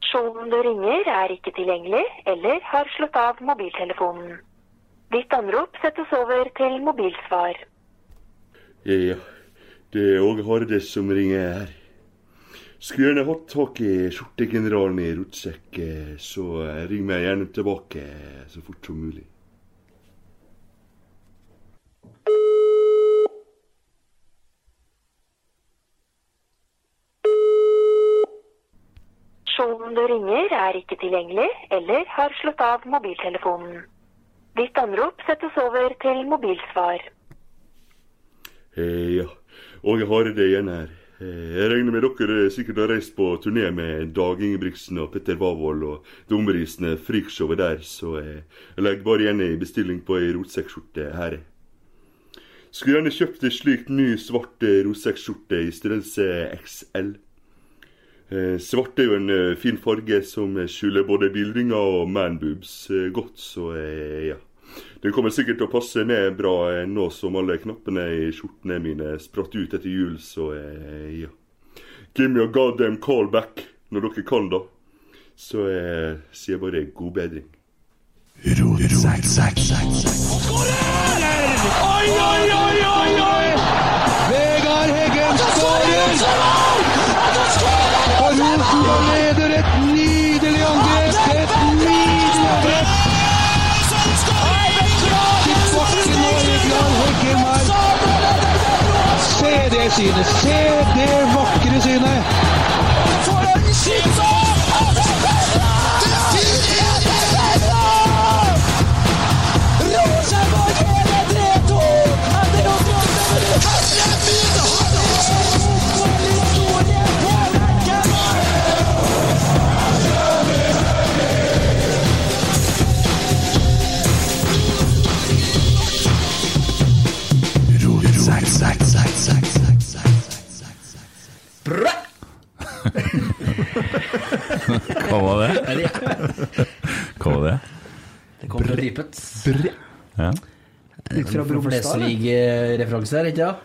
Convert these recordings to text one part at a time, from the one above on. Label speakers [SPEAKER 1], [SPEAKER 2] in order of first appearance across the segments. [SPEAKER 1] Personen du ringer er ikke tilgjengelig eller har slått av mobiltelefonen. Ditt anrop settes over til mobilsvar.
[SPEAKER 2] Ja, det er Åge Hardes som ringer her. Skulle gjerne hatt tak i skjortegeneralen i rotsekk, eh, så eh, ring meg gjerne tilbake eh, så fort som mulig.
[SPEAKER 1] Personen du ringer er ikke tilgjengelig eller har slått av mobiltelefonen. Ditt anrop settes over til mobilsvar.
[SPEAKER 2] Eh, ja, Åge Harde igjen her. Eh, jeg regner med dere sikkert har reist på turné med Dag Ingebrigtsen og Petter Wavold og Dumrisene freakshowet der, så eh, jeg legger bare igjen ei bestilling på ei rotsekkskjorte her. Skulle gjerne kjøpt ei slik ny svart eh, rotsekkskjorte i størrelse XL. Eh, Svart er jo en eh, fin farge som eh, skjuler både bildringer og manboobs eh, godt, så eh, ja. Den kommer sikkert til å passe ned bra eh, nå som alle knappene i skjortene mine spratt ut etter jul, så eh, ja. Give me a goddamn call back når dere kan, da. Så eh, sier jeg bare god bedring.
[SPEAKER 3] Oi, oi, oi, oi, oi! Vegard Heggen skårer! Og Rosenborg leder et nydelig angrep! Et nydelig angrep! Til bakken nå, Vegard Heggen her. Se det synet! Se det vakre synet!
[SPEAKER 4] Hva var det? Hva var det?
[SPEAKER 5] Det kom fra dypet. Eh,
[SPEAKER 4] Ja.
[SPEAKER 6] Litt fra Bromstad? eller?
[SPEAKER 5] Flesvig-referanse eh, her, ikke sant?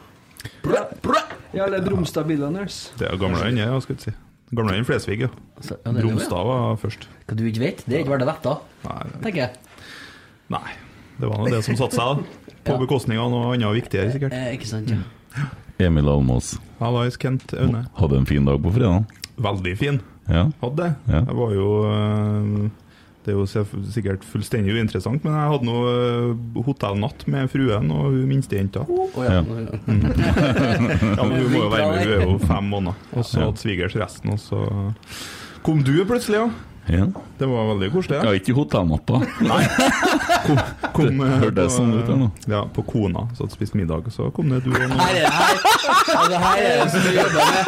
[SPEAKER 6] Ja, eller Bromstad Billionaires.
[SPEAKER 7] Det er gamlere enn jeg, ja, skulle jeg si. Gamlere enn Flesvig, ja.
[SPEAKER 5] Så- ja, det er det, ja.
[SPEAKER 7] Bromstad var først.
[SPEAKER 5] Hva du ikke vet, det er ikke verdt å vite,
[SPEAKER 7] Nei,
[SPEAKER 5] tenker jeg.
[SPEAKER 7] nei. Det var nå det som satte seg, da. På
[SPEAKER 5] Ja.
[SPEAKER 7] bekostning av noe annet viktigere, sikkert.
[SPEAKER 5] Eh, ikke sant, ja.
[SPEAKER 4] Emil Almås.
[SPEAKER 7] Hallais, Kent Aune.
[SPEAKER 4] Hadde en fin dag på fredagen.
[SPEAKER 7] Veldig fin.
[SPEAKER 4] Ja.
[SPEAKER 7] Hadde det.
[SPEAKER 4] Ja.
[SPEAKER 7] Jeg var jo øh, Det er jo sef- sikkert fullstendig uinteressant, men jeg hadde nå øh, hotellnatt med fruen og hun minstejenta.
[SPEAKER 5] Å, ja.
[SPEAKER 7] Ja, men hun må jo være med, hun er jo fem måneder. Og så
[SPEAKER 4] Ja.
[SPEAKER 7] hadde svigers resten, og så kom du plutselig, ja.
[SPEAKER 4] ja.
[SPEAKER 7] Det var veldig koselig.
[SPEAKER 4] Jeg
[SPEAKER 7] Ja.
[SPEAKER 4] har ikke hotellnatta.
[SPEAKER 7] Kom,
[SPEAKER 4] det
[SPEAKER 7] øh,
[SPEAKER 4] hørte jeg
[SPEAKER 7] på, eh,
[SPEAKER 4] sånn ut, ja, nå.
[SPEAKER 7] Ja, på Kona, så hadde spist middag, så kom det du og noen.
[SPEAKER 5] Her er det her. Ja, det her er det som vi jobber med.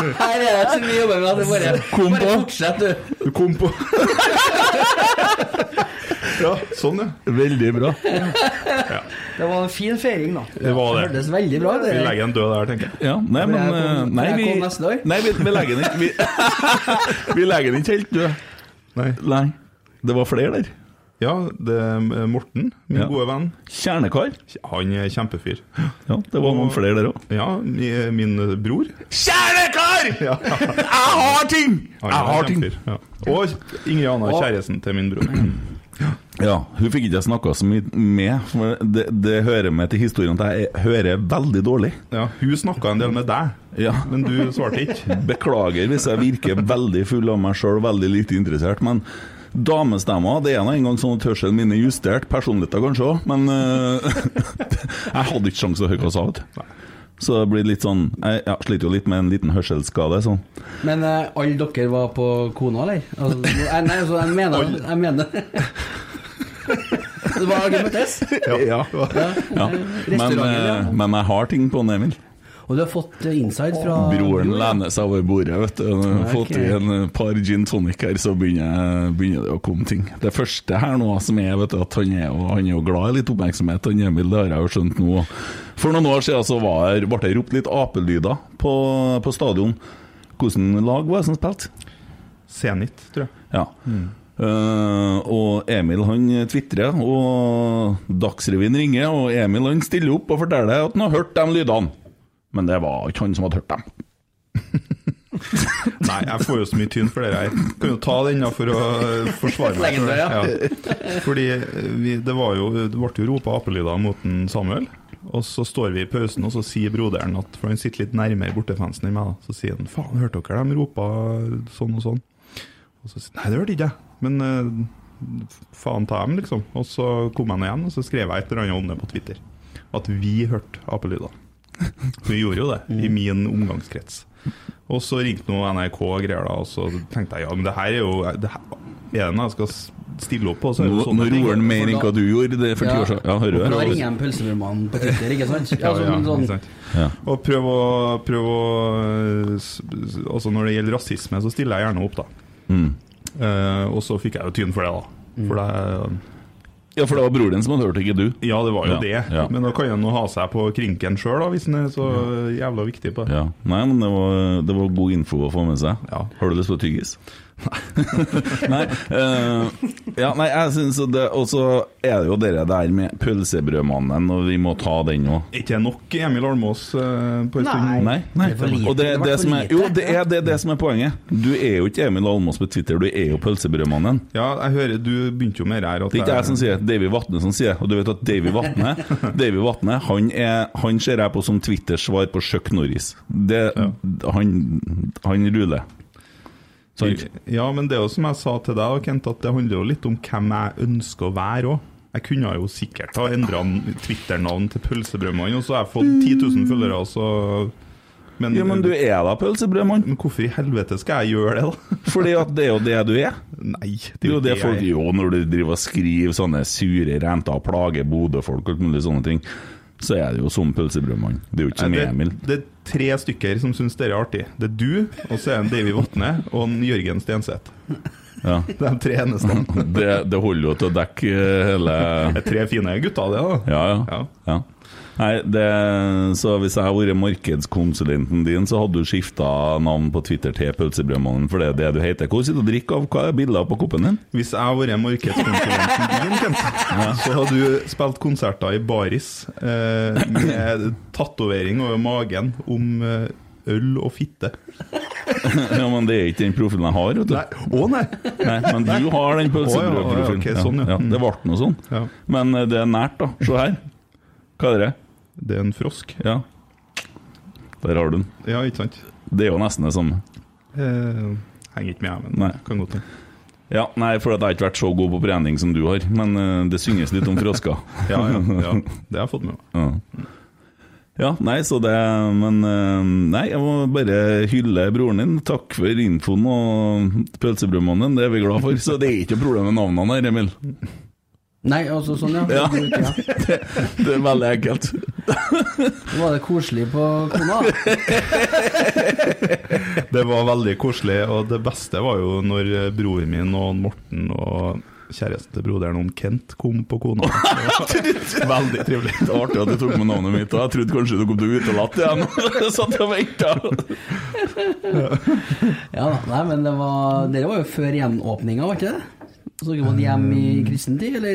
[SPEAKER 5] Her er det som vi jobber med. at det Bare,
[SPEAKER 7] Kom
[SPEAKER 5] bare
[SPEAKER 7] på.
[SPEAKER 5] fortsett, du.
[SPEAKER 7] Du kom på Ja, sånn, ja.
[SPEAKER 4] Veldig bra.
[SPEAKER 6] Det var en fin feiring, da.
[SPEAKER 7] Det var
[SPEAKER 5] Det
[SPEAKER 7] det.
[SPEAKER 5] hørtes veldig bra ut.
[SPEAKER 7] Vi
[SPEAKER 5] det der.
[SPEAKER 7] legger en død der, tenker jeg.
[SPEAKER 4] Ja, nei, men
[SPEAKER 5] jeg
[SPEAKER 4] eh,
[SPEAKER 5] kom-
[SPEAKER 4] Nei,
[SPEAKER 5] jeg
[SPEAKER 4] vi,
[SPEAKER 5] kom neste dag.
[SPEAKER 4] nei, vi, vi legger den ikke vi, vi legger den ikke helt død.
[SPEAKER 7] Nei.
[SPEAKER 4] Nei. Det var flere der.
[SPEAKER 7] Ja, det er Morten, min
[SPEAKER 4] Ja.
[SPEAKER 7] gode venn.
[SPEAKER 4] Kjernekar.
[SPEAKER 7] Han er kjempefyr.
[SPEAKER 4] Ja, det var noen flere der òg.
[SPEAKER 7] Ja, mi- min bror.
[SPEAKER 4] Kjernekar!
[SPEAKER 7] Ja.
[SPEAKER 4] Jeg har ting!
[SPEAKER 7] Han er kjempefyr. Ja. Og Ingrid Anna, kjæresten til min bror.
[SPEAKER 4] Ja, hun fikk ikke jeg snakka så mye med. For det, det hører med til historien at jeg hører veldig dårlig.
[SPEAKER 7] Ja, hun snakka en del med deg,
[SPEAKER 4] Ja.
[SPEAKER 7] men du svarte ikke.
[SPEAKER 4] Beklager hvis jeg virker veldig full av meg sjøl, veldig lite interessert, men damestemmer Det er nå engang sånn at hørselen min er justert, personligheten kanskje òg, men eh, Jeg hadde ikke sjanse til å høre hva hun sa, vet du. Så det blir litt sånn Jeg ja, sliter jo litt med en liten hørselsskade, sånn.
[SPEAKER 5] Men eh, alle dere var på kona, eller? Altså, nei, nei, altså, jeg mener Jeg mener Det var argumentes.
[SPEAKER 7] Ja.
[SPEAKER 4] Ja. Men, eh, men jeg har ting på den, Emil.
[SPEAKER 5] Og du har fått eh, inside fra
[SPEAKER 4] Broren lener seg over bordet, vet du. Nå har jeg Fått i en eh, par gin tonic her, så begynner, jeg- begynner det å komme ting. Det første her nå som er, vet du, at han er, jo- han er jo glad i litt oppmerksomhet, han Emil, det har jeg jo skjønt nå. For noen år siden så var, jeg- ble det ropt litt apelyder på, på stadion. Hvordan lag var det som spilte?
[SPEAKER 7] Senit, tror jeg.
[SPEAKER 4] Ja. Eh, og Emil han tvitrer, og Dagsrevyen ringer, og Emil han stiller opp og forteller at han har hørt de lydene. Men det var ikke han som hadde hørt dem.
[SPEAKER 7] Nei, jeg får jo så mye tyn for det her. Kan jo ta den da for å forsvare meg.
[SPEAKER 5] Legende, ja.
[SPEAKER 7] Ja. Fordi eh, vi, det, var jo, det ble jo ropa apelyder mot en Samuel. Og så står vi i pausen, og så sier broderen, at, for han sitter litt nærmere bortefansen enn meg, da. så sier han 'faen, hørte dere de ropa sånn og sånn'? Og så sier han 'nei, det hørte ikke jeg', men eh, faen ta dem, liksom. Og så kom jeg nå igjen, og så skrev jeg et eller annet om det på Twitter. At vi hørte apelyder. Vi gjorde jo det,
[SPEAKER 4] Mm.
[SPEAKER 7] i min omgangskrets. Og så ringte noe NRK og greier da, og så tenkte jeg ja, men det her er jo det her, Er det noe jeg skal s- stille opp på? Så er det
[SPEAKER 4] Nå,
[SPEAKER 7] jo sånne
[SPEAKER 4] nå
[SPEAKER 7] ting.
[SPEAKER 4] roer han mer enn hva du gjorde det er for ti år siden. Ja, hører
[SPEAKER 5] Da
[SPEAKER 4] du
[SPEAKER 5] ringer
[SPEAKER 4] det?
[SPEAKER 5] jeg en pølsebrødmann på Twitter, ikke sant?
[SPEAKER 7] Ja,
[SPEAKER 5] Altså,
[SPEAKER 7] ja,
[SPEAKER 5] sånn,
[SPEAKER 7] ikke sant.
[SPEAKER 4] Ja.
[SPEAKER 7] Og prøv å, prøv å eh, s- s- Altså Når det gjelder rasisme, så stiller jeg gjerne opp, da.
[SPEAKER 4] Mm.
[SPEAKER 7] Eh, og så fikk jeg jo tyn for det, da. For det,
[SPEAKER 4] ja, for det var broren din som hadde hørt, ikke du.
[SPEAKER 7] ja, det var jo
[SPEAKER 4] Ja,
[SPEAKER 7] det.
[SPEAKER 4] ja.
[SPEAKER 7] Men da kan en jo ha seg på krinken sjøl, hvis en er så jævla viktig på det.
[SPEAKER 4] Ja. Nei, men det var, det var god info å få med seg.
[SPEAKER 7] Ja.
[SPEAKER 4] Har du lyst på tyggis? nei. eh, ja, nei, jeg syns det Og så er det jo det der med pølsebrødmannen, og vi må ta den òg.
[SPEAKER 7] Er ikke det nok Emil Almås eh, på en stund?
[SPEAKER 4] Nei, nei.
[SPEAKER 5] Det er for lite.
[SPEAKER 4] Og det,
[SPEAKER 5] Det
[SPEAKER 4] det,
[SPEAKER 5] ble for
[SPEAKER 4] som er,
[SPEAKER 5] lite.
[SPEAKER 4] jo, det er det, det som er poenget. Du er jo ikke Emil Almås på Twitter, du er jo pølsebrødmannen.
[SPEAKER 7] Ja, jeg hører du begynte jo med det her. At
[SPEAKER 4] Det er ikke jeg som sier det, Davy Vatne som sier det. Og du vet at Davy Vatne Davy Vatne, han, er, han ser jeg på som Twitters svar på Chuck Norris. Det, Han, han ruler. Sant?
[SPEAKER 7] Ja, men det er jo som jeg sa til deg, Kent, at det handler jo litt om hvem jeg ønsker å være òg. Jeg kunne jo sikkert ha endra Twitter-navn til Pølsebrødmann, og så har jeg fått 10 000 følgere, og så men,
[SPEAKER 4] Ja, men du er da pølsebrødmann,
[SPEAKER 7] men hvorfor i helvete skal jeg gjøre det, da?
[SPEAKER 4] fordi at det er jo det du er.
[SPEAKER 7] Nei,
[SPEAKER 4] Det er jo det folk
[SPEAKER 7] jeg-
[SPEAKER 4] gjør når du driver og skriver sånne sure renter og plager Bodø-folk og alt mulig sånne ting. Så er det jo som pølsebrødmann. Det er jo ikke som
[SPEAKER 7] Nei,
[SPEAKER 4] Emil.
[SPEAKER 7] Det, det er tre stykker som syns dere er artig. Det er du, og så er det Davy Vatne og en Jørgen Stenseth.
[SPEAKER 4] Ja.
[SPEAKER 7] Det er de tre eneste.
[SPEAKER 4] Det, det holder jo til å dekke eh, hele
[SPEAKER 7] Det er tre fine gutter, det, da.
[SPEAKER 4] Ja, ja.
[SPEAKER 7] Ja.
[SPEAKER 4] ja. Nei, det, så hvis jeg hadde vært markedskonsulenten din, så hadde du skifta navn på Twitter til Pølsebrødmannen, for det er det du heter. Hvor sitter du og drikker av? Hva er bildet på koppen din?
[SPEAKER 7] Hvis jeg hadde vært markedskonsulenten din, Kent, så hadde du spilt konserter i baris eh, med tatovering over magen om eh, øl og fitte.
[SPEAKER 4] Ja, Men det er ikke den profilen jeg har, vet du.
[SPEAKER 7] Nei, å nei!
[SPEAKER 4] Nei, men du har den
[SPEAKER 7] Å, ja,
[SPEAKER 4] pølsebrødprofilen.
[SPEAKER 7] å, ja, ok, sånn, ja. Mm.
[SPEAKER 4] det ble noe sånn.
[SPEAKER 7] Ja.
[SPEAKER 4] Men eh, det er nært, da. Se her. Hva er det?
[SPEAKER 7] Det er en frosk.
[SPEAKER 4] Ja. Der har du den.
[SPEAKER 7] Ja, ikke sant?
[SPEAKER 4] Det er jo nesten det samme.
[SPEAKER 7] Eh, henger ikke med, jeg, men
[SPEAKER 4] Nei.
[SPEAKER 7] kan godt hende.
[SPEAKER 4] Ja, nei, for at jeg har ikke vært så god på trening som du har, men eh, det synges litt om frosker.
[SPEAKER 7] Ja, ja, ja. Det har jeg fått med meg.
[SPEAKER 4] Ja. Ja, nei, så det Men eh, nei, jeg må bare hylle broren din. Takk for infoen og pølsebrødmannen, det er vi glad for. Så det er ikke noe problem med navnene her, Emil.
[SPEAKER 5] nei, altså sånn, ja.
[SPEAKER 4] Ja.
[SPEAKER 5] ja.
[SPEAKER 4] Det er veldig enkelt.
[SPEAKER 5] Nå var det koselig på kona. da.
[SPEAKER 7] Det var veldig koselig, og det beste var jo når eh, broren min og Morten og kjæresten til broderen om Kent kom på kona. Det var Veldig trivelig.
[SPEAKER 4] Det var artig at du tok med navnet mitt, og jeg trodde kanskje du kom til å utelatt igjen. Jeg satt og ventet.
[SPEAKER 5] Ja, da. nei, men det var Dere var jo før gjenåpninga, var ikke det? Så dere måtte hjem i kristen tid, eller?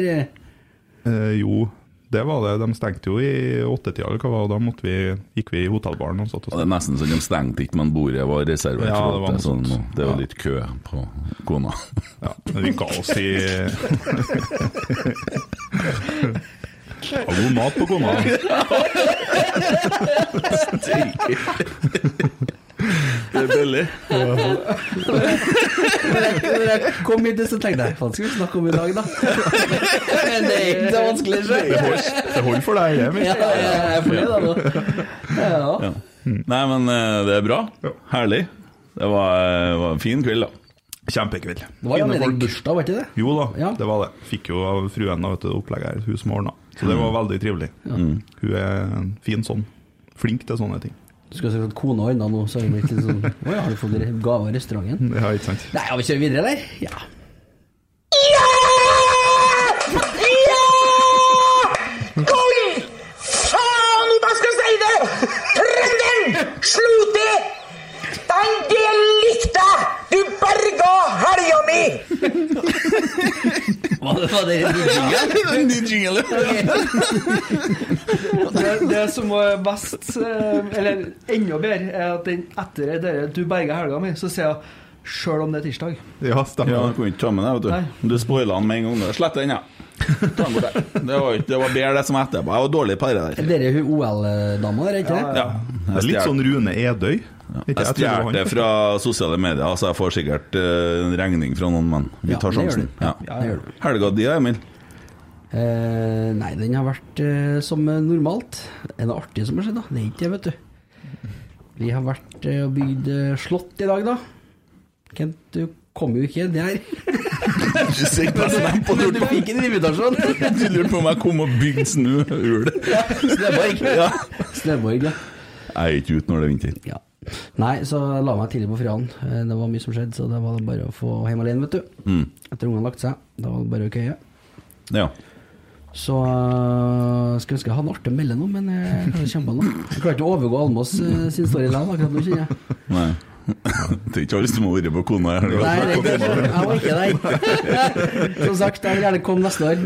[SPEAKER 7] Eh, jo, det var det. De stengte jo i åttetida, eller hva var det? Da måtte vi, gikk vi i hotellbaren og satt
[SPEAKER 4] Og
[SPEAKER 7] oss
[SPEAKER 4] Det er nesten så de stengte ikke, men bordet var reservert.
[SPEAKER 7] Ja,
[SPEAKER 4] for
[SPEAKER 7] det var
[SPEAKER 4] at
[SPEAKER 7] noe
[SPEAKER 4] sånn,
[SPEAKER 7] sånt.
[SPEAKER 4] det er jo
[SPEAKER 7] Ja.
[SPEAKER 4] litt kø på kona.
[SPEAKER 7] ja, men Vi ga oss i ja, God mat på kona.
[SPEAKER 4] Det er billig.
[SPEAKER 5] Når jeg kom hit, så tenkte jeg Hva skal vi snakke om i dag, da? Men det er ikke så vanskelig, så.
[SPEAKER 7] Det holder det holder for deg, Emil.
[SPEAKER 5] Ja, jeg er fornøyd, altså. Ja.
[SPEAKER 4] Nei, men eh, det er bra.
[SPEAKER 7] Ja.
[SPEAKER 4] Herlig. Det var, eh, var en fin kveld, da.
[SPEAKER 7] Kjempekveld.
[SPEAKER 5] Det var jo
[SPEAKER 7] Fine
[SPEAKER 5] anledning
[SPEAKER 7] folk.
[SPEAKER 5] bursdag, var ikke det?
[SPEAKER 7] Jo da,
[SPEAKER 5] Ja.
[SPEAKER 7] det var det. Fikk jo av fruen da, vet du, opplegget her, hun som ordna. Så det var veldig trivelig. Hun er en fin sånn. Flink til sånne ting.
[SPEAKER 5] Du skal si at kona ordna nå, så har vi blitt litt sånn Å ja, har du fått gave av restauranten?
[SPEAKER 7] Ja, ikke sant?
[SPEAKER 5] Nei, ja, vi kjører videre, eller? Ja. Hva Var det en ny jingle?
[SPEAKER 4] Ny jingle!
[SPEAKER 6] Det, det som var best,
[SPEAKER 4] altså,
[SPEAKER 6] eh, eller enda bedre, er at den etter det der 'Du berga helga mi', så sier jeg 'sjøl om det er tirsdag'.
[SPEAKER 7] Ja, stemmer.
[SPEAKER 4] Ja, du kunne ikke ta med det, vet du. Du spoila den med en gang. du. Slett den, ja. Ta den bort der. Det var, ikke- det var bedre det som var etterpå. Jeg var dårlig på det der.
[SPEAKER 5] Dere er hun OL-dama, er ikke det?
[SPEAKER 4] Ja.
[SPEAKER 7] Det er litt sånn Rune Edøy. Ikke?
[SPEAKER 4] Jeg
[SPEAKER 7] tror det var
[SPEAKER 4] stjal
[SPEAKER 7] han.
[SPEAKER 4] det fra sosiale medier, så jeg får sikkert eh, en regning fra noen, men vi
[SPEAKER 5] Ja,
[SPEAKER 4] tar
[SPEAKER 5] det gjør
[SPEAKER 4] sjansen.
[SPEAKER 5] du.
[SPEAKER 4] Ja.
[SPEAKER 5] Ja, det gjør du.
[SPEAKER 4] Helga di, Emil?
[SPEAKER 5] Eh, nei, den har vært eh, som normalt. Er det artig som har skjedd, da? Det er ikke det, vet du. Vi har vært eh, og bygd eh, slott i dag, da. Kent, du kom jo ikke. Det er
[SPEAKER 4] Du sitter på snap og
[SPEAKER 5] Du fikk en invitasjon!
[SPEAKER 4] Du lurte på om jeg kom og bygde snøhul.
[SPEAKER 5] Snøborg.
[SPEAKER 4] Ja.
[SPEAKER 5] Snøborg, ja.
[SPEAKER 4] Jeg er ikke ute når det er vinter.
[SPEAKER 5] Ja. Nei, så jeg la meg tidlig på fredagen. Eh, Det var mye som skjedde, så det var bare å få hjem alene, vet du. Etter ungene lagt seg. Da var det bare å køye.
[SPEAKER 4] Ja.
[SPEAKER 5] Så øh, skulle ønske jeg hadde en artig å melde noe, men jeg klarer ikke å kjempe nå. Jeg klarer ikke å overgå Almås øh, sin storyline akkurat nå, kjenner jeg.
[SPEAKER 4] Nei. Det er ikke alle som har vært på kona i helga.
[SPEAKER 5] Nei, det er ikke, jeg var ikke der. Som sagt, jeg vil gjerne komme neste år.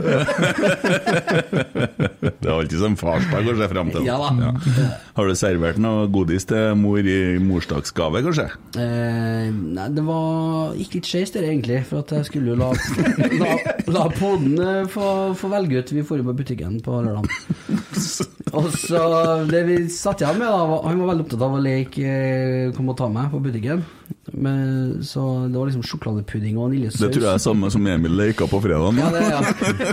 [SPEAKER 4] Det er alltid som farsdag å se frem til.
[SPEAKER 5] Ja da.
[SPEAKER 4] Har du servert noe godis til mor i morsdagsgave, kanskje?
[SPEAKER 5] Eh, nei, det var gikk litt skeis der egentlig, for at jeg skulle jo la, la, la poden eh, få, få velge ut. Vi dro jo på butikken på lørdag. Og så Det vi satt igjen med, da var- Han var veldig opptatt av å leke eh, 'kom og ta meg' på butikken. Men, så det var liksom sjokoladepudding og vaniljesaus.
[SPEAKER 4] Det tror jeg er samme som Emil leika på fredag.
[SPEAKER 5] Ja, det, ja.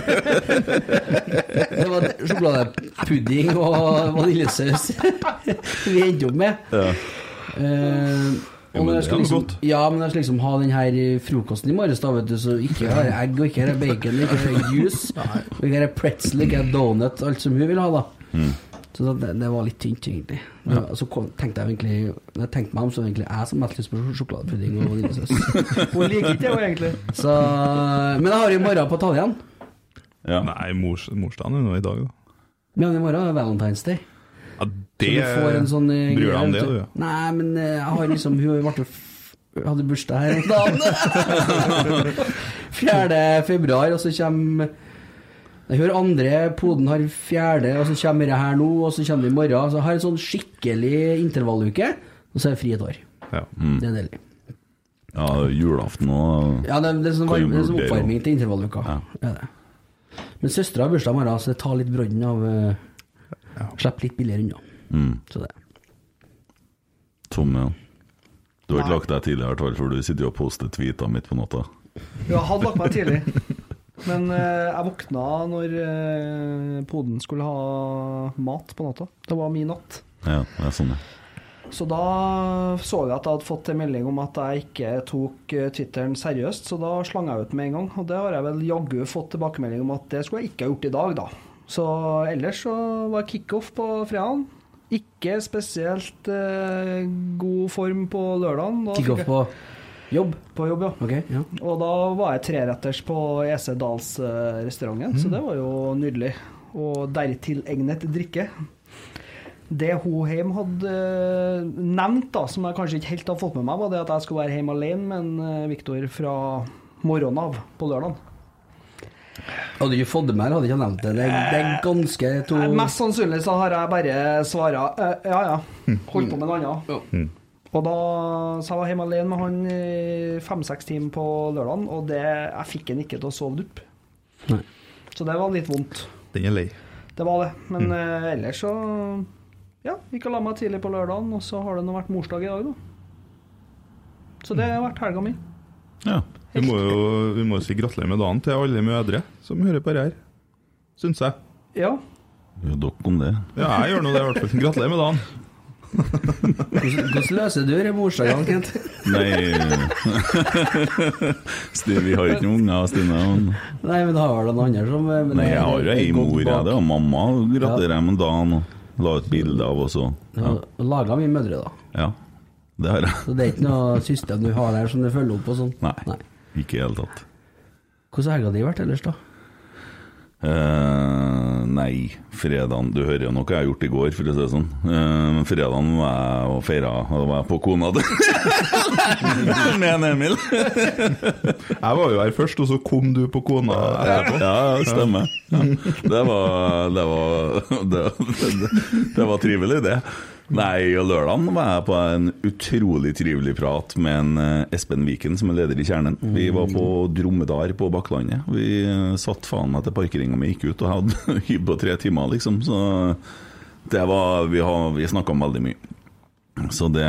[SPEAKER 5] det var sjokoladepudding og vaniljesaus vi endte opp med.
[SPEAKER 4] Ja.
[SPEAKER 5] Eh,
[SPEAKER 4] Ja,
[SPEAKER 5] og
[SPEAKER 4] men det
[SPEAKER 5] når jeg skal
[SPEAKER 4] er
[SPEAKER 5] liksom,
[SPEAKER 4] godt.
[SPEAKER 5] ja, men jeg skal liksom ha den her eh, frokosten i morges, da, vet du, så ikke har jeg egg, og ikke har jeg bacon, ikke har jeg juice, og ikke har jeg pretzel, ikke har jeg donut, alt som hun vil ha, da.
[SPEAKER 4] Mm.
[SPEAKER 5] Så det, det var litt tynt, egentlig. Men Så kom, tenkte jeg egentlig Når jeg tenkte meg om, så var det egentlig jeg som hadde lyst på sj- sjokoladepudding og vaniljesaus.
[SPEAKER 6] Hun liker ikke det, hun, egentlig.
[SPEAKER 5] Så Men jeg har jo i morgen på å ta det igjen.
[SPEAKER 4] Ja.
[SPEAKER 7] Nei, mors, morsdagen er nå i dag, da.
[SPEAKER 5] Men i morgen er Valentine's Day.
[SPEAKER 7] Ja,
[SPEAKER 5] Så du får en sånn eh,
[SPEAKER 7] Bryr deg
[SPEAKER 5] greie,
[SPEAKER 7] om det,
[SPEAKER 5] vet
[SPEAKER 7] du? ja.
[SPEAKER 5] Nei, men eh, jeg har liksom Hun ble jo f- hadde bursdag her om dagen. 4. februar, og så kommer jeg hører andre, poden har fjerde, og så kommer det her nå, og så kommer det i morgen. Så jeg har en sånn skikkelig intervalluke, og så er jeg fri et år.
[SPEAKER 7] Ja.
[SPEAKER 5] Det er deilig.
[SPEAKER 4] Mm. ja, julaften og
[SPEAKER 5] Ja, det, det er sånn,
[SPEAKER 4] Kan jo
[SPEAKER 5] varm, det er sånn
[SPEAKER 4] vurdere
[SPEAKER 5] oppvarming til intervalluka.
[SPEAKER 4] Ja.
[SPEAKER 5] Det er det. Men søstera har bursdag i morgen, så det tar litt brodden av uh, Slipper litt billigere unna.
[SPEAKER 4] mm.
[SPEAKER 5] Så det.
[SPEAKER 4] Tomme, ja. Du har ikke lagt deg tidligere, i hvert fall, for du sitter jo og poster tweeter midt på natta.
[SPEAKER 6] Ja, hadde lagt meg tidlig. Men eh, jeg våkna når eh, poden skulle ha mat på natta. Det var min natt.
[SPEAKER 4] Ja, det er sånn, ja.
[SPEAKER 6] Så da så jeg at jeg hadde fått en melding om at jeg ikke tok eh, Twitteren seriøst, så da slang jeg ut med en gang. Og det har jeg vel jaggu fått tilbakemelding om at det skulle jeg ikke ha gjort i dag, da. Så ellers så var kickoff på fredagen. Ikke spesielt eh, god form på lørdagen. Da fikk
[SPEAKER 5] Kick-off
[SPEAKER 6] jeg-
[SPEAKER 5] på jobb.
[SPEAKER 6] på jobb, ja.
[SPEAKER 5] Ok, ja.
[SPEAKER 6] Og da var jeg treretters på EC Dals-restauranten, så det var jo nydelig. Og dertil egnet drikke. Det hun hjemme hadde eh, nevnt, da, som jeg kanskje ikke helt har fått med meg, var det at jeg skulle være hjemme alene med en, eh, Viktor fra morgenen av på lørdag.
[SPEAKER 5] Hadde du ikke fått det med, eller hadde du ikke nevnt det? Det, det er ganske to
[SPEAKER 6] Eh, Mest sannsynlig så har jeg bare svara eh, ja, ja. Holdt på med noe annet. Og da, så jeg var hjemme alene med han i fem-seks timer på lørdagen, og det, jeg fikk han ikke til å sove dupp.
[SPEAKER 5] Nei.
[SPEAKER 6] Så det var litt vondt.
[SPEAKER 7] Den er lei.
[SPEAKER 6] Det var det. Men eh, ellers så ja, gikk og la meg tidlig på lørdagen, og så har det nå vært morsdag i dag, da. Så det har vært helga mi.
[SPEAKER 4] ja.
[SPEAKER 7] Vi må jo vi må jo si gratulerer med dagen til alle mødre som hører på det her, syns jeg.
[SPEAKER 6] Ja.
[SPEAKER 4] Det er jo Dere om det.
[SPEAKER 7] Ja, jeg gjør nå det, i hvert fall. Gratulerer med dagen.
[SPEAKER 5] Hvordan hvordan løser du det morsdagen, Kent?
[SPEAKER 4] Nei Stine, Vi har jo ikke noen unger, Stine. og-
[SPEAKER 5] Nei, men har vel noen andre som eh, men
[SPEAKER 4] Nei,
[SPEAKER 5] det-
[SPEAKER 4] jeg har jo ei
[SPEAKER 5] det går
[SPEAKER 4] mor, jeg.
[SPEAKER 5] tilbake.
[SPEAKER 4] Det er mamma. Gratulerer jeg med dagen. og La ut bilde av oss og
[SPEAKER 5] Ja.
[SPEAKER 4] ja.
[SPEAKER 5] Laga mine mødre, da.
[SPEAKER 4] ja. Det har jeg.
[SPEAKER 5] Så det er ikke noe system du har der som du følger opp og sånn?
[SPEAKER 4] Nei. Ikke i det hele tatt.
[SPEAKER 5] Hvordan har helga di vært ellers, da?
[SPEAKER 4] Eh, nei, fredagen Du hører jo noe jeg har gjort i går, for å si det sånn. Eh, Men fredagen var jeg og feira, og da var jeg på kona til Med en Emil.
[SPEAKER 7] Jeg var jo her først, og så kom du på kona etterpå.
[SPEAKER 4] Ja, ja, stemmer. Ja. Det, var, det, var, det, det, det var trivelig, det. Nei, og lørdagen var jeg på en utrolig trivelig prat med en eh, Espen Viken, som er leder i Kjernen. Vi var på Dromedar på Bakklandet. Vi eh, satt faen meg til parkeringa mi gikk ut, og hadde hybb på tre timer, liksom. Så det var Vi, har- vi snakka om veldig mye. Så det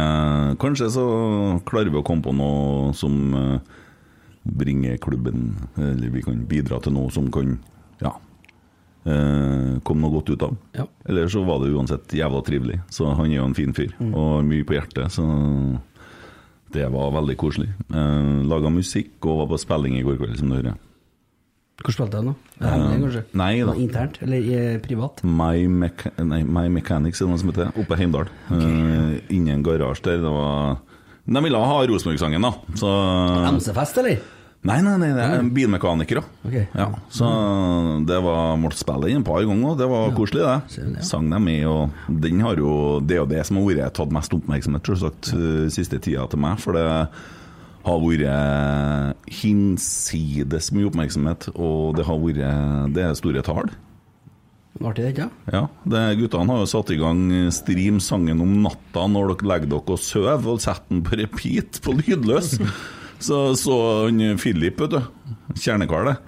[SPEAKER 4] Kanskje så klarer vi å komme på noe som eh, bringe klubben Eller vi kan bidra til noe som kan Ja eh, Komme noe godt ut av
[SPEAKER 5] Ja.
[SPEAKER 4] Eller så var det uansett jævla trivelig Så han er jo en fin fyr Og har mye på hjertet Så det var veldig koselig eh, Laget musikk og var på spilling i går kveld Som du hører
[SPEAKER 5] Hvor spilte jeg nå? Hemmelig, kanskje?
[SPEAKER 4] Eh, nei da.
[SPEAKER 5] Nå, Internt? Eller eh, privat?
[SPEAKER 4] My, Mecha nei, My Mechanics, er det noe som heter, oppe i Heimdal. Eh, Inni en garasje der. Det var De ville ha Rosenborg-sangen, da. Så
[SPEAKER 5] MC-fest, eller?
[SPEAKER 4] Nei, nei, nei, det er bilmekanikere.
[SPEAKER 5] Ok.
[SPEAKER 4] Ja, så det var måtte spille den et par ganger, og det var koselig,
[SPEAKER 5] ser du det,
[SPEAKER 4] det.
[SPEAKER 5] ja.
[SPEAKER 4] Sang dem i, og den har jo Det er jo det som har vært tatt mest oppmerksomhet, selvsagt, eh, siste tida til meg. For det har vært hinsides mye oppmerksomhet, og det har vært Det er store tall.
[SPEAKER 5] Artig, det, ikke?
[SPEAKER 4] Ja, det, guttene har jo satt i gang stream sangen om natta når dere legger dere og sover, og setter den på repeat på lydløs. Så så han eh, Philip, vet du, kjernekarlet,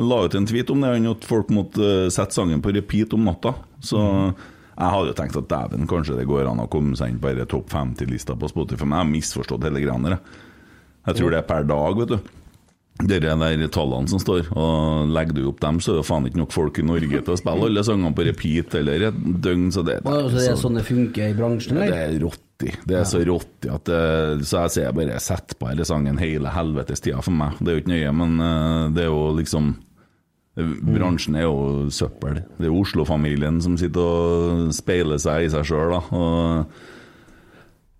[SPEAKER 4] la ut en tweet om det, han at folk måtte eh, sette sangen på repeat om natta. Så jeg hadde jo tenkt at dæven, kanskje det går an å komme seg inn på denne topp 50-lista på Spotify, men jeg har misforstått hele greia der. jeg. Jeg tror det er per dag, vet du. Det er de tallene som står, og legger du opp dem, så er det faen ikke nok folk i Norge til å spille alle sangene på repeat eller et døgn, så det,
[SPEAKER 5] Ja, altså, det er sånn det funker i bransjen,
[SPEAKER 4] det
[SPEAKER 5] eller?
[SPEAKER 4] er rotti. Det er så rotti at det, Så jeg ser bare sett på hele sangen hele helvetes tida for meg. Det er jo ikke nøye, men eh, det er jo liksom Bransjen er jo søppel. Det er jo Oslo-familien som sitter og speiler seg i seg sjøl, da. Og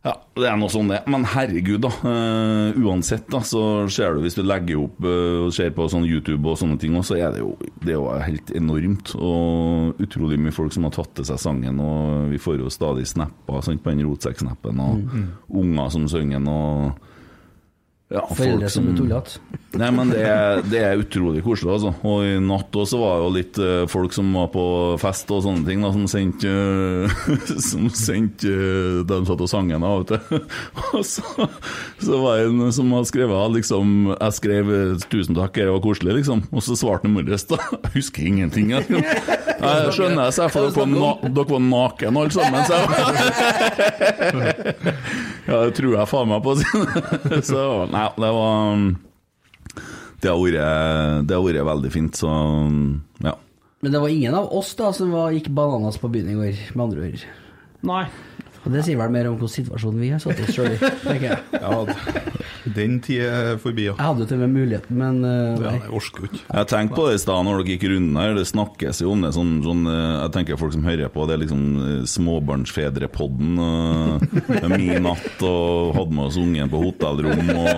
[SPEAKER 4] ja, det er noe sånn det. Men herregud, da. eh, uansett, da, så ser du hvis du legger opp eh, og ser på sånn YouTube og sånne ting, også, så er det jo, det er jo helt enormt. Og utrolig mye folk som har tatt til seg sangen, og vi får jo stadig snapper sant, på den rotsekksnappen, og
[SPEAKER 5] Mm.
[SPEAKER 4] unger som synger den, og ja, folk
[SPEAKER 5] Foreldre
[SPEAKER 4] som-
[SPEAKER 5] som blir tullete.
[SPEAKER 4] Nei, men det er, det er utrolig koselig, altså. Og i natt også var det jo litt eh, folk som var på fest og sånne ting, da, som sendte eh, Som sendte eh, De satt og sang en, da, vet du. Og så, så var det en som hadde skrevet liksom Jeg skrev eh, 'tusen takk, det var koselig', liksom. Og så svarte han i morges, da. Jeg husker ingenting. Jeg, jeg skjønner jeg, så jeg, for dere var, na dere var naken alle sammen, så jeg Ja, det tror jeg faen meg på. Så nei, det var mm, det har vært, det har vært veldig fint, så ja.
[SPEAKER 5] Men det var ingen av oss da som var, gikk bananas på byen i går, med andre ord.
[SPEAKER 6] Nei.
[SPEAKER 5] Og det sier vel mer om hvordan situasjonen vi har satt oss sjøl i, tenker jeg.
[SPEAKER 7] Ja, d- den tid er forbi, ja.
[SPEAKER 5] Jeg hadde jo til og med muligheten, men eh,
[SPEAKER 7] Ja,
[SPEAKER 5] nei.
[SPEAKER 7] Jeg orker jo ikke.
[SPEAKER 4] Jeg tenkte på det i stad når dere gikk runden her, det snakkes jo om det sånn, sånn eh, Jeg tenker folk som hører på, det er liksom eh, småbarnsfedrepodden og det er Min natt og hadde med oss ungen på hotellrom og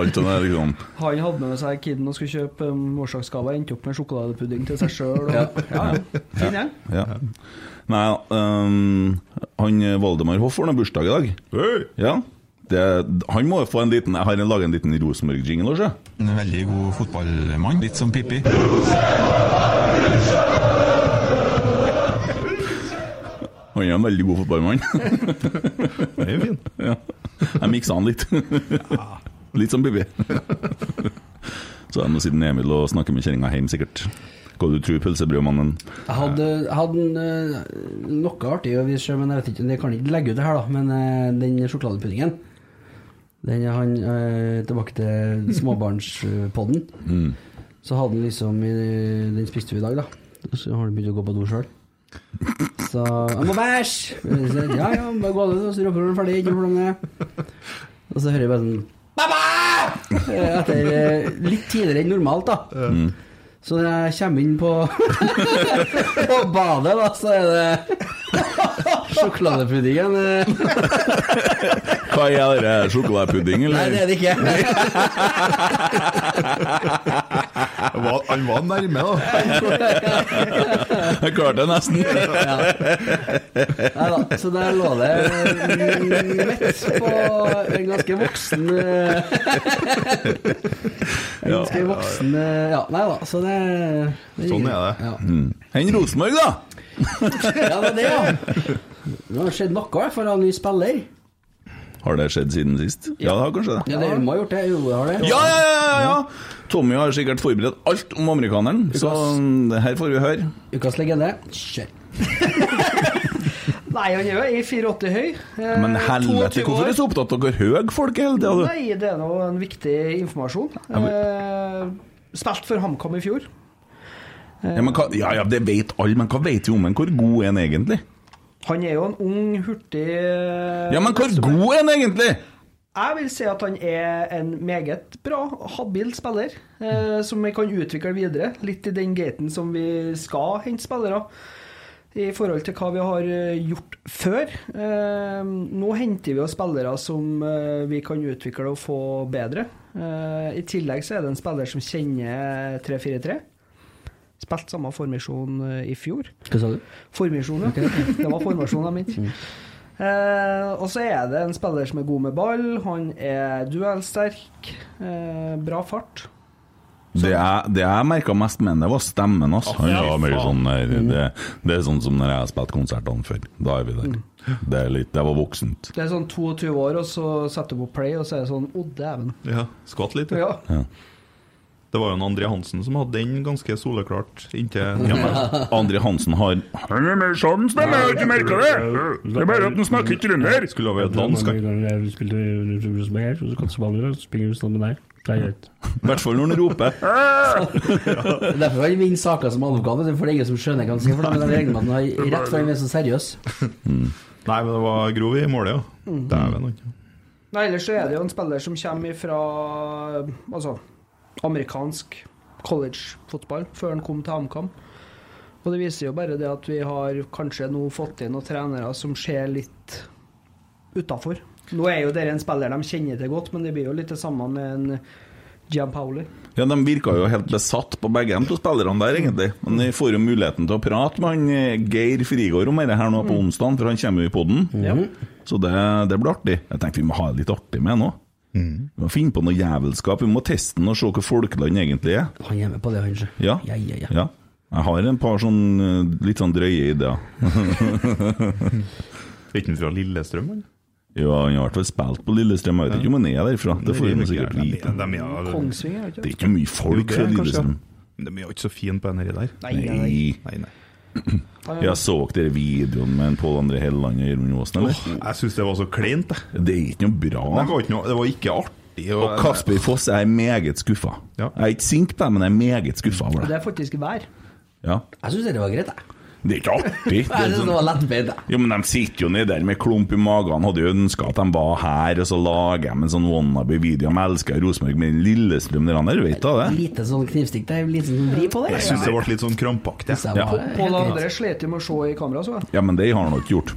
[SPEAKER 4] alt det der, liksom.
[SPEAKER 6] Han hadde med seg kiden og skulle kjøpe um, morsdagsgave, endte opp med sjokoladepudding til seg sjøl. Ja. Ja, ja. Fin gjeng.
[SPEAKER 4] Ja. Nei, ehm, han eh, Valdemar Hoff får nå bursdag i dag.
[SPEAKER 7] Hey!
[SPEAKER 4] Ja. Det, han må jo få en liten Jeg har laga en liten Rosenborg-jingle også, jeg.
[SPEAKER 8] En veldig god fotballmann, litt som Pippi.
[SPEAKER 4] Han er en veldig god fotballmann.
[SPEAKER 7] Den er jo fin.
[SPEAKER 4] Ja. Jeg miksa han litt. Litt som Bibi. Så nå sitter Emil og snakker med kjerringa hjemme, sikkert. Hva du tror, pølsebrødmannen?
[SPEAKER 5] Jeg hadde, jeg hadde en, eh, noe artig å vise, men jeg vet ikke, jeg kan ikke legge ut det her, da. Men eh, den sjokoladepuddingen Den er han eh, Tilbake til småbarnspodden. Så hadde han liksom i- Den spiste vi i dag, da. Og Så har han begynt å gå på do sjøl. Så 'Jeg må bæsj!' Så, Ja ja, bare gå ut, og så roper han ferdig. Ikke noe problem med det. Og så hører jeg bare sånn «Baba!» Eh, Etter eh, litt tidligere enn normalt, da. Så når jeg kommer inn på på badet, da, så er det sjokoladepuddingen. eh,
[SPEAKER 4] Hva Hva er det? Sjokoladepudding, eller?
[SPEAKER 5] Nei, det er det ikke.
[SPEAKER 7] Han var- Han var nærme, da.
[SPEAKER 4] Jeg klarte det nesten.
[SPEAKER 5] Nei da. Så der lå det eh, midt på en ganske voksen eh, En ganske voksen eh, Ja, nei da. Så det, det
[SPEAKER 7] Sånn er det.
[SPEAKER 5] Ja.
[SPEAKER 4] Hent Mm. Rosenborg, da!
[SPEAKER 5] Ja, det er det, ja. Det har skjedd noe, i hvert fall av ny spiller.
[SPEAKER 4] Har det skjedd siden sist? Ja, det har kanskje det.
[SPEAKER 5] Ja, det må ha gjort det. Jo, det har det.
[SPEAKER 4] Ja, ja, ja! ja, ja. Tommy har sikkert forberedt alt om amerikaneren, så det her får vi høre.
[SPEAKER 5] Ukas legende. Kjør.
[SPEAKER 6] Nei, han er jo 1,84 høy. eh,
[SPEAKER 4] Men helvete,
[SPEAKER 6] 22
[SPEAKER 4] hvorfor er
[SPEAKER 6] år.
[SPEAKER 4] du så opptatt av hvor høy folk er hele tida?
[SPEAKER 6] Nei, det er nå en viktig informasjon. Eh, spilt for HamKam i fjor.
[SPEAKER 4] Ja, men hva- ja, ja, det vet alle, men hva vet vi om en? Hvor god er en egentlig?
[SPEAKER 6] Han er jo en ung, hurtig eh,
[SPEAKER 4] Ja, men hvor god er en egentlig?
[SPEAKER 6] Jeg vil si at han er en meget bra, habil spiller, eh, som vi kan utvikle videre. Litt i den gaten som vi skal hente spillere, i forhold til hva vi har eh, gjort før. Eh, nå henter vi jo spillere som eh, vi kan utvikle og få bedre. Eh, I tillegg så er det en spiller som kjenner 3-4-3. Spilte samme formasjon eh, i fjor.
[SPEAKER 5] Hva sa du?
[SPEAKER 6] Formasjon, ja. Det var formasjonen min. Eh, og så er det en spiller som er god med ball. Han er duellsterk. Eh, bra fart.
[SPEAKER 4] Det jeg, det jeg merka mest med henne, var stemmen. Altså. Han var mer sånn der, det, det er sånn som når jeg har spilt konsertene før. Da er vi der. Det, er litt, det var voksent.
[SPEAKER 6] Det er sånn 22 år, og så setter du på play, og så er det sånn Å, dæven.
[SPEAKER 7] Ja, Skvatt litt.
[SPEAKER 6] Ja.
[SPEAKER 7] Det var jo en André Hansen som hadde den ganske soleklart inntil
[SPEAKER 4] André Hansen har Han er mer sånn, stemmer, jeg har ikke merka det! Det er bare at han snakker trønder!
[SPEAKER 7] Skulle ha vært dansk. han.
[SPEAKER 4] I hvert fall når han roper.
[SPEAKER 5] Det er derfor han vinner saker som advokat, vet du, for det er ingen som skjønner hva han skal for da, men jeg regner med at han har rett for han er så seriøs.
[SPEAKER 7] Nei, men det var grov i målet, ja.
[SPEAKER 6] Mm.
[SPEAKER 7] Dæven, han.
[SPEAKER 6] Nei, ellers så er det jo en spiller som kommer fra altså, amerikansk college-fotball før han kom til HamKam. Og det viser jo bare det at vi har kanskje nå fått inn noen trenere som ser litt utafor. Nå er jo dere en spiller de kjenner til godt, men det blir jo litt det samme med en Gianpaoli.
[SPEAKER 4] Ja, De virka jo helt besatt på begge de to spillerne der, egentlig. Men vi får jo muligheten til å prate med han eh, Geir Frigård om dette her nå på onsdag, for han kommer jo i poden.
[SPEAKER 5] Mm.
[SPEAKER 4] Så det, det blir artig. Jeg tenkte vi må ha det litt artig med nå. Vi må finne på noe jævelskap. Vi må teste den og se hva folkeland egentlig er.
[SPEAKER 5] Han er med på det, han sjø.
[SPEAKER 4] Ja.
[SPEAKER 5] Ja, ja, ja.
[SPEAKER 4] Ja. Jeg har en par sånn eh, litt sånn drøye ideer.
[SPEAKER 7] Er ikke han fra Lillestrøm, eller?
[SPEAKER 4] Jo, han har i hvert fall spilt på Lillestrøm. Jeg vet ikke om han er derfra. Det får vi nå sikkert vite.
[SPEAKER 7] De er jo
[SPEAKER 6] Kongsvinger, er det
[SPEAKER 4] Det er
[SPEAKER 6] ikke?
[SPEAKER 4] ikke mye
[SPEAKER 7] det,
[SPEAKER 4] folk fra
[SPEAKER 7] kanskje.
[SPEAKER 4] Lillestrøm.
[SPEAKER 7] Men De er jo ikke så fine på den her der.
[SPEAKER 6] Nei, nei, nei.
[SPEAKER 4] Nei.
[SPEAKER 7] Nei, nei.
[SPEAKER 4] Jeg så dere videoen med en Pål André Helleland og Gjermund Aasen, eller?
[SPEAKER 7] Jeg syns det var så kleint, jeg.
[SPEAKER 4] Det er ikke noe
[SPEAKER 7] Det
[SPEAKER 4] bra.
[SPEAKER 7] var ikke, noe, det var ikke artig. Og,
[SPEAKER 4] Og Kasper Foss jeg er meget skuffa.
[SPEAKER 7] Ja.
[SPEAKER 4] Jeg er ikke sint på deg, men jeg er meget skuffa over
[SPEAKER 6] Det
[SPEAKER 4] deg.
[SPEAKER 6] er faktisk vær.
[SPEAKER 4] Ja.
[SPEAKER 5] Jeg syns det var greit, jeg.
[SPEAKER 4] Det er ikke artig. Det
[SPEAKER 5] Jeg
[SPEAKER 4] er
[SPEAKER 5] synes
[SPEAKER 4] sånn
[SPEAKER 5] det var lettbeint, jeg.
[SPEAKER 4] Jo, men de sitter jo nede der med klump i magen. Hadde jo ønska at de var her, og så lager de en sånn wannabe-video. De elsker Rosenborg, men Lillestrøm de der, vet da det?
[SPEAKER 5] Lite sånn knivstikk der, litt sånn vri på det.
[SPEAKER 7] jeg syns det ble litt sånn krampaktig.
[SPEAKER 5] Så jeg var
[SPEAKER 4] Ja.
[SPEAKER 5] helt
[SPEAKER 6] Pål
[SPEAKER 5] greit.
[SPEAKER 6] André slet jo med å se i kamera, så jeg.
[SPEAKER 4] Ja, men det har han nok gjort.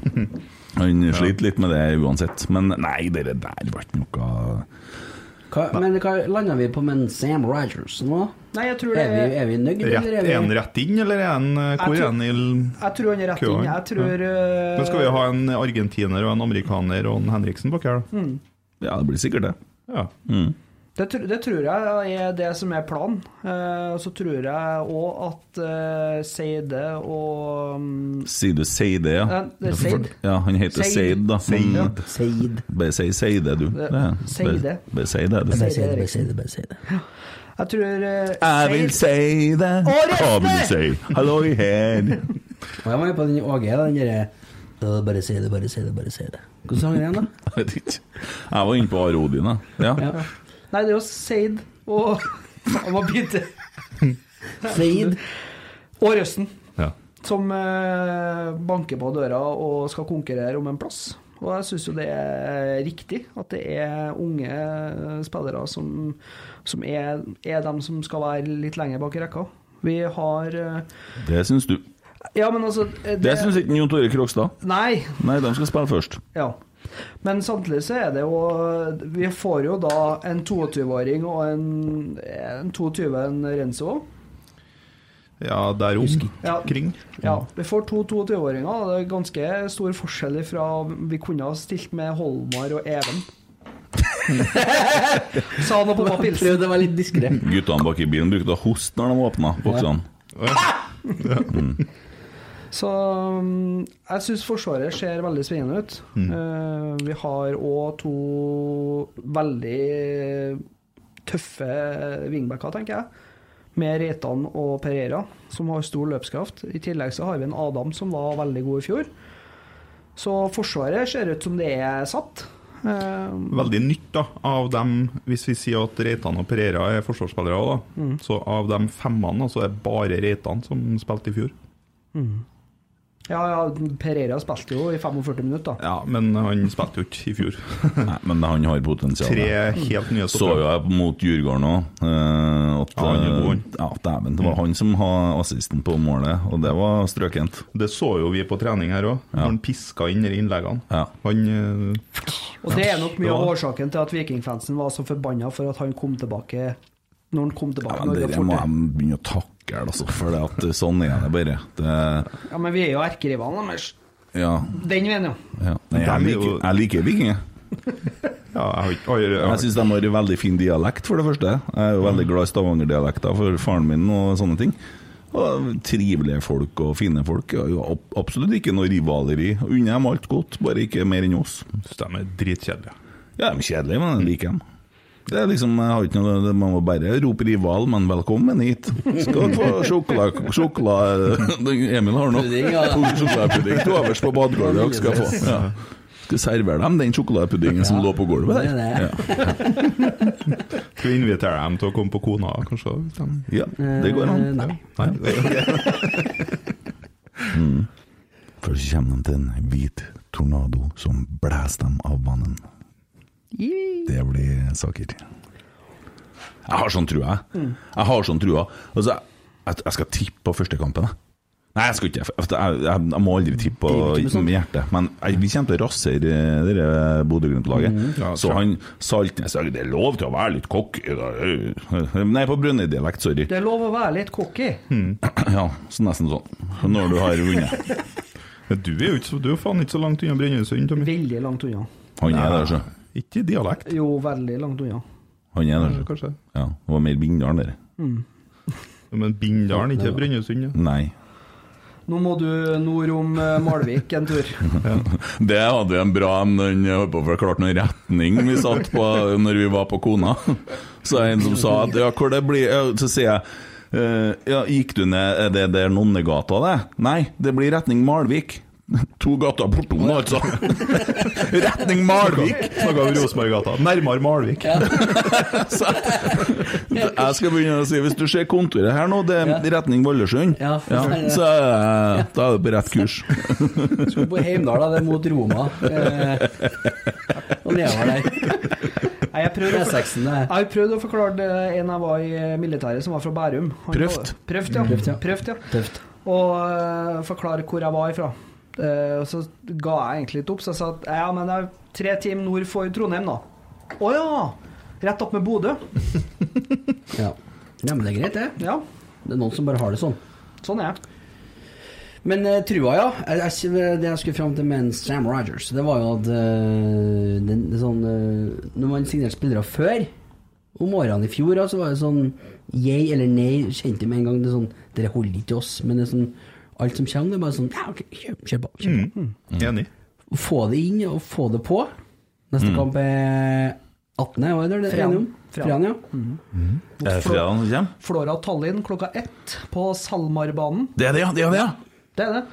[SPEAKER 4] Han sliter litt med det uansett. Men nei, det der var ikke noe
[SPEAKER 5] Hva, men hva landa vi på med en Sam Rogers nå?
[SPEAKER 6] Nei, jeg tror det
[SPEAKER 5] Er vi, er vi nøyd,
[SPEAKER 7] Rett,
[SPEAKER 5] eller
[SPEAKER 7] er han
[SPEAKER 5] er vi
[SPEAKER 7] rett inn, eller er han eh, Hvor er han i l-
[SPEAKER 6] Jeg tror han er rett inn. Jeg tror eh,
[SPEAKER 7] Men skal vi ha en argentiner og en amerikaner og en Henriksen bak her,
[SPEAKER 4] Mm.
[SPEAKER 7] da?
[SPEAKER 4] Ja, det blir sikkert det.
[SPEAKER 7] Ja.
[SPEAKER 6] Det, tr det tror jeg er det som er planen. Eh, og så tror jeg òg at eh, Seide og um,
[SPEAKER 4] Sier du Seide, ja?
[SPEAKER 6] Nei, det er Seid.
[SPEAKER 4] Ja, han heter Seid,
[SPEAKER 6] Seid.
[SPEAKER 4] da. Men
[SPEAKER 6] Seid.
[SPEAKER 5] Seid.
[SPEAKER 4] Bare si Seide, du. Det er-
[SPEAKER 6] Seide.
[SPEAKER 4] Bare- Bare si det, du.
[SPEAKER 5] Bare si det, bare si det. bare si det.
[SPEAKER 6] Jeg tror eh,
[SPEAKER 4] Jeg vil
[SPEAKER 6] Seid-
[SPEAKER 4] si det.
[SPEAKER 6] resten!
[SPEAKER 4] Hva vil du si? Halloi her.
[SPEAKER 5] Og jeg var jo på den Åge, den derre «Øh, Bare si det, bare si det, bare si det. Hvordan sang den igjen, da?
[SPEAKER 4] Jeg vet ikke. Jeg var inne på Arodin, da. Ja.
[SPEAKER 5] Ja.
[SPEAKER 6] Nei, det er jo Seid og Han var bitte.
[SPEAKER 5] Seid.
[SPEAKER 6] Og Røsten,
[SPEAKER 7] ja.
[SPEAKER 6] som eh, banker på døra og skal konkurrere om en plass. Og jeg syns jo det er riktig at det er unge eh, spillere som, som er, er dem som skal være litt lenger bak i rekka. Vi har eh,
[SPEAKER 4] Det syns du.
[SPEAKER 6] Ja, men altså eh,
[SPEAKER 4] Det syns ikke Jon Tore Krogstad.
[SPEAKER 6] Nei.
[SPEAKER 4] Nei, de skal spille først.
[SPEAKER 6] Ja. Men samtidig så er det jo Vi får jo da en 22-åring og en, en 22, en Renzo.
[SPEAKER 7] Ja, der om
[SPEAKER 6] Ja.
[SPEAKER 7] kring.
[SPEAKER 6] Ja,
[SPEAKER 5] Mm.
[SPEAKER 6] vi får to 22-åringer. og Det er ganske stor forskjell fra vi kunne ha stilt med Holmar og Even. Sa han og pappa Pilsen.
[SPEAKER 5] Prøvde å være litt diskré.
[SPEAKER 4] Guttene bak i bilen brukte å hoste når de åpna boksene.
[SPEAKER 6] Så um, jeg syns Forsvaret ser veldig spennende ut.
[SPEAKER 4] Mm.
[SPEAKER 6] Eh, vi har òg to veldig tøffe wingbacker, tenker jeg. Med Reitan og Pereira, som har stor løpskraft. I tillegg så har vi en Adam som var veldig god i fjor. Så Forsvaret ser ut som det er satt. Eh,
[SPEAKER 7] Veldig nytt da, av dem, hvis vi sier at Reitan og Pereira er forsvarsspillere også, da.
[SPEAKER 4] Mm.
[SPEAKER 7] Så av de femmene så er det bare Reitan som spilte i fjor.
[SPEAKER 6] ja, ja, Pereira spilte jo i 45 minutter, da.
[SPEAKER 7] Ja, men han spilte jo ikke i fjor.
[SPEAKER 4] Nei, Men han har potensial.
[SPEAKER 7] Tre helt nye
[SPEAKER 4] Mm. Så jo jeg mot Djurgården òg. at
[SPEAKER 7] Ja, han er god, han.
[SPEAKER 4] eh, ja, dæven, det var han som hadde assisten på målet, og det var strøkent.
[SPEAKER 7] Det så jo vi på trening her òg, når han piska inn i innleggene.
[SPEAKER 4] Ja.
[SPEAKER 7] Han eh,
[SPEAKER 6] Og det er nok mye av
[SPEAKER 7] Ja.
[SPEAKER 6] årsaken til at vikingfansen var så forbanna for at han kom tilbake når han kom tilbake.
[SPEAKER 4] Ja,
[SPEAKER 6] når
[SPEAKER 4] men
[SPEAKER 6] det
[SPEAKER 4] Dere
[SPEAKER 6] var
[SPEAKER 4] må
[SPEAKER 6] fort.
[SPEAKER 4] de begynne å takle, altså, for det at sånn er det bare. Det,
[SPEAKER 6] Ja, men vi er jo erkerivalene deres.
[SPEAKER 4] ja,
[SPEAKER 6] Den veien, jo.
[SPEAKER 4] ja. Nei,
[SPEAKER 7] Men
[SPEAKER 4] jeg,
[SPEAKER 7] de er
[SPEAKER 4] liker,
[SPEAKER 7] jo-
[SPEAKER 4] jeg liker vikinger.
[SPEAKER 7] Ja, jeg har ikke jeg, jeg,
[SPEAKER 4] Jeg syns de har veldig fin dialekt, for det første. Jeg er jo veldig glad i stavangerdialekter for faren min og sånne ting. Og trivelige folk og fine folk. Ja, jo, ab- absolutt ikke noe rivaleri. Unner dem alt godt, bare ikke mer enn oss.
[SPEAKER 7] synes de er dritkjedelige.
[SPEAKER 4] Ja, de er kjedelige, men jeg liker dem. Det er liksom, jeg har ikke noe, det- Man må bare rope 'rival', men 'velkommen hit'. Skal dere få sjokolade... sjokolade Emil har noe.
[SPEAKER 5] Pudding, ja.
[SPEAKER 4] To Sjokoladepudding til overs på badegulvet dere skal få. Ja. Skal servere dem den sjokoladepuddingen som lå på gulvet
[SPEAKER 5] Det er
[SPEAKER 4] der.
[SPEAKER 5] det.
[SPEAKER 4] Ja.
[SPEAKER 7] Skal vi invitere dem til å komme på Kona, kanskje? hvis de-
[SPEAKER 4] Ja, det går an.
[SPEAKER 5] Eh, Nei.
[SPEAKER 7] Nei?
[SPEAKER 4] Først kommer de til en hvit tornado som blæser dem av vannet. Det blir saker. Jeg har sånn trua, jeg.
[SPEAKER 5] Mm.
[SPEAKER 4] Jeg har sånn trua. Altså, jeg, jeg skal tippe på første kampen, jeg. Nei, jeg skal ikke for Jeg, jeg, jeg må aldri tippe på
[SPEAKER 5] Det er ikke sånn.
[SPEAKER 4] med hjertet. Men jeg, vi kommer til å rasere eh, det der Bodø-Glimt-laget.
[SPEAKER 5] Mm.
[SPEAKER 4] så han Saltnes Det er lov til å være litt cocky da. Nei, på Brønnøy-dialekt, sorry.
[SPEAKER 6] Det er lov å være litt cocky.
[SPEAKER 4] Ja, så nesten sånn. Når du har vunnet.
[SPEAKER 7] Men Du er jo ikke, så- du er jo faen ikke så langt unna Brønnøysund, Tommy.
[SPEAKER 6] Veldig langt unna.
[SPEAKER 4] Han er der, så.
[SPEAKER 7] Ikke i dialekt,
[SPEAKER 6] Jo, veldig langt unna.
[SPEAKER 4] Han er der, så.
[SPEAKER 7] kanskje.
[SPEAKER 4] Ja, det var mer Bindalen der.
[SPEAKER 7] Men Bindalen, ikke Brønnøysund. Ja.
[SPEAKER 4] Nei.
[SPEAKER 6] Nå må du nord om eh, Malvik en tur.
[SPEAKER 4] Det hadde en bra en, den holdt på å forklare noen retning vi satt på når vi var på Kona. Så er det en som sa at ja, hvor det blir ja, Så sier jeg eh, ja, gikk du ned Er det der Nonnegata, det? Nei, det blir retning Malvik. To gater bortom, altså. Retning Malvik!
[SPEAKER 7] Snakka om Rosenborggata. Nærmere Malvik.
[SPEAKER 4] Så jeg skal begynne å si hvis du ser kontoret her nå, det er retning Valdresund.
[SPEAKER 5] Ja.
[SPEAKER 4] så eh, da er du på rett kurs.
[SPEAKER 5] Skulle på Heimdal, da. Det er mot Roma. Eh, og nedover der.
[SPEAKER 6] Nei, Jeg prøver å for-
[SPEAKER 5] E6-en
[SPEAKER 6] jeg
[SPEAKER 5] der.
[SPEAKER 6] har prøvd å forklare det en jeg var i militæret, som var fra Bærum. Han
[SPEAKER 4] Prøvd.
[SPEAKER 6] var- Prøvd, ja.
[SPEAKER 5] Prøvd, ja.
[SPEAKER 6] Prøvd, ja.
[SPEAKER 5] Tøft.
[SPEAKER 6] og eh, forklare hvor jeg var ifra. Eh, og så ga jeg egentlig litt opp, så jeg sa at ja, men det er tre timer nord for Trondheim, da. Å ja! Rett opp med Bodø.
[SPEAKER 5] Ja. ja, men det er greit, det.
[SPEAKER 6] Ja,
[SPEAKER 5] Det er noen som bare har det sånn.
[SPEAKER 6] sånn er jeg.
[SPEAKER 5] Men eh, trua, ja. Jeg, jeg, det jeg skulle fram til med en Sam Rogers, det var jo at eh, den, det er sånn, eh, Når man signerte spillere før, om årene i fjor, da, så var det sånn yay eller nei, kjente med en gang. Det er sånn Dere holder ikke til oss. Men det er sånn alt som kommer, det er bare sånn Ja, ok, kjør, kjør på. Kjør på.
[SPEAKER 7] Enig.
[SPEAKER 5] Få det inn, og få det på. Neste kamp er 18., hva er det? det er
[SPEAKER 6] Fran.
[SPEAKER 5] enige om?
[SPEAKER 6] Fran.
[SPEAKER 5] Fran, ja.
[SPEAKER 4] Er det fredagen som Eh, kommer?
[SPEAKER 6] Flora Tallinn klokka ett på SalMar-banen.
[SPEAKER 4] Det er det, ja! Det er det, ja!
[SPEAKER 6] Det er det.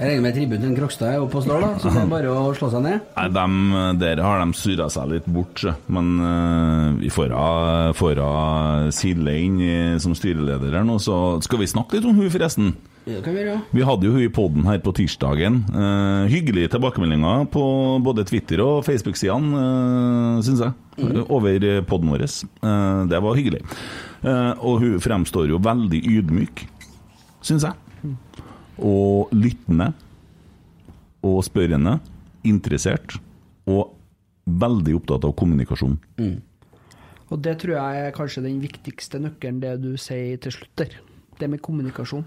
[SPEAKER 5] Jeg regner med tribunen til Krokstad er oppe og står, da. Så det er bare å slå seg ned.
[SPEAKER 4] Nei, dem, der har de surra seg litt bort, så. men eh, vi får av- får av Silje inn i- som styreleder her nå, så skal vi snakke litt om hun forresten.
[SPEAKER 5] Ja, Det kan vi gjøre, ja.
[SPEAKER 4] Vi hadde jo hun i poden her på tirsdagen. Eh, hyggelige tilbakemeldinger på både Twitter og Facebook-sidene, uh, syns jeg, over poden vår. Eh, det var hyggelig. Eh, og hun fremstår jo veldig ydmyk. syns jeg. Og lyttende. Og spørrende. Interessert. Og veldig opptatt av kommunikasjon.
[SPEAKER 6] Og det tror jeg er kanskje den viktigste nøkkelen, det du sier til slutt der. Det med kommunikasjon.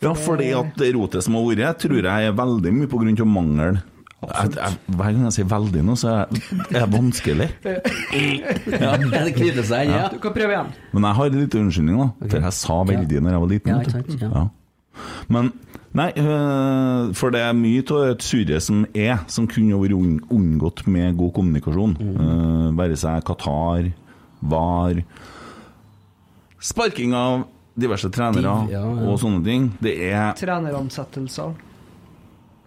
[SPEAKER 4] Ja, fordi at det rotet som har vært, tror jeg er veldig mye på grunn av mangel. Jeg, jeg, hver gang jeg sier 'veldig' nå, så er jeg- er jeg vanskelig.
[SPEAKER 5] Det knyter seg inn, ja.
[SPEAKER 6] Du kan prøve igjen.
[SPEAKER 4] Men jeg har en liten unnskyldning, da. For jeg sa veldig når jeg var liten.
[SPEAKER 5] Ja,
[SPEAKER 4] vet du.
[SPEAKER 5] ikke sant, ja.
[SPEAKER 4] Men Nei, øh, for det er mye av et surre som er, som kunne ha vært unn- unngått med god kommunikasjon.
[SPEAKER 5] Mm.
[SPEAKER 4] Øh, være seg Qatar, VAR Sparking av diverse trenere
[SPEAKER 5] Div, ja, ja.
[SPEAKER 4] og sånne ting. Det er
[SPEAKER 6] Treneransettelser.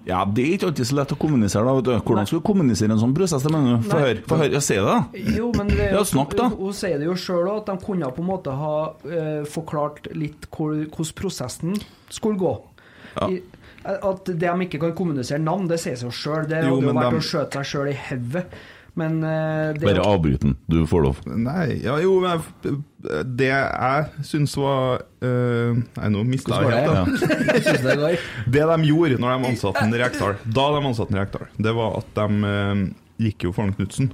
[SPEAKER 4] Ja, det er ikke alltid så lett å kommunisere, da. Vet du. Hvordan skal du kommunisere en sånn prosess? Det mener du? Få
[SPEAKER 6] Nei.
[SPEAKER 4] høre, få høre. Ja, si det, da.
[SPEAKER 6] Jo, men det,
[SPEAKER 4] Ja, snakk da.
[SPEAKER 6] Hun, hun sier det jo sjøl òg, at de kunne på en måte ha eh, forklart litt hvor- hvordan prosessen skulle gå. I, at de ikke kan kommunisere navn, det sier seg jo sjøl. Det
[SPEAKER 7] Jo,
[SPEAKER 6] hadde jo
[SPEAKER 7] men
[SPEAKER 6] vært
[SPEAKER 7] dem-
[SPEAKER 6] å skjøte seg sjøl i hodet. Men eh, det
[SPEAKER 4] Bare avbryt den. Du får lov.
[SPEAKER 7] Nei, ja jo jeg, Det jeg syns var eh, Nei, nå mista
[SPEAKER 5] Hvordan
[SPEAKER 7] jeg
[SPEAKER 5] var
[SPEAKER 7] helt, da.
[SPEAKER 5] Jeg synes det går.
[SPEAKER 7] Det de gjorde Eh, når de ansatte en Rekdal, da de ansatte en Rekdal, det var at de eh, gikk jo for en Knutsen.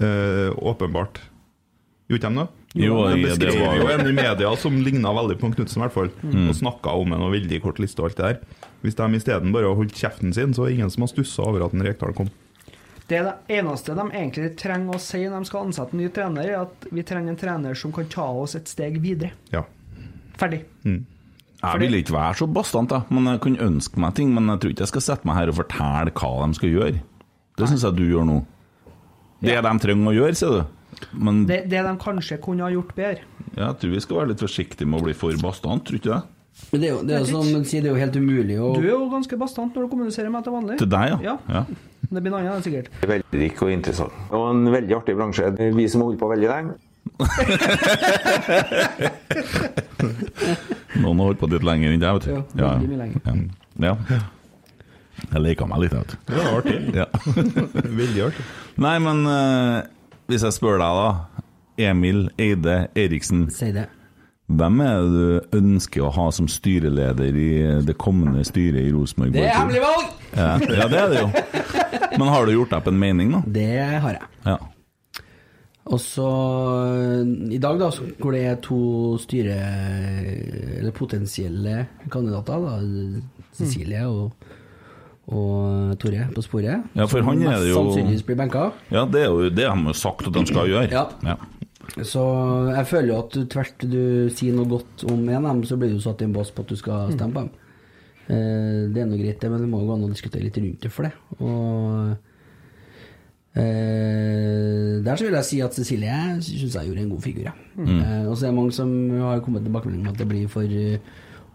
[SPEAKER 7] Eh, åpenbart. Gjorde de det?
[SPEAKER 4] Jo, Mm.
[SPEAKER 7] de
[SPEAKER 4] ja, det
[SPEAKER 7] beskrev
[SPEAKER 4] var-
[SPEAKER 7] jo en i media som ligna veldig på en Knutsen, i hvert fall. Og snakka om en og veldig kort liste og alt det der. Hvis de isteden bare holdt kjeften sin, så er det ingen som har stussa over at en Rekdal kom.
[SPEAKER 6] Det er det eneste de egentlig trenger å si når de skal ansette en ny trener, er at vi trenger en trener som kan ta oss et steg videre.
[SPEAKER 7] Ja.
[SPEAKER 6] Ferdig.
[SPEAKER 4] Jeg ville ikke være så bastant, da. Men jeg kunne ønske meg ting. Men jeg tror ikke jeg skal sette meg her og fortelle hva de skal gjøre. Det syns jeg du gjør nå. Det de trenger å gjøre, sier du. Men
[SPEAKER 6] Det, det de kanskje kunne ha gjort bedre.
[SPEAKER 4] jeg tror vi skal være litt forsiktige med å bli for bastant, tror du ikke det?
[SPEAKER 5] Men det er jo, det er jo som man sier, det er jo helt umulig å
[SPEAKER 6] Du er jo ganske bastant når du kommuniserer med meg til vanlig.
[SPEAKER 4] Til deg, ja.
[SPEAKER 6] Ja. Men Det blir noe annet, sikkert.
[SPEAKER 9] Veldig rik og interessant. Og en veldig artig bransje. Vi som har holdt på veldig lenge.
[SPEAKER 4] Noen har holdt på litt lenger enn deg, vet du.
[SPEAKER 6] Ja, veldig mye lenger.
[SPEAKER 4] Ja. ja. Jeg leker meg litt, jeg, vet
[SPEAKER 7] Det var artig.
[SPEAKER 4] du. Ja.
[SPEAKER 7] Veldig artig.
[SPEAKER 4] Nei, men eh, hvis jeg spør deg, da. Emil Eide Eriksen.
[SPEAKER 5] si det.
[SPEAKER 4] Hvem er det du ønsker å ha som styreleder i eh, det kommende styret i Rosenborg?
[SPEAKER 5] Det er
[SPEAKER 4] Boys?
[SPEAKER 5] hemmelig valg!
[SPEAKER 4] Ja, ja, det er det jo. Men har du gjort deg opp en mening, da?
[SPEAKER 5] Det har jeg.
[SPEAKER 4] Ja.
[SPEAKER 5] Og så øh, i dag, da, så- hvor det er to styre... Eller potensielle kandidater, da. Cecilie og, og Tore på sporet.
[SPEAKER 4] Ja, for
[SPEAKER 5] som
[SPEAKER 4] han er
[SPEAKER 5] mest
[SPEAKER 4] det jo-
[SPEAKER 5] Sannsynligvis blir benka.
[SPEAKER 4] ja, det er jo det har de jo sagt at de skal gjøre.
[SPEAKER 5] Ja. Så jeg føler jo at du tvert du sier noe godt om en av dem, så blir du satt i en bås på at du skal stemme på dem. Eh, Det er nå greit, det, men det må jo gå an å diskutere litt rundt det for det. Og eh, der så vil jeg si at Cecilie syns jeg gjorde en god figur, jeg. Eh, og så er det mange som har kommet tilbakemelding om at det blir for, eh,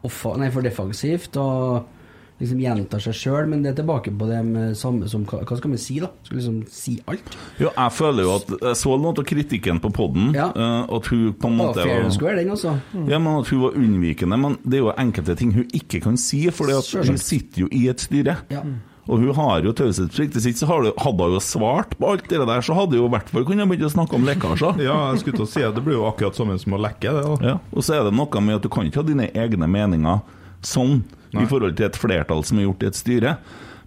[SPEAKER 5] offa, nei, for defensivt og liksom gjentar seg sjøl, men det er tilbake på det med samme som Hva hva skal man si, da? Skal liksom si alt?
[SPEAKER 4] Jo, jeg føler jo at jeg så noe av kritikken på poden,
[SPEAKER 5] Ja.
[SPEAKER 4] at hun på en
[SPEAKER 5] Mm, Det var
[SPEAKER 4] måte
[SPEAKER 5] fair
[SPEAKER 4] var,
[SPEAKER 5] and square, den også.
[SPEAKER 4] ja, men at hun var unnvikende. Men det er jo enkelte ting hun ikke kan si, for hun
[SPEAKER 5] Selvsagt.
[SPEAKER 4] sitter jo i et styre.
[SPEAKER 5] Ja.
[SPEAKER 4] Og hun har jo taushetsplikt. Hvis ikke så har du- hadde hun jo svart på alt det der, så hadde hun i hvert fall kunnet begynne å snakke om lekkasjer.
[SPEAKER 7] Ja, jeg skulle til å si at det blir jo akkurat samme som å lekke, det. da.
[SPEAKER 4] Ja, og så er det noe med at du kan ikke ha dine egne meninger sånn i forhold til et flertall som er gjort i et styre.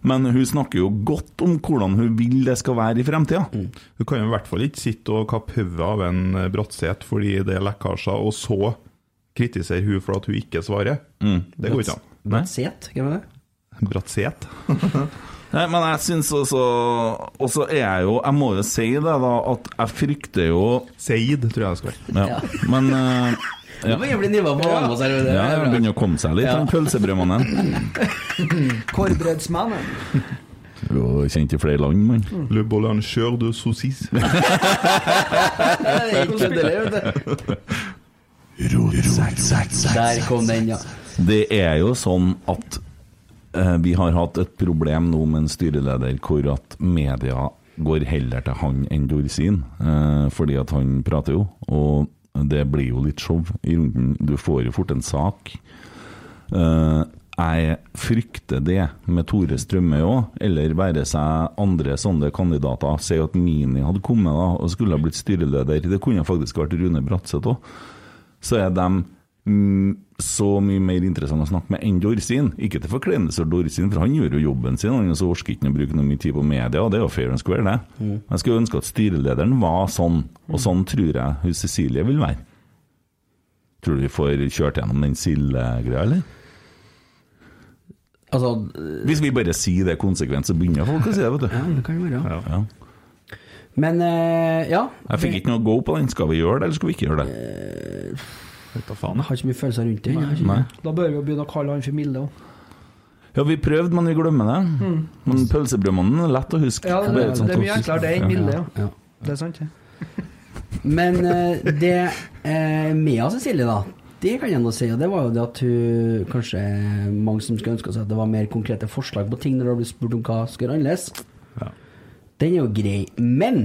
[SPEAKER 4] Men hun snakker jo godt om hvordan hun vil det skal være i fremtida.
[SPEAKER 7] Du kan jo i hvert fall ikke sitte og kappe hodet av en eh, Bratseth fordi det er lekkasjer, og så kritisere hun for at hun ikke svarer. Det går ikke an.
[SPEAKER 4] Nei.
[SPEAKER 5] Set, hvem er det?
[SPEAKER 7] Bratseth?
[SPEAKER 4] Nei, men jeg syns også Og så er jeg jo Jeg må jo si det, da, at jeg frykter jo
[SPEAKER 7] Seid, tror jeg det skal være.
[SPEAKER 4] ja. Men eh,
[SPEAKER 5] Ja. Det blir nivå på Almås her.
[SPEAKER 4] ja, det
[SPEAKER 5] Ja,
[SPEAKER 4] begynner å komme seg litt,
[SPEAKER 5] Ja.
[SPEAKER 4] den pølsebrødmannen.
[SPEAKER 6] Korvbrødsmannen.
[SPEAKER 4] Jo, Kjent i flere land, mann.
[SPEAKER 7] Le boulanger de saucisse.
[SPEAKER 5] Der kom den, ja.
[SPEAKER 4] Det er jo sånn at eh, vi har hatt et problem nå med en styreleder hvor at media går heller til han enn Dorsin, eh, fordi at han prater jo, og det blir jo litt show i runden. Du får jo fort en sak. Eh, jeg frykter det med Tore Strømme òg, eller være seg andre sånne kandidater. Si at Mini hadde kommet da og skulle ha blitt styreleder. Det kunne faktisk vært Rune Bratseth òg så er de mm, så mye mer interessant å snakke med enn Dorsin. Ikke til forkleinelse for Dorsin, for han gjør jo jobben sin. Han så orker ikke å bruke noe mye tid på media, og det er jo fair and square, det.
[SPEAKER 6] Mm.
[SPEAKER 4] Jeg skulle ønske at styrelederen var sånn, og sånn tror jeg hun Cecilie vil være. Tror du vi får kjørt gjennom den sildegreia, eller?
[SPEAKER 5] Altså,
[SPEAKER 4] Hvis vi bare sier det konsekvent, så begynner folk å si det, vet
[SPEAKER 5] ja,
[SPEAKER 4] du.
[SPEAKER 5] det kan det være.
[SPEAKER 4] Ja.
[SPEAKER 5] Men eh, ja.
[SPEAKER 4] Jeg fikk ikke noe go på den. Skal vi gjøre det, eller skal vi ikke gjøre det?
[SPEAKER 7] Vet da faen.
[SPEAKER 5] Jeg har ikke mye følelser rundt det. jeg har ikke-
[SPEAKER 4] Nei.
[SPEAKER 6] Da bør vi jo begynne å kalle han for Milde òg.
[SPEAKER 4] Ja, vi prøvde, men vi glemmer det. Men pølsebrødmannen er lett å huske.
[SPEAKER 6] Mm. Ja, det,
[SPEAKER 4] Bare et sånt
[SPEAKER 6] det er mye
[SPEAKER 4] også-
[SPEAKER 6] enklere det enn Milde, ja.
[SPEAKER 5] Ja.
[SPEAKER 6] Det er sant, det.
[SPEAKER 5] Men eh, det eh, Mea Cecilie, da. Det kan jeg nå si, og det var jo det at hun Kanskje mange som skulle ønske seg at det var mer konkrete forslag på ting når det blir spurt om hva skal gjøre annerledes.
[SPEAKER 7] Ja.
[SPEAKER 5] Den er jo grei. Men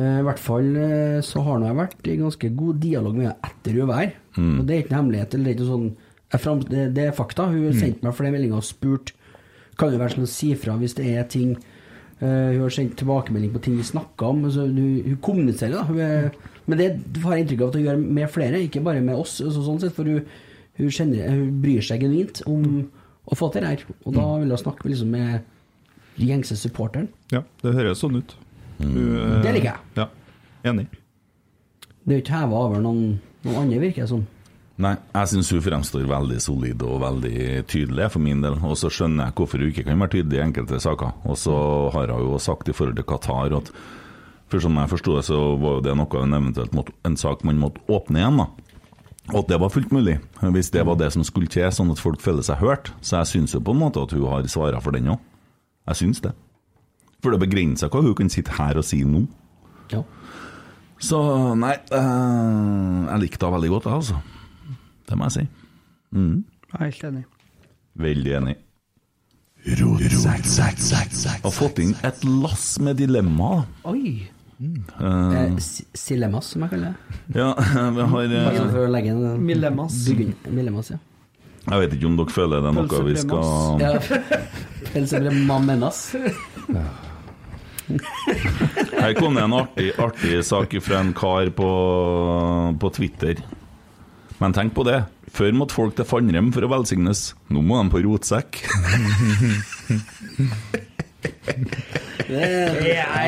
[SPEAKER 5] eh, i hvert fall eh, så har nå jeg vært i ganske god dialog med henne etter hun var her. Og det er ikke noen hemmelighet. Eller det, er ikke noe sånn, jeg fram, det, det er fakta. Hun har sendt meg flere meldinger og spurt kan det være sånn å si fra hvis det er ting eh, Hun har sendt tilbakemelding på ting vi snakka om. Så hun, hun kommuniserer, da. Hun er, men det har jeg inntrykk av at hun gjør med flere, ikke bare med oss. Så, sånn sett, for hun, hun, kjenner, hun bryr seg genuint om å få til det her. Og da vil hun snakke liksom, med de gjengse supporteren.
[SPEAKER 7] Ja, det høres sånn ut. Du, eh,
[SPEAKER 5] Det liker jeg.
[SPEAKER 7] Ja, Enig.
[SPEAKER 5] Det er jo ikke heva over noen, noen andre, virker det som.
[SPEAKER 4] Nei, jeg syns hun fremstår veldig solid og veldig tydelig for min del. Og så skjønner jeg hvorfor hun ikke kan være tydelig i enkelte saker. Og så har hun jo sagt i forhold til Qatar at for som jeg forsto det, så var jo det noe en eventuelt måtte, en sak man måtte åpne igjen, da. Og at det var fullt mulig, hvis det var det som skulle til, sånn at folk føler seg hørt. Så jeg syns jo på en måte at hun har svara for den òg. Jeg syns det. For det begrenser hva hun kan sitte her og si nå.
[SPEAKER 5] Ja.
[SPEAKER 4] Så nei, eh, jeg likte henne veldig godt, jeg, altså. Det må jeg si.
[SPEAKER 6] Jeg er helt enig.
[SPEAKER 4] Veldig enig. Har fått inn et lass med dilemmaer.
[SPEAKER 5] Oi! Eh, si- Silemas, som jeg kaller det.
[SPEAKER 4] Ja, vi har eh,
[SPEAKER 5] Bare for å legge en
[SPEAKER 6] Millemas.
[SPEAKER 5] bygge inn- Millemas, ja.
[SPEAKER 4] Jeg vet ikke om dere føler det er noe vi
[SPEAKER 7] Sånn.
[SPEAKER 4] skal
[SPEAKER 5] ja. Ellers blir det mamenas.
[SPEAKER 4] Her kom det en artig, artig sak fra en kar på, på Twitter. Men tenk på det. Før måtte folk til Fannrem for å velsignes. Nå må de på rotsekk.
[SPEAKER 5] Ja,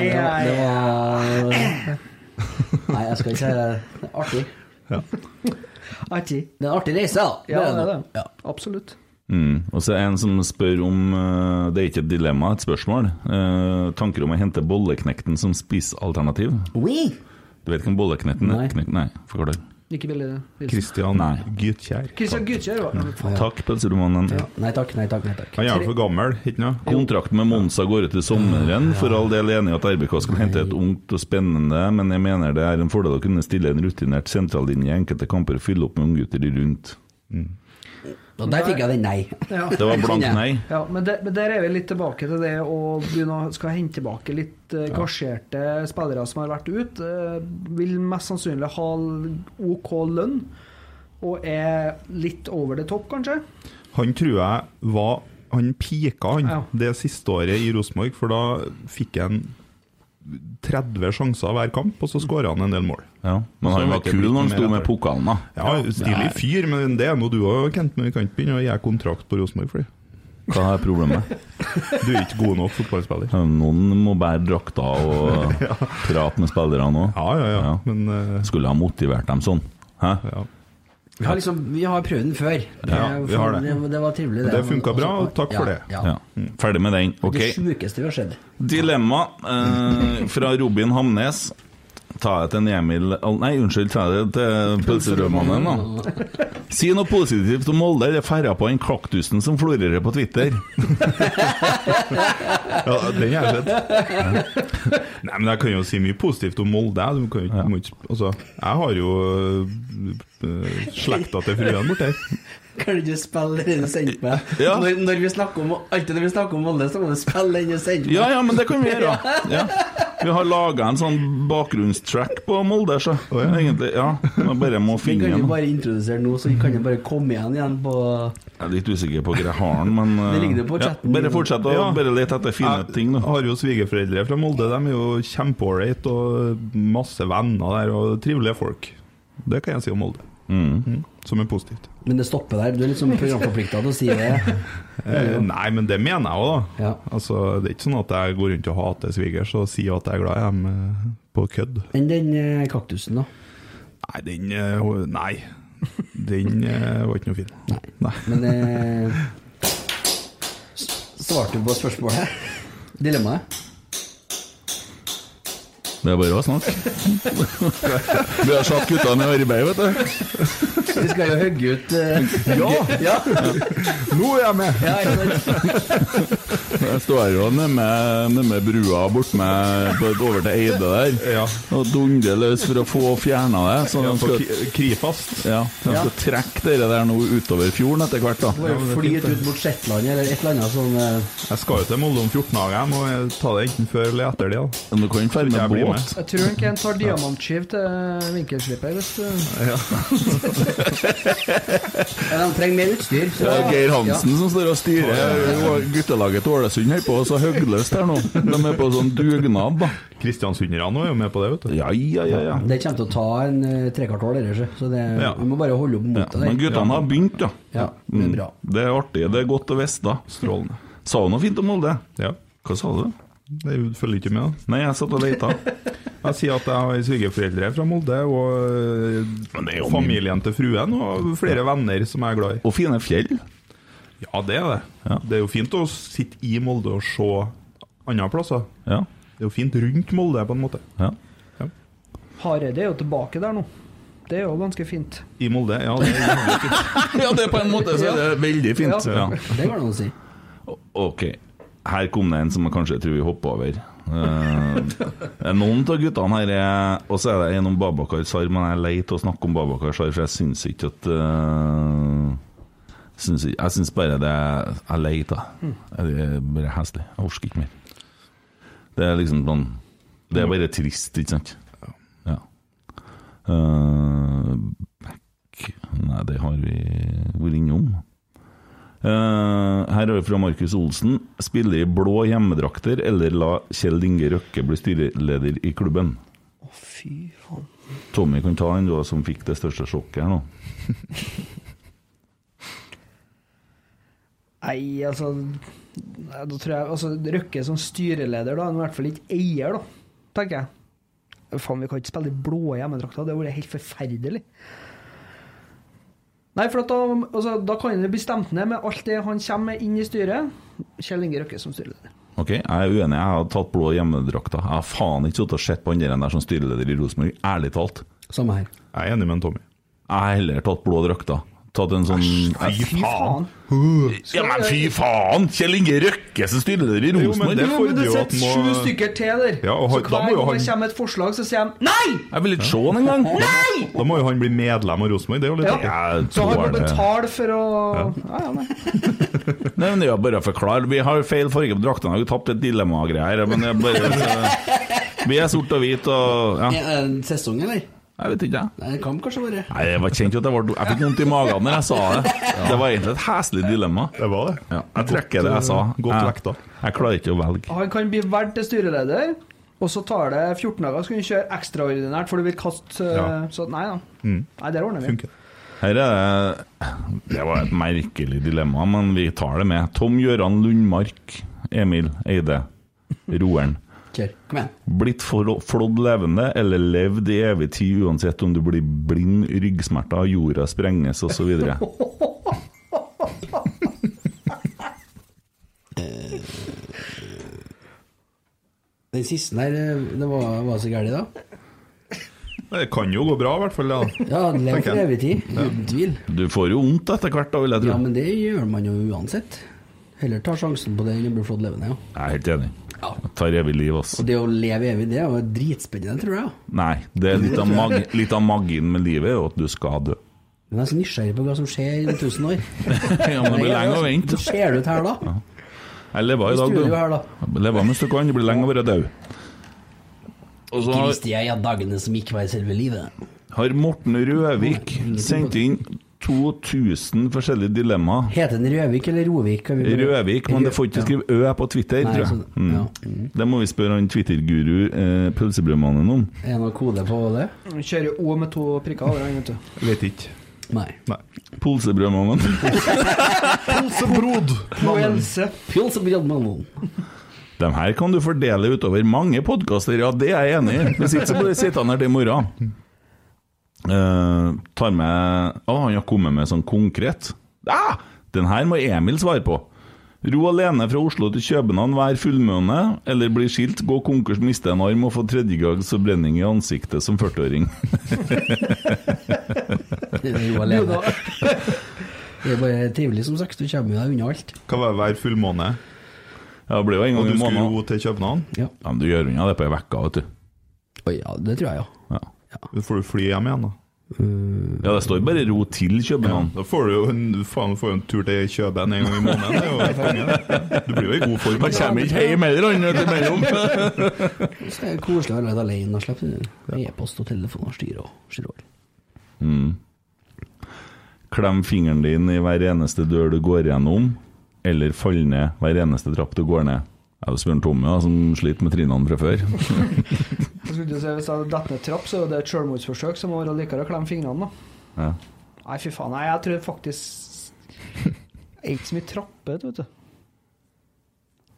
[SPEAKER 5] det var, det var Nei, jeg skal ikke det er Artig.
[SPEAKER 6] Artig.
[SPEAKER 5] Det er en artig reise, da.
[SPEAKER 6] Ja, det er det.
[SPEAKER 5] Ja.
[SPEAKER 6] Absolutt.
[SPEAKER 4] Mm. Og så er det en som spør om eh, Det er ikke et dilemma, et spørsmål. Eh, tanker om å hente bolleknekten som spisealternativ?
[SPEAKER 5] Oui.
[SPEAKER 4] Du vet hvem bolleknekten er?
[SPEAKER 5] Nei.
[SPEAKER 4] Knekk- Nei, forklar det.
[SPEAKER 6] Ikke billig. Nilsen.
[SPEAKER 7] Kristian
[SPEAKER 4] Nei.
[SPEAKER 7] Gytkjær.
[SPEAKER 6] Christian Guttkjær var
[SPEAKER 4] Takk, pølseromanen.
[SPEAKER 5] Ja. Nei takk, nei takk. nei takk
[SPEAKER 7] Han er vel for gammel, ikke noe?
[SPEAKER 4] Kontrakten med Monza går ut i sommeren. For all del enig i at RBK skal hente et ungt og spennende, men jeg mener det er en fordel å kunne stille en rutinert sentrallinje i enkelte kamper og fylle opp med unggutter i rundt.
[SPEAKER 5] Og der fikk jeg den nei.
[SPEAKER 6] ja.
[SPEAKER 4] Det var blankt nei.
[SPEAKER 6] Ja, men, det, men der er vi litt tilbake til det å begynne å skal hente tilbake litt eh, gasjerte spillere som har vært ute. vil mest sannsynlig ha l- OK lønn, og er litt over the top, kanskje.
[SPEAKER 7] Han tror jeg var Han pika han
[SPEAKER 6] Ja.
[SPEAKER 7] det siste året i Rosenborg, for da fikk han 30 sjanser hver kamp, og så skåra han en del mål.
[SPEAKER 4] Ja. Men han var kul når han sto med pokalen, da.
[SPEAKER 7] Ja, Stilig fyr, men det er nå du òg, Kent. Men vi kan ikke begynne å gi kontrakt på Rosenborg for det.
[SPEAKER 4] Hva er problemet?
[SPEAKER 7] Du er ikke god nok fotballspiller.
[SPEAKER 4] Noen må bære drakta og prate med spillerne òg.
[SPEAKER 7] Ja, ja, ja.
[SPEAKER 4] Ja.
[SPEAKER 7] Men eh,
[SPEAKER 4] Skulle ha motivert dem sånn. Hæ?
[SPEAKER 7] ja.
[SPEAKER 5] Vi har, liksom, vi har prøvd den før. Det,
[SPEAKER 7] Ja, vi har det.
[SPEAKER 5] Det, var trivelig, det.
[SPEAKER 7] Det funket bra, og takk for det.
[SPEAKER 4] Ja.
[SPEAKER 5] Ja, ja.
[SPEAKER 4] Ferdig med den. Ok.
[SPEAKER 5] Det sjukeste vi har sett.
[SPEAKER 4] Dilemma eh, fra Robin Hamnes. Ta det til en Emil Al- Nei, unnskyld, ta det til pølserødmannen, da. Si noe positivt om Molde, eller færre på den kaktusen som florerer på Twitter.
[SPEAKER 7] ja den er sett. Nei, men jeg kan jo si mye positivt om Molde. Du kan jo ikke, må ikke Altså, jeg har jo eh, slekta til fruen borti her.
[SPEAKER 5] Kan du ikke spille den du sendte meg?
[SPEAKER 4] Ja.
[SPEAKER 5] Når, når vi snakker om, alltid når vi snakker om Molde, så må du spille den du sendte meg.
[SPEAKER 4] Ja ja, men det kan vi gjøre. Ja. Vi har laga en sånn bakgrunnstrack på Molde, så egentlig. Ja. Jeg bare må
[SPEAKER 5] Vi
[SPEAKER 4] finne
[SPEAKER 5] kan jo
[SPEAKER 4] en.
[SPEAKER 5] bare introdusere nå, så vi kan jo bare komme igjen igjen på
[SPEAKER 4] Jeg er litt usikker på hvor jeg har den, men eh,
[SPEAKER 5] Det ligger det på chatten.
[SPEAKER 4] Bare fortsett å
[SPEAKER 7] Ja.
[SPEAKER 4] bare lete etter fine ting,
[SPEAKER 7] Jeg
[SPEAKER 4] da.
[SPEAKER 7] har jo svigerforeldre fra Molde. De er jo kjempeålreit og masse venner der og trivelige folk. Det kan jeg si om Molde. Mm. Som er positivt.
[SPEAKER 5] Men det stopper der. Du er liksom programforplikta til å si det.
[SPEAKER 7] Eh, nei, men det mener jeg òg, da.
[SPEAKER 5] Ja.
[SPEAKER 7] Altså, det er ikke sånn at jeg går rundt og hater svigers og sier at jeg er glad i dem eh, på kødd.
[SPEAKER 5] Enn den eh, kaktusen, da.
[SPEAKER 7] Nei, den eh, ho- Nei. Den eh, var ikke noe fin. Nei.
[SPEAKER 5] Men eh, s- Svarte du på spørsmålet? Dilemmaet?
[SPEAKER 4] Det er bare å snakke. Vi har satt guttene i arbeid, vet du.
[SPEAKER 5] Vi skal jo hogge ut eh, Ja! ja,
[SPEAKER 7] Nå er jeg med!
[SPEAKER 5] ja ikke sant?
[SPEAKER 4] Jeg står jo nemme, nemme brua bort med, på- over til Eide der
[SPEAKER 7] Ja.
[SPEAKER 4] og dunder løs for å få fjerna det. Så de
[SPEAKER 7] På
[SPEAKER 4] skal,
[SPEAKER 7] K- Krifast.
[SPEAKER 4] ja, de skal trekke det der nå utover fjorden etter hvert, da.
[SPEAKER 5] Bare flyt ut mot Shetland eller et eller annet sånn eh,
[SPEAKER 7] Jeg skal jo til Molde om 14 dager. Jeg må eh, ta det enten før eller etter det. da.
[SPEAKER 4] Men du kan ferde
[SPEAKER 7] Jeg
[SPEAKER 4] med
[SPEAKER 7] blir
[SPEAKER 4] båt.
[SPEAKER 6] Jeg tror ikke en tar diamantskiv til vinkelsliper. Hvis du...
[SPEAKER 5] ja, De trenger mer utstyr. så-
[SPEAKER 4] Det er Geir Hansen som står og styrer guttelaget til Ålesund her på, så høgløst her nå. De er på sånn dugnad, da.
[SPEAKER 7] Kristiansunderne er jo med på det, vet du.
[SPEAKER 4] Ja, ja, ja. ja.
[SPEAKER 5] Det kommer til å ta en eh, trekvart år, det der, så- så det,
[SPEAKER 7] Ja.
[SPEAKER 5] vi må bare holde opp
[SPEAKER 4] ja.
[SPEAKER 5] motet der.
[SPEAKER 4] Men guttene har begynt, da.
[SPEAKER 5] Ja, det er bra.
[SPEAKER 4] Det er artig. Det er godt å vite, da.
[SPEAKER 7] Strålende.
[SPEAKER 4] Sa hun noe fint om Molde?
[SPEAKER 7] Ja.
[SPEAKER 4] Hva sa du?
[SPEAKER 7] Det følger ikke med, da.
[SPEAKER 4] Nei, jeg satt og leita.
[SPEAKER 7] Jeg sier at jeg har svigerforeldre fra Molde, og
[SPEAKER 4] Men det er jo
[SPEAKER 7] eh, familien til fruen og flere venner som jeg er glad i.
[SPEAKER 4] Og fine fjell.
[SPEAKER 7] Ja, det er det.
[SPEAKER 4] Ja.
[SPEAKER 7] Det er jo fint å sitte i Molde og se andre plasser.
[SPEAKER 4] Ja.
[SPEAKER 7] Det er jo fint rundt Molde, på en måte.
[SPEAKER 4] ja.
[SPEAKER 6] Hareide er jo tilbake der nå. Det er jo ganske fint.
[SPEAKER 7] I Molde, ja. Det er jævlig fint.
[SPEAKER 4] Ja, det er på en måte så er det veldig fint. Ja.
[SPEAKER 6] Ja.
[SPEAKER 5] Det går det an å si.
[SPEAKER 4] Ok, her kom det en som jeg kanskje tror vi hopper over. Eh, det er noen av guttene her er Og så er det en om Babakar Sar, men jeg er lei til å snakke om Babakar Sar, for jeg syns ikke at eh, syns ikke, Jeg syns bare det er Jeg er lei av det. Det er bare heslig. Jeg orker ikke mer. Det er liksom sånn Det er bare trist, ikke sant? Ja. Eh, back Nei, det har vi vært innom. Eh, her er det fra Markus Olsen. Spille i blå hjemmedrakter eller la Kjell Inge Røkke bli styreleder i klubben?
[SPEAKER 6] Å, fy faen.
[SPEAKER 4] Tommy kan ta den, du som fikk det største sjokket her nå.
[SPEAKER 6] Nei, altså nei, Da tror jeg altså, Røkke som styreleder, da. Han er i hvert fall ikke eier, da, tenker jeg. Faen, vi kan ikke spille i blå hjemmedrakter. Det hadde vært helt forferdelig. Nei, for at da, altså, da kan han jo bli stemt ned med alt det han kommer med inn i styret. Kjell Inge Røkke som styreleder.
[SPEAKER 4] Ok, Jeg er uenig, jeg har tatt blå hjemmedrakter. Jeg har faen ikke sittet og sett på andre enn der som styreleder i Rosenborg, ærlig talt.
[SPEAKER 5] Samme her.
[SPEAKER 7] Jeg er enig med en Tommy.
[SPEAKER 4] Jeg har heller tatt blå drakter. Tatt en sånn
[SPEAKER 6] Fy faen!
[SPEAKER 4] Ja, men fy faen! Kjell Inge Røkke som styreleder i
[SPEAKER 7] Jo,
[SPEAKER 4] Rosenborg!
[SPEAKER 7] men det
[SPEAKER 6] Ja, men
[SPEAKER 7] fordrer
[SPEAKER 6] det
[SPEAKER 7] jo at
[SPEAKER 6] sitter
[SPEAKER 7] må
[SPEAKER 6] sju stykker til der.
[SPEAKER 7] Ja, og
[SPEAKER 6] så
[SPEAKER 7] han- da må jo
[SPEAKER 6] hver gang det
[SPEAKER 7] han-
[SPEAKER 6] kommer et forslag, så sier de nei!
[SPEAKER 4] Jeg vil ikke se den engang!
[SPEAKER 7] Da må jo han bli medlem av Rosenborg, det er jo litt
[SPEAKER 6] Ja.
[SPEAKER 7] artig.
[SPEAKER 4] Jeg
[SPEAKER 6] Så han må
[SPEAKER 4] tror det.
[SPEAKER 6] betale for å ja, ja, nei.
[SPEAKER 4] Nei, men det er jo bare å forklare. Vi har jo feil farge på draktene. Vi har jo tapt et dilemma-greier. Men det er bare Vi er sort og hvit og ja.
[SPEAKER 5] Er det en sesong, eller?
[SPEAKER 4] Jeg vet ikke, jeg.
[SPEAKER 5] Nei, Det kan kanskje være
[SPEAKER 4] Nei, jeg var kjent at jeg, var, jeg fikk vondt i magen når jeg sa det. Det var egentlig et heslig dilemma.
[SPEAKER 7] Det var det.
[SPEAKER 4] Ja, eh, jeg trekker det jeg sa.
[SPEAKER 7] Godt
[SPEAKER 4] Jeg-
[SPEAKER 7] vekta.
[SPEAKER 4] Jeg klarer ikke å velge.
[SPEAKER 6] Han kan bli valgt til styreleder, og så tar det 14 dager, så kan du kjøre ekstraordinært, for du vil kaste eh,
[SPEAKER 7] Ja. Mm.
[SPEAKER 6] Så nei da. Nei, der ordner vi.
[SPEAKER 7] Funker.
[SPEAKER 4] Her er det Det var et merkelig dilemma, men vi tar det med. Tom Gøran Lundmark. Emil Eide. Roeren.
[SPEAKER 5] Kjør. Kom igjen.
[SPEAKER 4] Blitt for- flådd levende eller levd i evig tid uansett om du blir blind, ryggsmerter, jorda sprenges osv.
[SPEAKER 5] Den siste der, eh, det var, var så gærent, da.
[SPEAKER 7] Det kan jo gå bra, i hvert fall. Ja.
[SPEAKER 5] Ja, lev
[SPEAKER 7] Takk,
[SPEAKER 5] for
[SPEAKER 7] ja.
[SPEAKER 5] evig tid. Uten tvil.
[SPEAKER 4] Du får jo vondt etter hvert, da, vil jeg tro.
[SPEAKER 5] Ja, men det gjør man jo uansett. Heller tar sjansen på det enn å bli flådd levende, ja.
[SPEAKER 4] Jeg er helt enig. Jeg tar evig liv, ass.
[SPEAKER 5] Og det å leve evig, det er jo dritspennende, tror jeg.
[SPEAKER 4] Nei, det er litt av, mag litt av magien med livet, er jo at du skal dø.
[SPEAKER 5] Men jeg er så nysgjerrig på hva som skjer i 1000 år.
[SPEAKER 4] Ja, men det blir
[SPEAKER 5] altså,
[SPEAKER 4] lenge å vente.
[SPEAKER 5] Hva skjer det ut her, da?
[SPEAKER 4] Jeg lever i dag,
[SPEAKER 5] Studio her,
[SPEAKER 4] du.
[SPEAKER 5] da.
[SPEAKER 4] Lever mens du kan, det blir lenge å være død. Og så
[SPEAKER 5] Ikke
[SPEAKER 4] har-
[SPEAKER 5] visste jeg av dagene som ikke var i selve livet.
[SPEAKER 4] har Morten Røvik sendt inn 2000 forskjellige dilemmaer.
[SPEAKER 5] Heter den Røvik eller Rovik? Kan vi bare-
[SPEAKER 4] Røvik, men det får ikke skrive Ø på Twitter,
[SPEAKER 5] Nei,
[SPEAKER 4] tror jeg.
[SPEAKER 5] så-
[SPEAKER 4] Mm.
[SPEAKER 5] ja. Mm.
[SPEAKER 4] Det må vi spørre han Twitter-guru eh, Pølsebrødmannen om.
[SPEAKER 5] Er det noe kode på det?
[SPEAKER 6] Vi Kjører O med to prikker over han, vet du.
[SPEAKER 7] Vet ikke.
[SPEAKER 5] Nei.
[SPEAKER 7] Nei.
[SPEAKER 4] Polsebrødmannen.
[SPEAKER 7] Polsebrod!
[SPEAKER 6] Noelse.
[SPEAKER 5] Pils og brødmannen.
[SPEAKER 4] De her kan du fordele utover mange podkaster, ja, det er jeg enig i. Hvis ikke så blir det sittende her til i morgen. Eh, tar med Å, han har kommet med sånn konkret. Ah, den her må Emil svare på. Ro alene fra Oslo til København hver fullmåne, eller bli skilt, gå konkurs, miste en arm og få tredjegangs forbrenning i ansiktet som 40-åring.
[SPEAKER 5] Det er jo alene. Det er bare trivelig, som sagt. Du kommer jo deg unna alt.
[SPEAKER 7] Hva var det hver fullmåne?
[SPEAKER 4] Ja, det blir jo en
[SPEAKER 7] Og
[SPEAKER 4] gang
[SPEAKER 7] du
[SPEAKER 4] i
[SPEAKER 7] skulle
[SPEAKER 4] måneden.
[SPEAKER 7] ro til København?
[SPEAKER 4] Ja, men du gjør unna det på ei uke, vet du.
[SPEAKER 5] Å ja, det tror jeg, ja.
[SPEAKER 4] Ja.
[SPEAKER 7] Da får du fly hjem igjen, da.
[SPEAKER 4] ja, det står bare 'ro til København'.
[SPEAKER 7] Da får du jo en, faen, får jo en tur til København en gang i måneden. det er jo helt konge, det. Du blir jo i god form.
[SPEAKER 4] Han kommer ikke hjem heller, han, vet du, imellom.
[SPEAKER 5] Så er det koselig å være litt alene og slippe e-post og telefon og styre og styre over.
[SPEAKER 4] Klem fingeren din i hver eneste dør du går gjennom, eller fall ned hver eneste trapp du går ned. Jeg spør en Tommy, da, som sliter med trinene fra før.
[SPEAKER 6] Jeg skulle til å si, Hvis jeg detter ned trapp, så er det et selvmordsforsøk, så må det være likere å klemme fingrene, da.
[SPEAKER 4] Ja.
[SPEAKER 6] Nei, fy faen. Nei, jeg tror faktisk Jeg er ikke så mye trapper, vet du.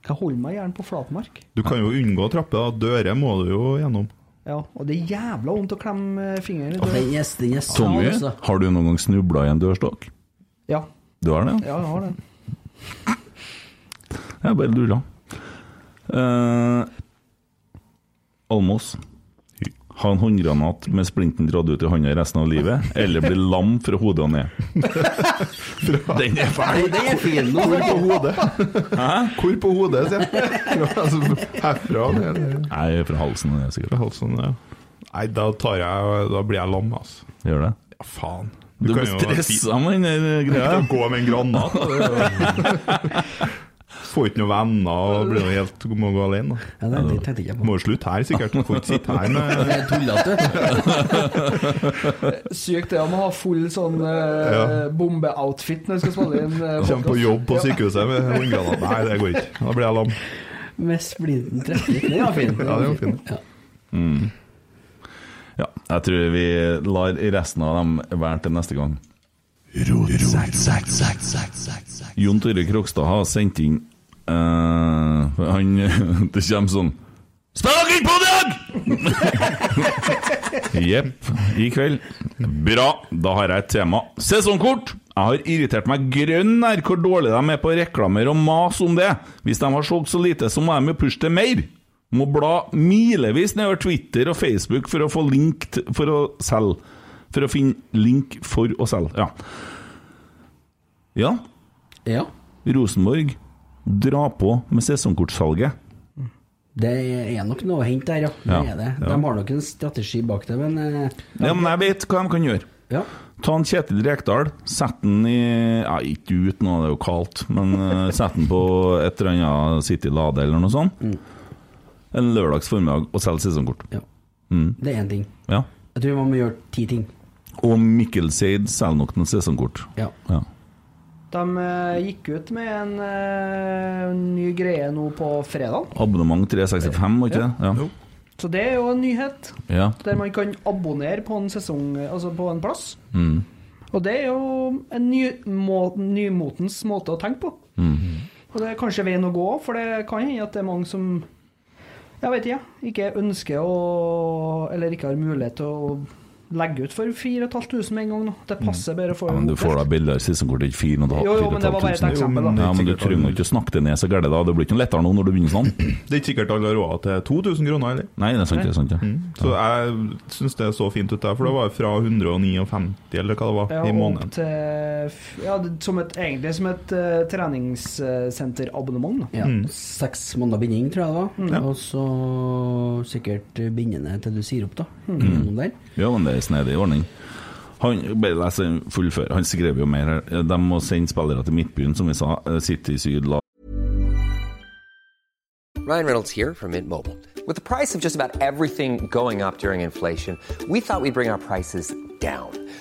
[SPEAKER 6] Jeg holder meg gjerne på flatmark.
[SPEAKER 7] Du kan jo unngå trapper, da. Dører må du jo gjennom.
[SPEAKER 6] Ja, og det er jævla vondt å klemme eh, fingeren i døra.
[SPEAKER 5] Den gjest- den gjest-
[SPEAKER 4] Tommy,
[SPEAKER 5] altså.
[SPEAKER 4] har du noen gang snubla i en dørstokk?
[SPEAKER 6] Ja,
[SPEAKER 4] Du har det?
[SPEAKER 6] ja, jeg har det.
[SPEAKER 4] Jeg bare lurer. Eh, Almås. Ha en håndgranat med splinten dratt ut i hånda resten av livet, eller bli lam fra hodet og ned. Den er fæl!
[SPEAKER 5] Den er fin nå.
[SPEAKER 7] Hvor på hodet? Hvor på hodet, sier jeg. Altså, Herfra ned. eller
[SPEAKER 4] Nei, fra halsen er det
[SPEAKER 7] fra
[SPEAKER 4] sikkert.
[SPEAKER 7] halsen, sånn, ja. Nei, da tar jeg Da blir jeg lam, altså.
[SPEAKER 4] Gjør det?
[SPEAKER 7] Ja, faen.
[SPEAKER 4] Du
[SPEAKER 7] kan
[SPEAKER 4] blir
[SPEAKER 7] jo-
[SPEAKER 4] stressa med den der greia.
[SPEAKER 7] Å gå med en granat det er jo- Får ikke noen venner og blir jo helt, må gå alene. da.
[SPEAKER 5] Ja, det, det tenkte jeg ikke på.
[SPEAKER 7] Må jo slutte her, sikkert. Får ikke sitte her med
[SPEAKER 5] Det er tullete.
[SPEAKER 6] Sykt det om å ha full sånn eh,
[SPEAKER 7] Ja.
[SPEAKER 6] bombeoutfit når du skal spille inn eh,
[SPEAKER 7] Kommer på
[SPEAKER 6] podcast.
[SPEAKER 7] jobb på
[SPEAKER 6] Ja.
[SPEAKER 7] sykehuset med håndgranat. Nei, det går ikke. Da blir jeg lam.
[SPEAKER 5] Med splinten 13. Den var fin.
[SPEAKER 7] Ja, den var fin.
[SPEAKER 5] Ja.
[SPEAKER 4] Ja, jeg tror vi lar resten av dem være til neste gang. Jon Tore Krokstad har sendt inn eh, Han Det kommer sånn Spill dere på dag! Jepp. I kveld. Bra. Da har jeg et tema. Sesongkort! Jeg har irritert meg grønn nær hvor dårlig de er på reklamer og mas om det. Hvis de har solgt så lite, så må de jo pushe til mer. Må bla milevis nedover Twitter og Facebook for å få link t- for å selge. For å finne link for å selge. Ja. ja.
[SPEAKER 5] ja.
[SPEAKER 4] Rosenborg dra på med sesongkortsalget.
[SPEAKER 5] Det er nok noe å hente der, ja. Det
[SPEAKER 4] Ja,
[SPEAKER 5] er det. De har nok en strategi bak det, men eh,
[SPEAKER 4] Ja, men jeg vet hva de kan gjøre.
[SPEAKER 5] ja.
[SPEAKER 4] Ta en Kjetil Rekdal, sett den i ja, Ikke ut nå, det er jo kaldt, men eh, sett den på et eller annet City Lade eller noe sånt.
[SPEAKER 6] Mm.
[SPEAKER 4] En lørdags formiddag og selg sesongkort.
[SPEAKER 5] ja. Det er én ting.
[SPEAKER 4] Ja.
[SPEAKER 5] Jeg tror man må gjøre ti ting.
[SPEAKER 4] Og Mikkel Seid selger nok noen sesongkort.
[SPEAKER 5] Ja.
[SPEAKER 4] Ja.
[SPEAKER 6] De eh, gikk ut med en eh, ny greie nå på fredag,
[SPEAKER 4] Abonnement 365, var ikke det?
[SPEAKER 6] så det er jo en nyhet.
[SPEAKER 4] Ja. ja.
[SPEAKER 6] Der man kan abonnere på en sesong, altså på en plass.
[SPEAKER 4] Mm.
[SPEAKER 6] Og det er jo en ny, må, nymotens måte å tenke på.
[SPEAKER 4] Mm.
[SPEAKER 6] Og det er kanskje veien å gå, for det kan hende at det er mange som jeg vet ikke, ikke ønsker å Eller ikke har mulighet til å legge ut for 4500 med en gang. Nå. Det passer bedre å få
[SPEAKER 4] Mm. Ja, men du får da billigere sesongkort, ikke fire og et halvt,
[SPEAKER 6] Jo, jo,
[SPEAKER 4] fire og
[SPEAKER 6] men det
[SPEAKER 4] et
[SPEAKER 6] var
[SPEAKER 4] halvt
[SPEAKER 6] bare et
[SPEAKER 4] tusen.
[SPEAKER 6] eksempel, da.
[SPEAKER 4] Ja, men du trenger ikke å snakke det ned så gærent, da. Det blir ikke noe lettere nå når du begynner sånn.
[SPEAKER 7] Det er ikke sikkert alle har råd til 2000 kroner, eller?
[SPEAKER 4] Nei, det er sant, det er sant.
[SPEAKER 6] Mm.
[SPEAKER 4] Ja.
[SPEAKER 7] Så jeg syns det er så fint ut der, for det var fra 159 eller hva det var,
[SPEAKER 6] Ja,
[SPEAKER 7] i
[SPEAKER 6] opp
[SPEAKER 7] måneden.
[SPEAKER 6] til f- ja, det- som et, egentlig som et eh, treningssenterabonnement. da.
[SPEAKER 5] Ja.
[SPEAKER 4] Mm.
[SPEAKER 5] Seks måneder binding, tror jeg det var. Og så sikkert bindende til du sier opp, da.
[SPEAKER 4] Mm.
[SPEAKER 5] Gjennom der.
[SPEAKER 4] Ja, men det er snedig ordning. Han, bare les den fullfør. Han skrev jo mer her. De må sende spillere til Midtbyen, som vi sa. Eh, City Syd la
[SPEAKER 10] Ryan Reynolds here from Mint Mobile. With the price of just about everything going up during inflation, we thought we'd bring our prices down.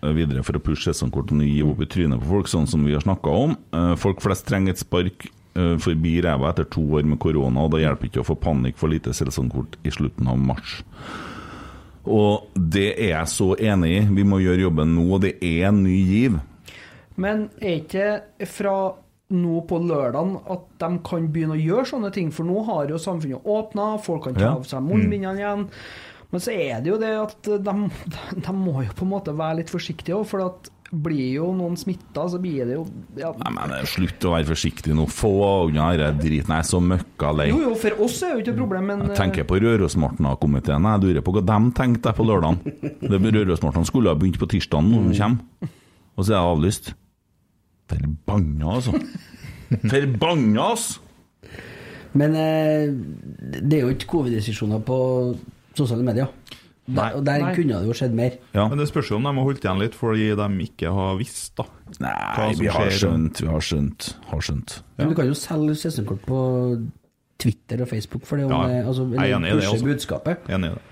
[SPEAKER 4] det videre for å pushe sesongkortene og gi opp i trynet på folk, sånn som vi har snakka om. Eh, Folk flest trenger et spark eh, forbi ræva etter to år med korona, og da hjelper ikke å få panikk for lite sesongkort i slutten av mars. Og det er jeg så enig i. Vi må gjøre jobben nå, og det er en ny giv.
[SPEAKER 6] Men er ikke fra nå på lørdagen at de kan begynne å gjøre sånne ting? For nå har jo samfunnet åpna, folk kan ta
[SPEAKER 4] Ja. Mm.
[SPEAKER 6] av seg munnbindene igjen. Men så er det jo det at de, de må jo på en måte være litt forsiktige òg, for at blir jo noen smitta, så blir det jo ja.
[SPEAKER 4] Nei, men eh, slutt å være forsiktig nå. Få unna denne driten. Jeg er så møkka lei.
[SPEAKER 6] Jo, jo, for oss er det jo ikke et problem, men
[SPEAKER 4] eh, Mm.
[SPEAKER 6] eh,
[SPEAKER 4] Jeg tenker på Rørosmartna-komiteen. Jeg lurer på hva de tenkte der på lørdagen. Det Rørosmartna skulle ha begynt på tirsdagen, når den kommer. Og så er det avlyst. Forbanna, altså. Forbanna, ass!
[SPEAKER 5] Men eh, det er jo ikke covid-restriksjoner på sosiale medier. Der, og der
[SPEAKER 7] Nei.
[SPEAKER 5] kunne det jo skjedd mer.
[SPEAKER 7] Men det spørs jo om de har holdt igjen litt fordi de ikke har visst, da.
[SPEAKER 4] Nei, vi har skjønt, vi har skjønt. Har skjønt.
[SPEAKER 5] Men du kan jo selge sesongkort på Twitter og Facebook for det. Om,
[SPEAKER 4] Ja,
[SPEAKER 5] det- altså,
[SPEAKER 4] jeg er
[SPEAKER 5] eller
[SPEAKER 4] enig i det
[SPEAKER 5] pushe
[SPEAKER 4] også.
[SPEAKER 5] budskapet.
[SPEAKER 7] Enig i det.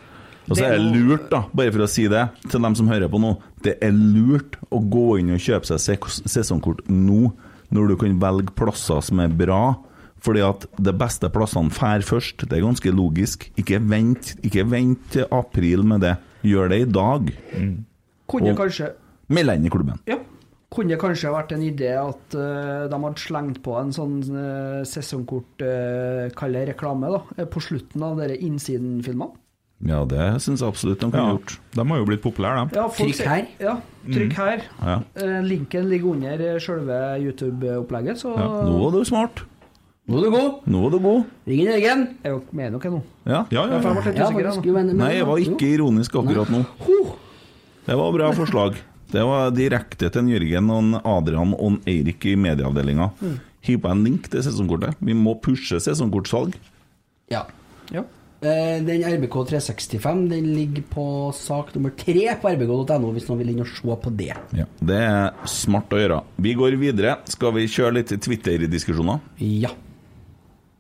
[SPEAKER 4] Og så er det lurt, da, bare for å si det til dem som hører på nå, det er lurt å gå inn og kjøpe seg se- sesongkort nå, når du kan velge plasser som er bra. Fordi at de beste plassene fær først. Det er ganske logisk. Ikke vent, ikke vent til april med det. Gjør det i dag.
[SPEAKER 6] kunne
[SPEAKER 4] Og-
[SPEAKER 6] kanskje
[SPEAKER 4] Meld deg inn i klubben.
[SPEAKER 6] Ja. Kunne kanskje vært en idé at eh, de hadde slengt på en sånn uh, sesongkort uh, Kall det reklame, da. eh, På slutten av dere innsiden-filmene.
[SPEAKER 4] Ja, det syns jeg absolutt de kunne gjort. De har jo blitt populære,
[SPEAKER 6] Ja, folk ser- Ja,
[SPEAKER 4] Mm.
[SPEAKER 6] trykk her.
[SPEAKER 4] Ja.
[SPEAKER 6] Eh, linken ligger under eh, selve YouTube-opplegget, så
[SPEAKER 4] Ja. Nå er du smart.
[SPEAKER 5] Nå er du god.
[SPEAKER 4] Nå er du god.
[SPEAKER 5] Ring inn Jørgen.
[SPEAKER 6] Jeg er jo med nok ennå.
[SPEAKER 4] Ja, ja,
[SPEAKER 6] Ja, for jeg ble litt usikker,
[SPEAKER 5] faktisk, jo, men- men-
[SPEAKER 4] Nei, jeg var ikke ironisk akkurat nå. Det var bra forslag. Det var direkte til en Jørgen og en Adrian og en Eirik i medieavdelinga. Hiv på en link til sesongkortet. Vi må pushe sesongkortsalg.
[SPEAKER 5] Ja.
[SPEAKER 6] Ja.
[SPEAKER 5] Eh, Den RBK 365 den ligger på sak nummer tre på rbk.no, hvis noen vil inn og se på det.
[SPEAKER 4] Det er smart å gjøre. Vi går videre. Skal vi kjøre litt Twitter-diskusjoner?
[SPEAKER 5] Ja.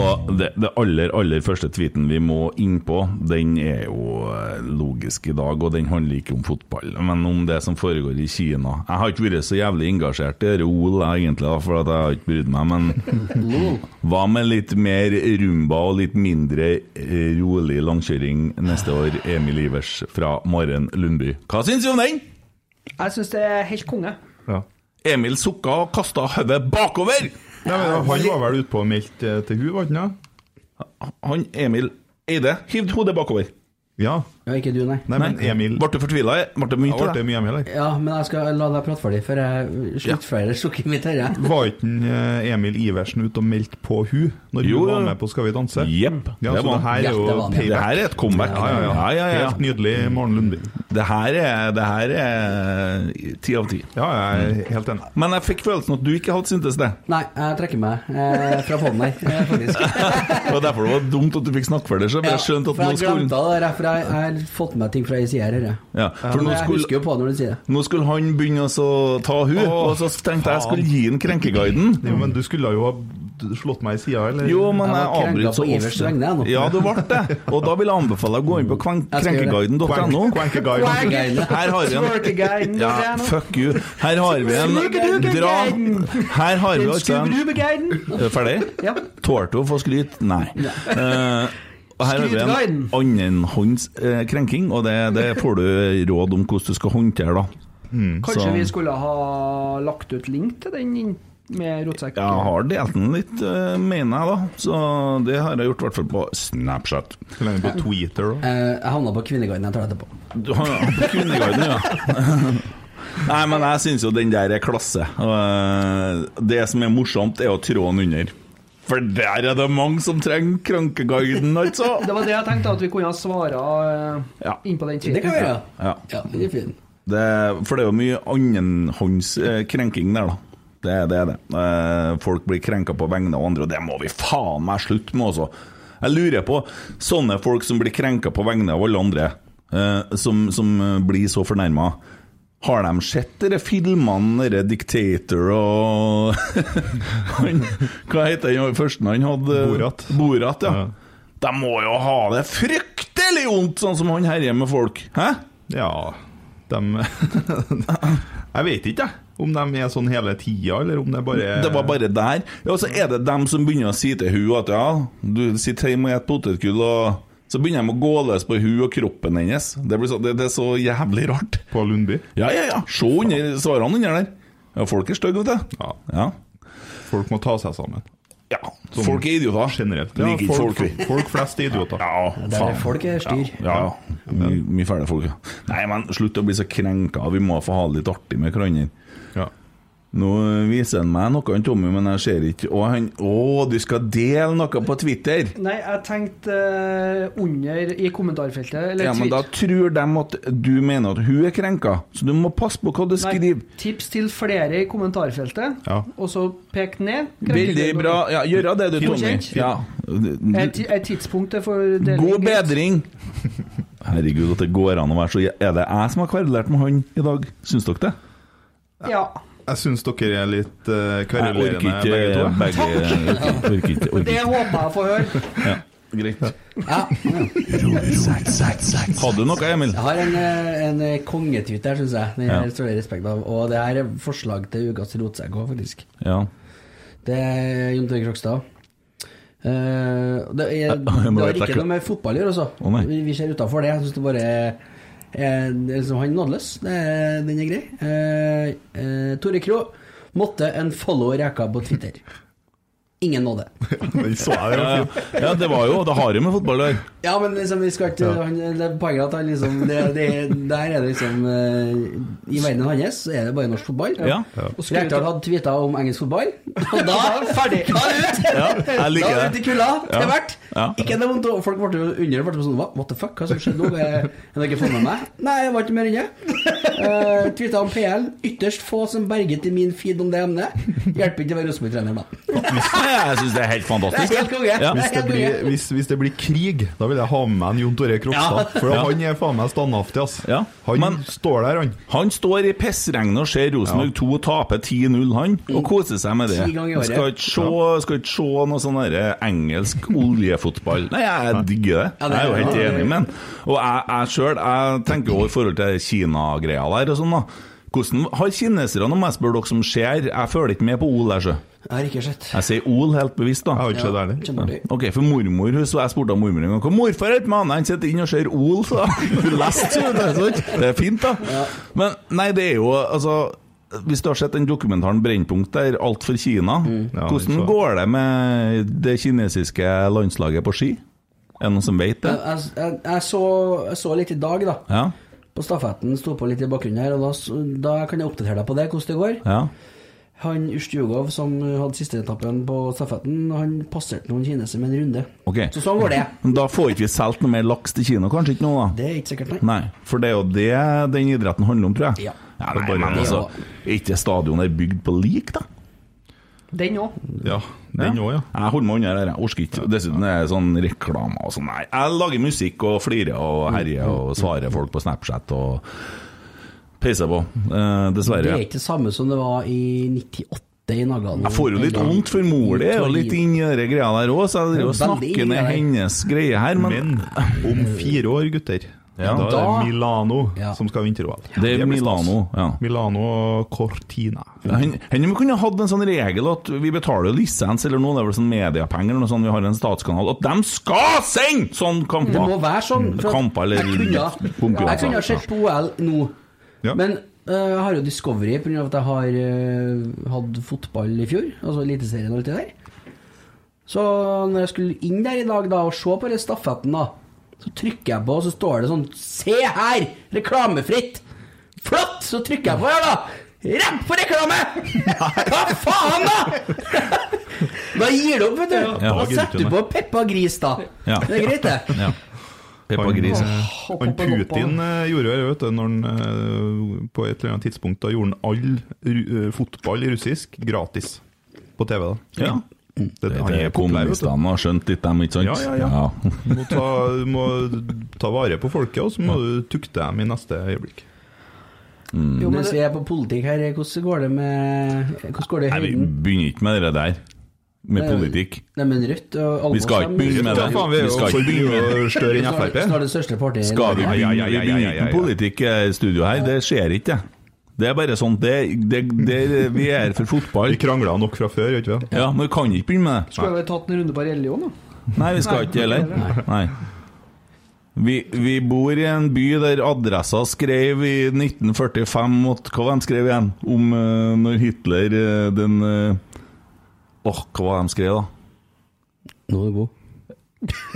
[SPEAKER 4] Og det, det aller, aller første tweeten vi må inn på, den er jo eh, logisk i dag, og den handler ikke om fotball, men om det som foregår i Kina. Jeg har ikke vært så jævlig engasjert i dette OL, jeg, egentlig, da, for at jeg har ikke brydd meg, men hva med litt mer rumba og litt mindre eh, rolig langkjøring neste år, Emil Ivers fra Maren Lundby? Hva syns du om den?
[SPEAKER 6] Jeg syns det er helt konge.
[SPEAKER 4] Emil sukka og kasta hodet bakover!
[SPEAKER 7] Nei, men Han var vel ute på og meldte eh, til hun, var han ikke?
[SPEAKER 4] Han Emil Eide hivde hodet bakover.
[SPEAKER 7] Ja.
[SPEAKER 5] Ja, ikke du, nei.
[SPEAKER 7] Nei, men Emil
[SPEAKER 4] Ble du fortvila? Ble det mye
[SPEAKER 7] Ja,
[SPEAKER 4] til
[SPEAKER 7] ble det
[SPEAKER 4] deg?
[SPEAKER 7] mye Emil her?
[SPEAKER 5] Ja, men jeg skal la deg prate ferdig før jeg sluttfører sukket mitt her. jeg.
[SPEAKER 7] Var ikke en, eh, Emil Iversen ute og meldte på hun når
[SPEAKER 4] Jo,
[SPEAKER 7] hun var
[SPEAKER 4] ja.
[SPEAKER 7] med på Skal vi danse?
[SPEAKER 4] Jepp.
[SPEAKER 7] Ja,
[SPEAKER 4] det,
[SPEAKER 7] så
[SPEAKER 4] var
[SPEAKER 7] det
[SPEAKER 4] han.
[SPEAKER 7] her
[SPEAKER 5] Mm. Ja,
[SPEAKER 7] er jo
[SPEAKER 5] det var han, ja.
[SPEAKER 4] det
[SPEAKER 7] payback.
[SPEAKER 4] her er et comeback.
[SPEAKER 7] Ja, ja, ja.
[SPEAKER 4] ja, Mm. ja.
[SPEAKER 7] Helt nydelig Maren Lundby.
[SPEAKER 4] Det her er, det her er eh, ti av ti.
[SPEAKER 7] Ja, jeg
[SPEAKER 4] Mm.
[SPEAKER 7] er helt enig.
[SPEAKER 4] Men jeg fikk følelsen at du ikke hadde syntes det.
[SPEAKER 5] Nei, jeg trekker meg eh, fra fond her, eh, faktisk.
[SPEAKER 4] Det var derfor det var dumt at du fikk snakke for deg selv. for Jeg skjønte at
[SPEAKER 5] for
[SPEAKER 4] nå
[SPEAKER 5] jeg glemte
[SPEAKER 4] skulle,
[SPEAKER 5] det der, for jeg jeg har fått med meg ting fra ei side her. her, jeg.
[SPEAKER 4] ja, for nå
[SPEAKER 5] Men jeg husker
[SPEAKER 4] skulle,
[SPEAKER 5] jo på det når du sier det.
[SPEAKER 4] nå skulle han begynne å så ta hun, og så tenkte jeg jeg skulle gi han krenkeguiden.
[SPEAKER 7] Jo, men du skulle jo ha slått meg i sida, eller?
[SPEAKER 4] Jo, men
[SPEAKER 5] Jeg
[SPEAKER 4] jeg
[SPEAKER 5] var krenka
[SPEAKER 4] avbryter så
[SPEAKER 5] på Ivers
[SPEAKER 4] ofte.
[SPEAKER 5] vegne, jeg nå.
[SPEAKER 4] Ja, du ble det. Og da vil jeg anbefale deg å gå inn på kren-
[SPEAKER 5] Jeg skal gjøre det.
[SPEAKER 4] krenkeguiden.no.
[SPEAKER 7] Krenkeguiden.
[SPEAKER 4] Her har vi en
[SPEAKER 6] Twerkeguiden,
[SPEAKER 4] ja,
[SPEAKER 6] Mariano.
[SPEAKER 4] Fuck you. Her har vi en dra Her har vi altså en
[SPEAKER 6] Skubrubegeiden!
[SPEAKER 4] Er du Ferdig?
[SPEAKER 6] Ja.
[SPEAKER 4] Tålte hun å få skryt? Nei. Eh, og her har vi en
[SPEAKER 6] Skrytguiden.
[SPEAKER 4] annenhånds eh, krenking, og det, det får du råd om hvordan du skal håndtere, da.
[SPEAKER 7] Hmm.
[SPEAKER 6] Kanskje
[SPEAKER 4] Så-
[SPEAKER 6] vi skulle ha lagt ut link til den inn- med rotsekk?
[SPEAKER 4] Jeg har delt den litt, eh, mener jeg, da. Så det har jeg gjort i hvert fall på Snapchat.
[SPEAKER 7] Skulle han på Twitter, da?
[SPEAKER 5] Eh, Jeg havna på Kvinneguiden, jeg tar det etterpå.
[SPEAKER 4] Du har ja, på Kvinneguiden, ja. Nei, men jeg syns jo den der er klasse. Og, eh, Det som er morsomt, er å trå den under. For der er det mange som trenger krankeguiden, altså!
[SPEAKER 6] Det var det jeg tenkte, at vi kunne ha svara eh,
[SPEAKER 4] Ja.
[SPEAKER 6] inn på den tweeten.
[SPEAKER 4] Det kan vi gjøre. Ja.
[SPEAKER 5] den er fin.
[SPEAKER 4] Det, for det er jo mye annenhånds eh, krenking der, da. Det, det er det. Eh, folk blir krenka på vegne av andre, og det må vi faen meg slutte med, altså. Jeg lurer på sånne folk som blir krenka på vegne av alle andre, eh, som, som eh, blir så fornærma. Har de sett dere filmene, dere Dictator og han, Hva heter han første han hadde? Borat. Borat, ja. De må jo ha det fryktelig vondt, sånn som han herjer med folk. Hæ?
[SPEAKER 7] Ja, de Jeg vet ikke, jeg. Om de er sånn hele tida, eller om det bare
[SPEAKER 4] Det var bare der. Ja, så er det dem som begynner å si til hun at ja, du sitter hjemme og spiser potetgull, og så begynner de å gå løs på hun og kroppen hennes. Det, blir så, det, det er så jævlig rart.
[SPEAKER 7] På Lundby?
[SPEAKER 4] Ja, ja, ja. Se under svarene under der. Ja, folk er stygge, vet du.
[SPEAKER 7] Ja.
[SPEAKER 4] Folk
[SPEAKER 7] må ta seg sammen.
[SPEAKER 4] Ja. folk er idioter.
[SPEAKER 7] Generelt.
[SPEAKER 4] Vi liker ikke folk,
[SPEAKER 7] folk,
[SPEAKER 4] vi.
[SPEAKER 7] folk flest er idioter.
[SPEAKER 4] Ja,
[SPEAKER 5] Der er folk er styr.
[SPEAKER 4] Ja, ja. Mye, mye fæle folk. ja. Nei, men slutt å bli så krenka. Vi må få ha det litt artig med hverandre. Nå viser han meg noe, han Tommy, men jeg ser ikke Å, han, å du skal dele noe på Twitter?
[SPEAKER 6] Nei, jeg tenkte eh, under i kommentarfeltet eller
[SPEAKER 4] Ja, men
[SPEAKER 6] tweet.
[SPEAKER 4] da tror de at du mener at hun er krenka, så du må passe på hva du
[SPEAKER 6] Nei,
[SPEAKER 4] skriver.
[SPEAKER 6] tips til flere i kommentarfeltet,
[SPEAKER 4] Ja.
[SPEAKER 6] og så pek ned.
[SPEAKER 4] Veldig bra. Ja, gjør det, du, Tommy.
[SPEAKER 6] Godkjent.
[SPEAKER 4] Ja.
[SPEAKER 6] Er, ti- er tidspunktet for deling
[SPEAKER 4] God
[SPEAKER 6] greit?
[SPEAKER 4] bedring! Herregud, at det går an å være så Er det jeg som har kverulert med han i dag? Syns dere det?
[SPEAKER 6] Ja.
[SPEAKER 7] Jeg syns dere er litt uh,
[SPEAKER 4] Jeg orker
[SPEAKER 7] kverulerende,
[SPEAKER 4] ikke begge-
[SPEAKER 7] to.
[SPEAKER 4] jeg orker ikke- orker ikke- orker
[SPEAKER 6] Det
[SPEAKER 4] ikke.
[SPEAKER 6] håper jeg å få høre.
[SPEAKER 4] Ja, greit. Hadde du noe, Emil?
[SPEAKER 5] Jeg har en, eh, en eh, kongetweet her, syns jeg. Den
[SPEAKER 4] Ja.
[SPEAKER 5] her står det respekt av. Og det her er forslag til ukas rotsekk òg, faktisk.
[SPEAKER 4] Ja.
[SPEAKER 5] Det er Jon Tore Krokstad. Eh, det, er, det
[SPEAKER 4] jeg må
[SPEAKER 5] har
[SPEAKER 4] bare
[SPEAKER 5] ikke
[SPEAKER 4] trekke-
[SPEAKER 5] noe med fotball å gjøre, altså.
[SPEAKER 4] Å, nei.
[SPEAKER 5] vi, vi ser utafor det. Jeg syns det bare er- er liksom, Han er nådeløs. Det er- Den er grei. Eh, eh, Tore Kro måtte en follow reka på Twitter. Ingen nåde.
[SPEAKER 4] Ja, ja. ja, det var jo Det har jo med fotball å gjøre.
[SPEAKER 5] Ja, men liksom, vi skal ikke
[SPEAKER 4] Ja.
[SPEAKER 5] han, Det er poenget at han liksom det, det, Der er det liksom eh, I verdenen hans så er det bare norsk fotball.
[SPEAKER 4] Ja. Ja.
[SPEAKER 5] Og Rekdal hadde tvitra om engelsk fotball, og da ferdig! Da er det ut!
[SPEAKER 4] Ja, jeg liker
[SPEAKER 5] da er
[SPEAKER 4] det.
[SPEAKER 5] det ut i kulda til
[SPEAKER 4] Ja.
[SPEAKER 5] hvert.
[SPEAKER 4] Ja.
[SPEAKER 5] Ikke noe vondt, og folk ble jo under ble sånn Hva what the fuck, hva som skjedde nå? Jeg har ikke fått med meg. Nei, jeg var ikke mer enn det. Uh, tvitra om PL. Ytterst få som berget i min feed om det emnet. Hjelper ikke å være Rosenborg-trener, da.
[SPEAKER 4] Jeg syns det er helt fantastisk.
[SPEAKER 5] Det er helt konge.
[SPEAKER 4] Ja.
[SPEAKER 5] Det
[SPEAKER 7] Hvis det, blir, hvis, hvis det blir krig, da vil jeg ha med meg en Jon Tore Krokstad.
[SPEAKER 4] Ja.
[SPEAKER 7] For
[SPEAKER 4] Ja.
[SPEAKER 7] han er faen meg standhaftig, ass. Han står der, han.
[SPEAKER 4] Han står i pissregnet og ser Rosenborg 2 tape 10-0, han, og koser seg med det.
[SPEAKER 7] Ti ganger i året.
[SPEAKER 4] Skal ikke se, skal ikke se noe sånn derre engelsk oljefotball. Nei, jeg digger det.
[SPEAKER 7] Ja, det
[SPEAKER 4] Jeg er jo
[SPEAKER 7] er-
[SPEAKER 4] helt
[SPEAKER 7] ja, det-
[SPEAKER 4] enig med han. Og jeg, jeg sjøl, jeg tenker jo i forhold til Kina-greia der og sånn, da. Hvordan har kineserne, om jeg spør dere som ser, jeg følger ikke med på OL der, sjø.
[SPEAKER 5] Jeg har ikke sett.
[SPEAKER 4] Jeg sier OL helt bevisst, da.
[SPEAKER 7] Jeg har ikke
[SPEAKER 5] sett det heller.
[SPEAKER 4] Ok, for mormor, hun- så jeg spurte om mormor en gang Hva morfar heter med han? Han sitter inn og ser OL, sa jeg. Hun leste, så vet du, sant? Det er fint, da. Men nei, det er jo altså Hvis du har sett den dokumentaren Brennpunkt der, alt for Kina,
[SPEAKER 7] Ja, den
[SPEAKER 4] hvordan
[SPEAKER 7] så jeg.
[SPEAKER 4] går det med det kinesiske landslaget på ski? Er det noen som vet det?
[SPEAKER 5] Jeg, jeg, jeg, så, jeg så litt i dag, da.
[SPEAKER 4] Ja?
[SPEAKER 5] På stafetten sto på litt i bakgrunnen her, og da, s- da kan jeg oppdatere deg på det, hvordan det går.
[SPEAKER 4] Ja?
[SPEAKER 5] Han Ustjugov, som hadde siste etappen på stafetten, han passerte noen kinesere med en runde.
[SPEAKER 4] Ok.
[SPEAKER 5] Så sånn går det.
[SPEAKER 4] Men da får ikke vi solgt noe mer laks til Kina, kanskje ikke nå, da?
[SPEAKER 5] Det er ikke sikkert, nei.
[SPEAKER 4] Nei, for det er jo det den idretten handler om, tror jeg.
[SPEAKER 5] Ja.
[SPEAKER 4] nei,
[SPEAKER 5] Det er
[SPEAKER 4] men
[SPEAKER 5] bare-
[SPEAKER 4] altså, er ikke stadion er bygd på lik, da?
[SPEAKER 6] Den òg.
[SPEAKER 7] Mm.
[SPEAKER 4] Ja, den òg, ja. Jeg holder meg unna det her, jeg orker ikke. Dessuten er det sånn reklame og sånn. Nei, jeg lager musikk og flirer og
[SPEAKER 5] Mm.
[SPEAKER 4] herjer og svarer folk på Snapchat og peiser på. Eh,
[SPEAKER 5] Det
[SPEAKER 4] dessverre.
[SPEAKER 5] er ikke det samme som det var i 98 i Nagano.
[SPEAKER 4] Jeg får jo litt vondt, for mor di er jo litt inni de greia der òg, så jeg driver og
[SPEAKER 5] Veldig
[SPEAKER 4] snakker
[SPEAKER 5] inni
[SPEAKER 4] ned
[SPEAKER 5] der.
[SPEAKER 4] hennes greie her, men
[SPEAKER 7] Men om fire år, gutter,
[SPEAKER 4] Ja.
[SPEAKER 7] da er
[SPEAKER 4] Da-
[SPEAKER 7] det Milano
[SPEAKER 5] Ja.
[SPEAKER 7] som skal ha vinter-OL.
[SPEAKER 4] det er
[SPEAKER 7] blir
[SPEAKER 4] Milano.
[SPEAKER 7] stas.
[SPEAKER 4] ja
[SPEAKER 7] Milano og Cortina.
[SPEAKER 4] Ja, hen- Hender vi kunne hatt en sånn regel at vi betaler jo lisens eller noe, det er vel sånn mediepenger eller noe sånt, vi har en statskanal, at de skal sende sånn kamper!
[SPEAKER 5] Det må være sånn.
[SPEAKER 4] Mm,
[SPEAKER 5] for at
[SPEAKER 4] Kamper eller altså.
[SPEAKER 5] jeg kunne,
[SPEAKER 4] konkurranser.
[SPEAKER 5] jeg kunne ha sett på OL nå,
[SPEAKER 4] Ja.
[SPEAKER 5] men øh, jeg har jo Discovery pga. at jeg har øh, hatt fotball i fjor, altså Eliteserien og alt det der. Så når jeg skulle inn der i dag da og se på den stafetten, da, så trykker jeg på, og så står det sånn Se her! Reklamefritt! Flott! Så trykker jeg på her, da! Rapp for reklame! Hva faen, da?! Da gir du opp, vet du.
[SPEAKER 11] Ja.
[SPEAKER 5] Og setter på Peppa Gris, da.
[SPEAKER 7] Ja.
[SPEAKER 5] Det er greit, det.
[SPEAKER 7] Ja.
[SPEAKER 11] Peppa Gris, ja.
[SPEAKER 7] Han Putin eh, gjorde jo det, vet du, når han eh, på et eller annet tidspunkt da gjorde han all ru- eh, fotball i russisk gratis på TV. da. Mm.
[SPEAKER 4] Ja.
[SPEAKER 7] Det, han
[SPEAKER 4] Det
[SPEAKER 7] er
[SPEAKER 4] er
[SPEAKER 7] populær, vet du.
[SPEAKER 4] kommunistene har skjønt litt, dem, ikke sant?
[SPEAKER 7] Ja, ja, ja. Du må ta, du må ta vare på folket, og så må du tukte dem i neste øyeblikk.
[SPEAKER 5] Jo, Mens vi er på politikk her, hvordan går det med Hvordan går det i
[SPEAKER 4] Nei, vi
[SPEAKER 5] høyden?
[SPEAKER 4] begynner ikke med det der. Med politikk.
[SPEAKER 5] Nei, men Rødt og Alvor
[SPEAKER 4] Vi skal ikke begynne med det. Vi skal ikke begynne med det.
[SPEAKER 5] Snart det største partiet. i
[SPEAKER 4] Skal vi
[SPEAKER 5] Norge.
[SPEAKER 4] begynne vi begynner ikke med politikk i studio her? Det skjer ikke, det. Det er bare sånn det, det, det, Vi er her for fotball. Vi
[SPEAKER 7] krangla nok fra før, gjør vi ikke
[SPEAKER 4] Ja, men vi kan ikke begynne med det.
[SPEAKER 6] Skulle vi tatt en runde på religion, da?
[SPEAKER 4] Nei, vi skal ikke heller. Nei. Vi, vi bor i en by der adressa skrev i 1945 mot, Hva var de skrev igjen? Om eh, når Hitler eh, den eh, Åh, hva var de skrev, da?
[SPEAKER 5] Nå er du god.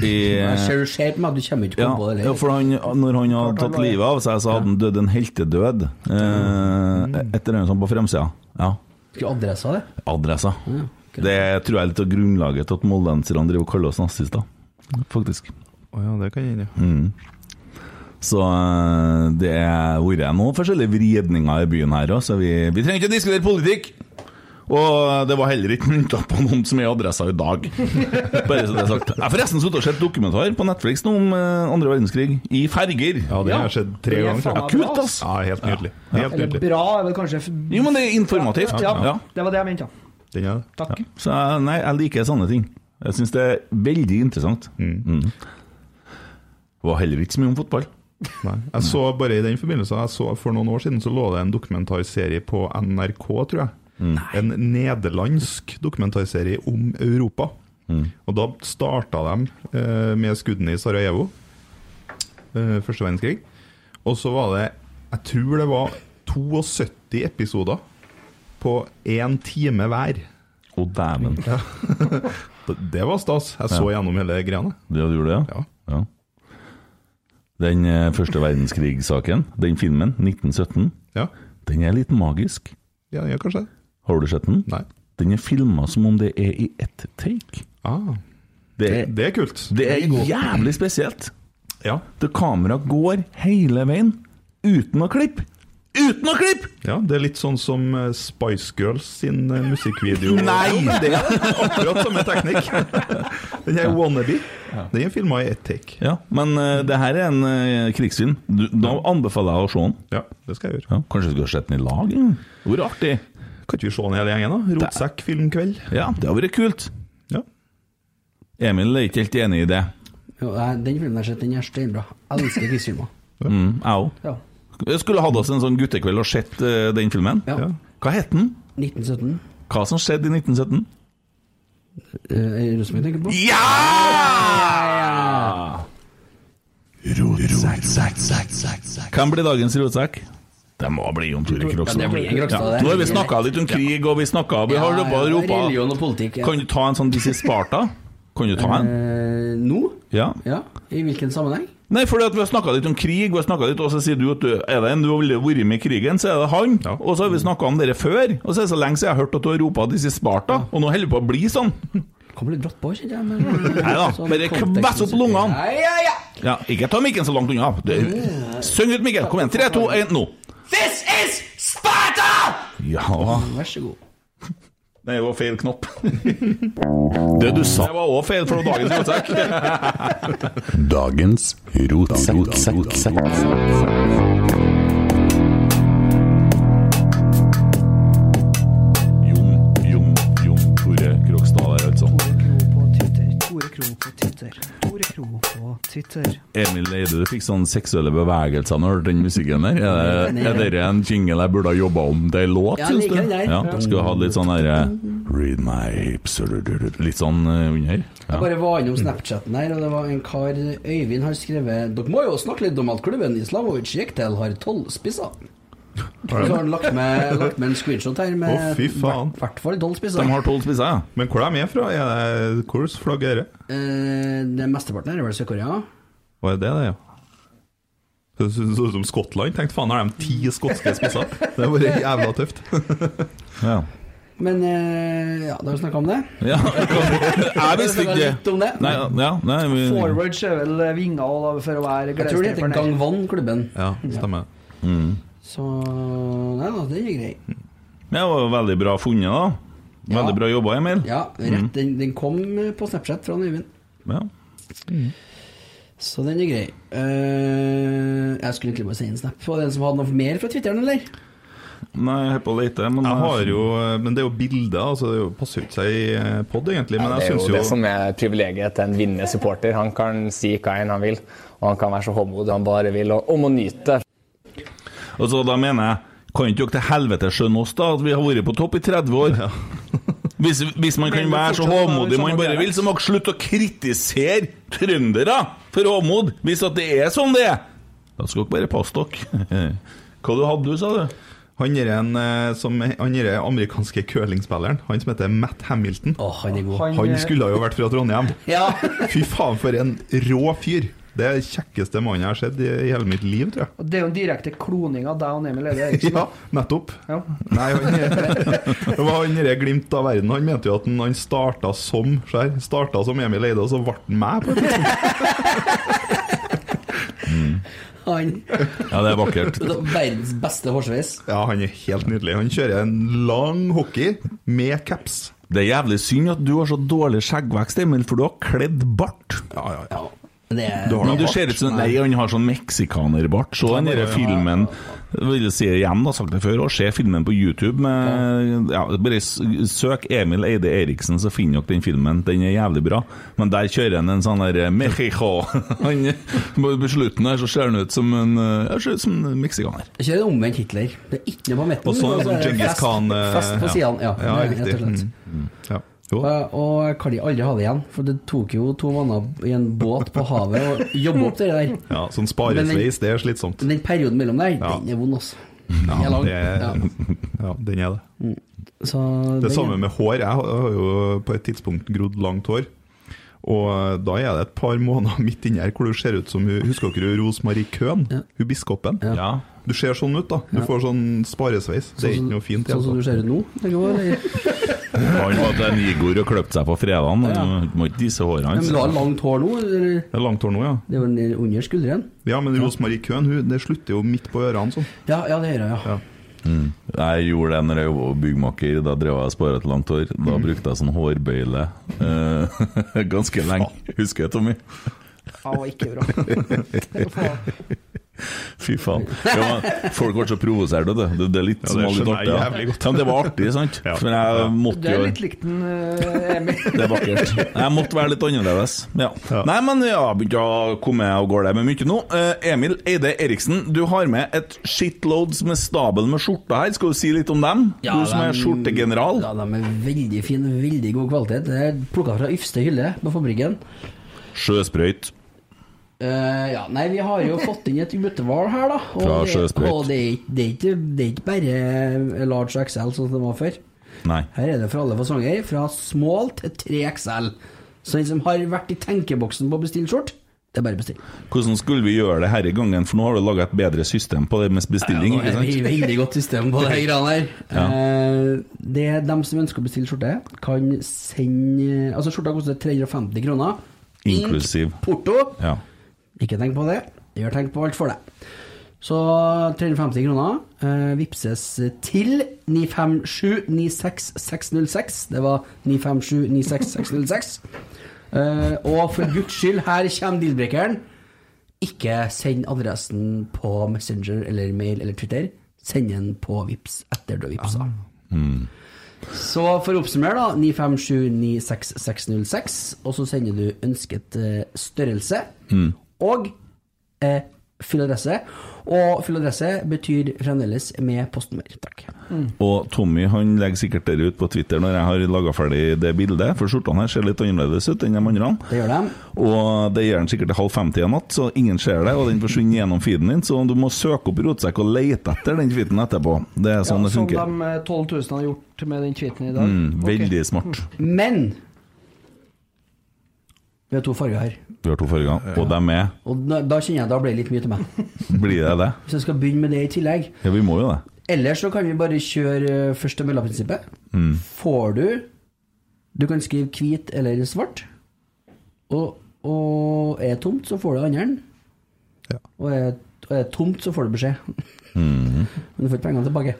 [SPEAKER 4] I,
[SPEAKER 5] Jeg
[SPEAKER 4] eh,
[SPEAKER 5] ser du ser på meg, du kommer ikke på
[SPEAKER 4] ja,
[SPEAKER 5] på det.
[SPEAKER 4] ja,
[SPEAKER 5] eller?
[SPEAKER 4] for han, når han hadde
[SPEAKER 5] Klart han
[SPEAKER 4] tatt
[SPEAKER 5] var det.
[SPEAKER 4] livet av seg, så hadde han dødd en heltedød. Eh,
[SPEAKER 5] Mm.
[SPEAKER 4] etter den som på fremsida. Ja.
[SPEAKER 5] Skulle adressa det?
[SPEAKER 4] Adressa. Det tror jeg er litt av grunnlaget til at moldenserne driver og kaller oss nazister, faktisk.
[SPEAKER 7] Å ja, det kan hende.
[SPEAKER 4] Mm. Så eh, det har vært noen forskjellige vridninger i byen her òg, så vi, vi trenger ikke å diskutere politikk! Og det var heller ikke mynta på noen som er i adressa i dag. Bare så det er sagt. Jeg har forresten sittet og sett dokumentar på Netflix nå om eh, andre verdenskrig, i ferger. Ja,
[SPEAKER 7] det har jeg sett tre
[SPEAKER 6] Det er ganger,
[SPEAKER 4] Ja,
[SPEAKER 6] faen meg
[SPEAKER 4] kult,
[SPEAKER 6] bra,
[SPEAKER 4] ass!
[SPEAKER 7] Ja, helt nydelig. Helt
[SPEAKER 6] Eller
[SPEAKER 7] nydelig.
[SPEAKER 6] bra er vel kanskje
[SPEAKER 4] Jo, men det er informativt.
[SPEAKER 6] Ja,
[SPEAKER 4] Ja.
[SPEAKER 6] det var det jeg mente, ja.
[SPEAKER 7] Den er det.
[SPEAKER 6] Takk.
[SPEAKER 4] Så jeg- nei, jeg liker sånne ting. Jeg syns det er veldig interessant. Mm. Var heller ikke så mye om fotball.
[SPEAKER 7] Nei. Jeg så bare i den forbindelse jeg så For noen år siden så lå det en dokumentarserie på NRK, tror jeg. En nederlandsk dokumentarserie om Europa. Og da starta de eh, med skuddene i Sarajevo, eh, første verdenskrig. Og så var det Jeg tror det var 72 episoder på én time hver.
[SPEAKER 4] Å, dæven.
[SPEAKER 7] Ja. det var stas. Jeg så gjennom hele greia.
[SPEAKER 4] Det du gjorde, ja? ja. Den eh, første verdenskrigssaken, den filmen, 1917,
[SPEAKER 7] Ja.
[SPEAKER 4] den er litt magisk.
[SPEAKER 7] Ja, ja, kanskje det.
[SPEAKER 4] Har du sett den?
[SPEAKER 7] Nei.
[SPEAKER 4] Den er filma som om det er i ett take.
[SPEAKER 7] Ah.
[SPEAKER 4] Det,
[SPEAKER 7] det er kult.
[SPEAKER 4] Det er jævlig spesielt. Det kameraet går hele veien uten å klippe. Uten å klippe!
[SPEAKER 7] Ja, det er litt sånn som eh, Spice Girls sin eh, musikkvideo.
[SPEAKER 4] Nei!
[SPEAKER 7] Det er akkurat samme teknikk. Den her Wannabe, den er filma i ett take.
[SPEAKER 4] Ja, men eh, det her er en eh, krigsfilm. Du, da anbefaler jeg å se den.
[SPEAKER 7] Ja, det skal jeg gjøre.
[SPEAKER 4] Ja, kanskje vi skulle sett den i lag? eller? Hvor artig!
[SPEAKER 7] Kan ikke vi se den hele gjengen, da? Rotsekk filmkveld.
[SPEAKER 4] Ja, det har vært kult.
[SPEAKER 7] Ja.
[SPEAKER 4] Emil er ikke helt enig i det.
[SPEAKER 5] Jo, nei, den filmen jeg har sett, den er steinbra. Jeg elsker krigsfilmer.
[SPEAKER 4] Mm, jeg òg.
[SPEAKER 5] Ja.
[SPEAKER 4] Jeg skulle hatt oss en sånn guttekveld og sett eh, den filmen.
[SPEAKER 5] Ja.
[SPEAKER 4] Hva het den?
[SPEAKER 5] 1917.
[SPEAKER 4] Hva som skjedde i 1917?
[SPEAKER 5] Eh, Er det noe som jeg tenker på?
[SPEAKER 4] Hvem blir dagens rotsekk? Det må bli Jon Tore Krokstad.
[SPEAKER 5] Ja, det blir en Krokstad, det.
[SPEAKER 4] Nå har vi snakka litt om krig, og vi snakka Vi har ropa og ropa.
[SPEAKER 5] Religion og politikk. ja.
[SPEAKER 4] Kan du ta en sånn This is Sparta? Kan du ta en?
[SPEAKER 5] Eh, nå?
[SPEAKER 4] Ja.
[SPEAKER 5] Ja. I hvilken sammenheng?
[SPEAKER 4] Nei, fordi at vi har snakka litt om krig, vi har snakket litt, og så sier du at du, er det en du har vært med i krigen, så er det han. Og så har vi snakka om dere før, og så er det så lenge siden jeg har hørt at du har ropa 'This is Sparta', og nå holder det på å bli sånn.
[SPEAKER 5] Kommer litt brått på, kjenner jeg. Men,
[SPEAKER 4] Nei da,
[SPEAKER 5] Sånn
[SPEAKER 4] bare
[SPEAKER 5] kontekst-
[SPEAKER 4] kvass opp lungene.
[SPEAKER 5] Nei, ja, ja.
[SPEAKER 4] Ja, ikke ta mikken så langt unna. Det- Syng ut, Mikkel. Kom igjen. Tre, to, én, nå.
[SPEAKER 5] This is Sparta!
[SPEAKER 4] Ja.
[SPEAKER 5] Vær så god.
[SPEAKER 4] Nei, det var feil knopp. Det du sa Det var òg feil for dagens rotsekk.
[SPEAKER 12] Dagens rotsekk.
[SPEAKER 4] Jon, Jon Tore Krokstad der, altså.
[SPEAKER 6] Tore Kro på Twitter. Tore Kro på Twitter.
[SPEAKER 4] Emil Eide, du fikk sånne seksuelle bevegelser når du hørte den musikken der. Er det- Er dette en jingle jeg burde ha jobba om til en låt?
[SPEAKER 5] Ja,
[SPEAKER 4] synes
[SPEAKER 5] liker
[SPEAKER 4] du?
[SPEAKER 5] den der.
[SPEAKER 4] Ja,
[SPEAKER 5] Ja.
[SPEAKER 4] skulle ha litt sånn derre Read my hips eller du- du- du- Litt sånn eh, under.
[SPEAKER 5] Jeg bare var innom Snapchaten her, og det var en kar Øyvind har skrevet Dere må jo snakke litt om at klubben i Slavovic Jektel har tolv spisser. Og Så har han lagt med, lagt med en screenshot her med
[SPEAKER 7] Å, fy faen.
[SPEAKER 5] hvert- hvert fall tolv spisser.
[SPEAKER 4] De har tolv spisser, ja.
[SPEAKER 7] Men hvor er de fra? Er det Hvordan flagg er det?
[SPEAKER 5] Eh, det mesteparten her er vel Sør-Korea.
[SPEAKER 7] Hva er det, det, ja? Det så så ut som Skottland. Tenkte faen, har de ti skotske spisser? Det var jævla tøft.
[SPEAKER 4] Ja.
[SPEAKER 5] Men eh, ja, da har vi snakka om det.
[SPEAKER 4] Ja, jeg visste ikke
[SPEAKER 5] Litt om det.
[SPEAKER 4] Nei, ja, nei, vi,
[SPEAKER 6] Forwards er vel eh, vinger og da for å være
[SPEAKER 5] Jeg tror det heter Gangwon, klubben.
[SPEAKER 7] Ja, stemmer.
[SPEAKER 4] Mm.
[SPEAKER 5] Så Nei da, den er grei.
[SPEAKER 4] Men Det var jo veldig bra funnet, da. Veldig bra jobba, Emil.
[SPEAKER 5] Ja,
[SPEAKER 4] Mm.
[SPEAKER 5] rett, den, den kom på Snapchat fra Øyvind.
[SPEAKER 4] Ja.
[SPEAKER 5] Så den er grei. Eh, jeg skulle egentlig bare sende en snap. Var det en som hadde noe mer fra Twitteren, eller?
[SPEAKER 4] Nei, jeg holder på å lete, men
[SPEAKER 7] Jeg har jo, eh, men det er jo bilder, altså det er jo- passer jo ikke seg i pod egentlig. Men
[SPEAKER 11] Ja,
[SPEAKER 7] jeg
[SPEAKER 11] det er
[SPEAKER 7] syns
[SPEAKER 11] jo
[SPEAKER 7] jo
[SPEAKER 11] det som er privilegiet til en vinnende supporter. Han kan si hva enn han vil, og han kan være så håndmodig han bare vil, og, og må nyte det.
[SPEAKER 4] Og så da mener jeg Kan ikke dere til helvete skjønne oss, da? At vi har vært på topp i 30 år? Hvis, hvis man kan
[SPEAKER 7] Men
[SPEAKER 4] være så
[SPEAKER 7] fortsatt er sånn det
[SPEAKER 4] håmodig man
[SPEAKER 7] samme
[SPEAKER 4] bare
[SPEAKER 7] greia.
[SPEAKER 4] vil, så må dere slutte å kritisere trøndere for håmod, hvis at det er sånn det er! Da skal dere bare passe dere. Hva du hadde du, sa du?
[SPEAKER 7] Han er en eh, som Han er den amerikanske curlingspilleren. Han som heter Matt Hamilton.
[SPEAKER 5] han,
[SPEAKER 7] han,
[SPEAKER 5] Han er-
[SPEAKER 7] skulle jo vært fra Trondheim.
[SPEAKER 5] Ja.
[SPEAKER 7] Fy faen, for en rå fyr! Det er den kjekkeste mannen jeg har sett i i hele mitt liv, tror jeg.
[SPEAKER 6] Og Det er jo en direkte kloning av deg og Emil Eide Eriksen.
[SPEAKER 7] Ja, nettopp.
[SPEAKER 6] Ja.
[SPEAKER 7] Nei, han Det var han derre glimt av verden. Han mente jo at han, han starta som skjær. Starta som Emil Eide, og så ble han meg. på et tidspunkt.
[SPEAKER 5] Han.
[SPEAKER 4] Ja, det er vakkert.
[SPEAKER 5] Verdens beste hårsveis.
[SPEAKER 7] Ja, han er helt nydelig. Han kjører en lang hockey med caps.
[SPEAKER 4] Det er jævlig synd at du har så dårlig skjeggvekst, Emil, for du har kledd bart.
[SPEAKER 7] Ja, ja, ja.
[SPEAKER 5] Det er
[SPEAKER 4] Du men du ser ut som Nei, han har sånn meksikanerbart. Så den derre filmen jeg vil si det igjen, jeg har sagt det før, og se filmen på YouTube med ja, Bare s- søk Emil Eide Eriksen, så finner dere den filmen. Den er jævlig bra. Men der kjører han en sånn der Mexico. Han, på slutten her så ser han ut som en eh, ja, ser ut som en meksikaner.
[SPEAKER 5] Jeg kjører omvendt Hitler. Det er ikke noe på midten.
[SPEAKER 4] Og så er det sånn
[SPEAKER 5] er det
[SPEAKER 4] Genghis
[SPEAKER 5] fest-
[SPEAKER 4] Khan, eh,
[SPEAKER 5] Fest på
[SPEAKER 4] ja.
[SPEAKER 5] sidene, ja.
[SPEAKER 4] Ja,
[SPEAKER 5] Det er
[SPEAKER 4] riktig. Mm.
[SPEAKER 5] Rett og
[SPEAKER 7] Mm.
[SPEAKER 5] slett. Eh, Og jeg kan de aldri ha det igjen, for det tok jo to måneder i en båt på havet å jobbe opp det der.
[SPEAKER 7] Ja, sånn
[SPEAKER 5] Men
[SPEAKER 7] sparesveis,
[SPEAKER 5] den-
[SPEAKER 7] det er slitsomt.
[SPEAKER 5] Men den perioden mellom der, den er vond, altså. Den er
[SPEAKER 7] Ja,
[SPEAKER 5] lang.
[SPEAKER 7] det,
[SPEAKER 5] Ja.
[SPEAKER 7] ja, den er det.
[SPEAKER 5] Så
[SPEAKER 7] Det
[SPEAKER 5] den-
[SPEAKER 7] samme med hår. Jeg har- har jo på et tidspunkt grodd langt hår. Og eh, da er det et par måneder midt inni her hvor du ser ut som hun- Husker dere hun Rosemarie Køhn? Hun biskopen? Du ser sånn ut, da. Du
[SPEAKER 5] Ja.
[SPEAKER 7] får sånn sparesveis. Det er ikke noe fint. altså.
[SPEAKER 5] Sånn som du
[SPEAKER 7] i hele tatt.
[SPEAKER 5] ser ut nå? Det går, eller?
[SPEAKER 4] Han var til en Igor og kløpte seg på fredagen. Du Må ikke disse hårene
[SPEAKER 5] Men
[SPEAKER 4] hans.
[SPEAKER 5] du har langt hår nå? Eller?
[SPEAKER 7] Det er langt hår nå, ja.
[SPEAKER 5] Det er vel ned under skulderen?
[SPEAKER 7] Ja, men Rosemarie Køhn hun, det slutter jo midt på ørene sånn.
[SPEAKER 5] Ja, ja, det gjør jeg, ja.
[SPEAKER 4] Mm. Jeg gjorde det når jeg jobba byggmaker. Da drev jeg og spara et langt hår. Da
[SPEAKER 7] Mhm.
[SPEAKER 4] brukte jeg sånn hårbøyle eh, ganske lenge. Husker jeg, Tommy?
[SPEAKER 6] Ja, og ikke bra.
[SPEAKER 4] Fy faen. Det var, folk ble så provosert av det. Det det er litt
[SPEAKER 7] Ja,
[SPEAKER 4] som
[SPEAKER 7] det
[SPEAKER 4] var litt
[SPEAKER 7] skjønner jeg
[SPEAKER 4] artig. Ja.
[SPEAKER 7] jævlig godt.
[SPEAKER 4] Ja, men det var artig, sant? For jeg
[SPEAKER 6] Du
[SPEAKER 4] måtte
[SPEAKER 6] er
[SPEAKER 4] jo
[SPEAKER 6] litt likt den eh, Emil.
[SPEAKER 4] Det er vakkert. Jeg måtte være litt annerledes. Ja. Nei, men ja, begynte å komme og går det med mye nå. Eh, Emil Eide Eriksen, du har med et shitload som er stabel med skjorter her. Skal du si litt om dem? du som er
[SPEAKER 5] dem-
[SPEAKER 4] skjortegeneral.
[SPEAKER 5] Ja, de er veldig fine, veldig god kvalitet. Det er plukka fra ypperste hylle på fabrikken.
[SPEAKER 4] Sjøsprøyt.
[SPEAKER 5] Eh, ja, nei, vi har jo fått inn et utvalg her, da.
[SPEAKER 4] Fra
[SPEAKER 5] Og, det,
[SPEAKER 4] Sjøsprøyt.
[SPEAKER 5] og det, er ikke- det, er ikke, det er ikke bare large og XL sånn som det var før.
[SPEAKER 4] Nei.
[SPEAKER 5] Her er det for alle fasonger, fra small til 3XL. Så den som har vært i tenkeboksen på å bestille skjort, det er bare å bestille.
[SPEAKER 4] Hvordan skulle vi gjøre det her i gangen, for nå har du laga et bedre system på det med bestilling?
[SPEAKER 5] Ja,
[SPEAKER 4] ikke
[SPEAKER 5] nå er vi i
[SPEAKER 4] sant?
[SPEAKER 5] veldig godt system på de greiene her.
[SPEAKER 4] Ja.
[SPEAKER 5] Eh, Det er dem som ønsker å bestille skjorte, kan sende Altså, skjorta koster 350 kroner.
[SPEAKER 4] Inklusiv.
[SPEAKER 5] Porto.
[SPEAKER 4] Ja.
[SPEAKER 5] Ikke tenk på det. Gjør tenk på alt for deg. Så 350 kroner eh, vipses til 957-96606. Det var 957-96606. Eh, og for guds skyld, her kommer dealbreakeren. Ikke send adressen på Messenger eller mail eller Twitter. Send den på Vips etter du har vipsa.
[SPEAKER 4] Mm.
[SPEAKER 5] Så for å oppsummere, da. 957-96606. Og så sender du ønsket eh, størrelse
[SPEAKER 4] Mm.
[SPEAKER 5] og eh, fyll adresse. Og fyll adresse betyr fremdeles med postnummer. Takk.
[SPEAKER 4] Og Tommy han legger sikkert det ut på Twitter når jeg har laga ferdig det bildet, for skjortene her ser litt annerledes ut enn de andre.
[SPEAKER 5] Det gjør de.
[SPEAKER 4] Og det gjør den sikkert til halv femti i natt, så ingen ser det, og den forsvinner gjennom feeden din, så du må søke opp rotsekk og lete etter den feeden etterpå. Det er sånn
[SPEAKER 6] ja,
[SPEAKER 4] det
[SPEAKER 6] som
[SPEAKER 4] funker.
[SPEAKER 6] de eh, 12 000 har gjort med den tweeten i dag.
[SPEAKER 4] Mm, veldig smart.
[SPEAKER 5] Men Vi har to farger her.
[SPEAKER 4] Vi har to forrige gang, og dem er
[SPEAKER 5] Og da, da kjenner jeg da ble det litt mye til meg.
[SPEAKER 4] Blir det det?
[SPEAKER 5] Hvis jeg skal begynne med det i tillegg.
[SPEAKER 4] Ja, vi må jo det.
[SPEAKER 5] Ellers så kan vi bare kjøre eh, første mellomprinsippet.
[SPEAKER 4] Mm.
[SPEAKER 5] Får du Du kan skrive hvit eller svart. Og, og er det tomt, så får du andre. Og er og er det tomt, så får du beskjed.
[SPEAKER 4] Mhm.
[SPEAKER 5] Men du får ikke pengene tilbake.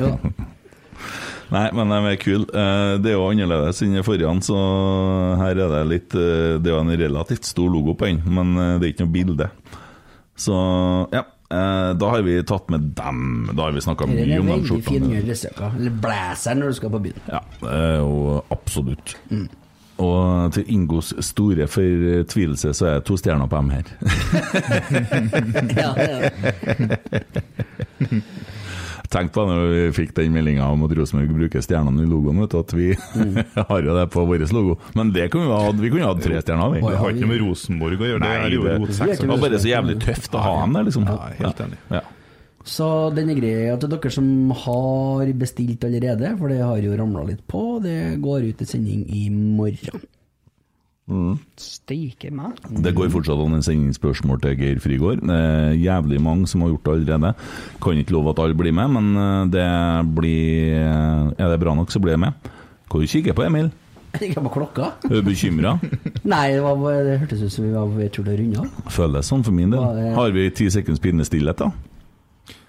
[SPEAKER 5] Jo da.
[SPEAKER 4] Nei, men de er kule. Eh, Det er jo annerledes enn det forrige, så her er det litt eh, Det er jo en relativt stor logo på den, men eh, det er ikke noe bilde. Så ja. eh, Da har vi tatt med dem. Da har vi snakka
[SPEAKER 5] Den
[SPEAKER 4] mye
[SPEAKER 5] er
[SPEAKER 4] om de
[SPEAKER 5] veldig fin
[SPEAKER 4] skjortene.
[SPEAKER 5] mjølnesøka. Eller blæser når du skal på byen.
[SPEAKER 4] Ja, det er jo absolutt. Og til Ingos store fortvilelse så er det to stjerner på dem her.
[SPEAKER 5] ja,
[SPEAKER 4] Tenk på det når vi fikk den meldinga om at Rosenborg bruker stjernene i logoen, vet du, at vi har jo det på vår logo. Men det kunne vi hatt. Vi kunne hatt tre stjerner, vi.
[SPEAKER 7] Det har ikke noe med Rosenborg å gjøre, det er jo
[SPEAKER 4] det-
[SPEAKER 7] rotsekk,
[SPEAKER 4] Det var bare så jævlig tøft å ha dem der, liksom.
[SPEAKER 7] Ja, helt enig.
[SPEAKER 4] Ja.
[SPEAKER 5] Så den er grei at det er dere som har bestilt allerede, for det har jo ramla litt på, det går ut til sending i morgen.
[SPEAKER 4] Mm.
[SPEAKER 6] Steike meg.
[SPEAKER 4] Det går fortsatt an å sende inn spørsmål til Geir Frigård. Det er jævlig mange som har gjort det allerede. Kan ikke love at alle blir med, men eh, det blir eh, Er det bra nok, så blir jeg med. Hva du kikker på, Emil?
[SPEAKER 5] Ikke på klokka?
[SPEAKER 4] Er du bekymra?
[SPEAKER 5] Nei, det, var, bare- det hørtes ut som vi var på vei til å runde av.
[SPEAKER 4] Føles sånn for min del.
[SPEAKER 5] Hva er-
[SPEAKER 4] Har vi ti sekunds pinnestillhet, da?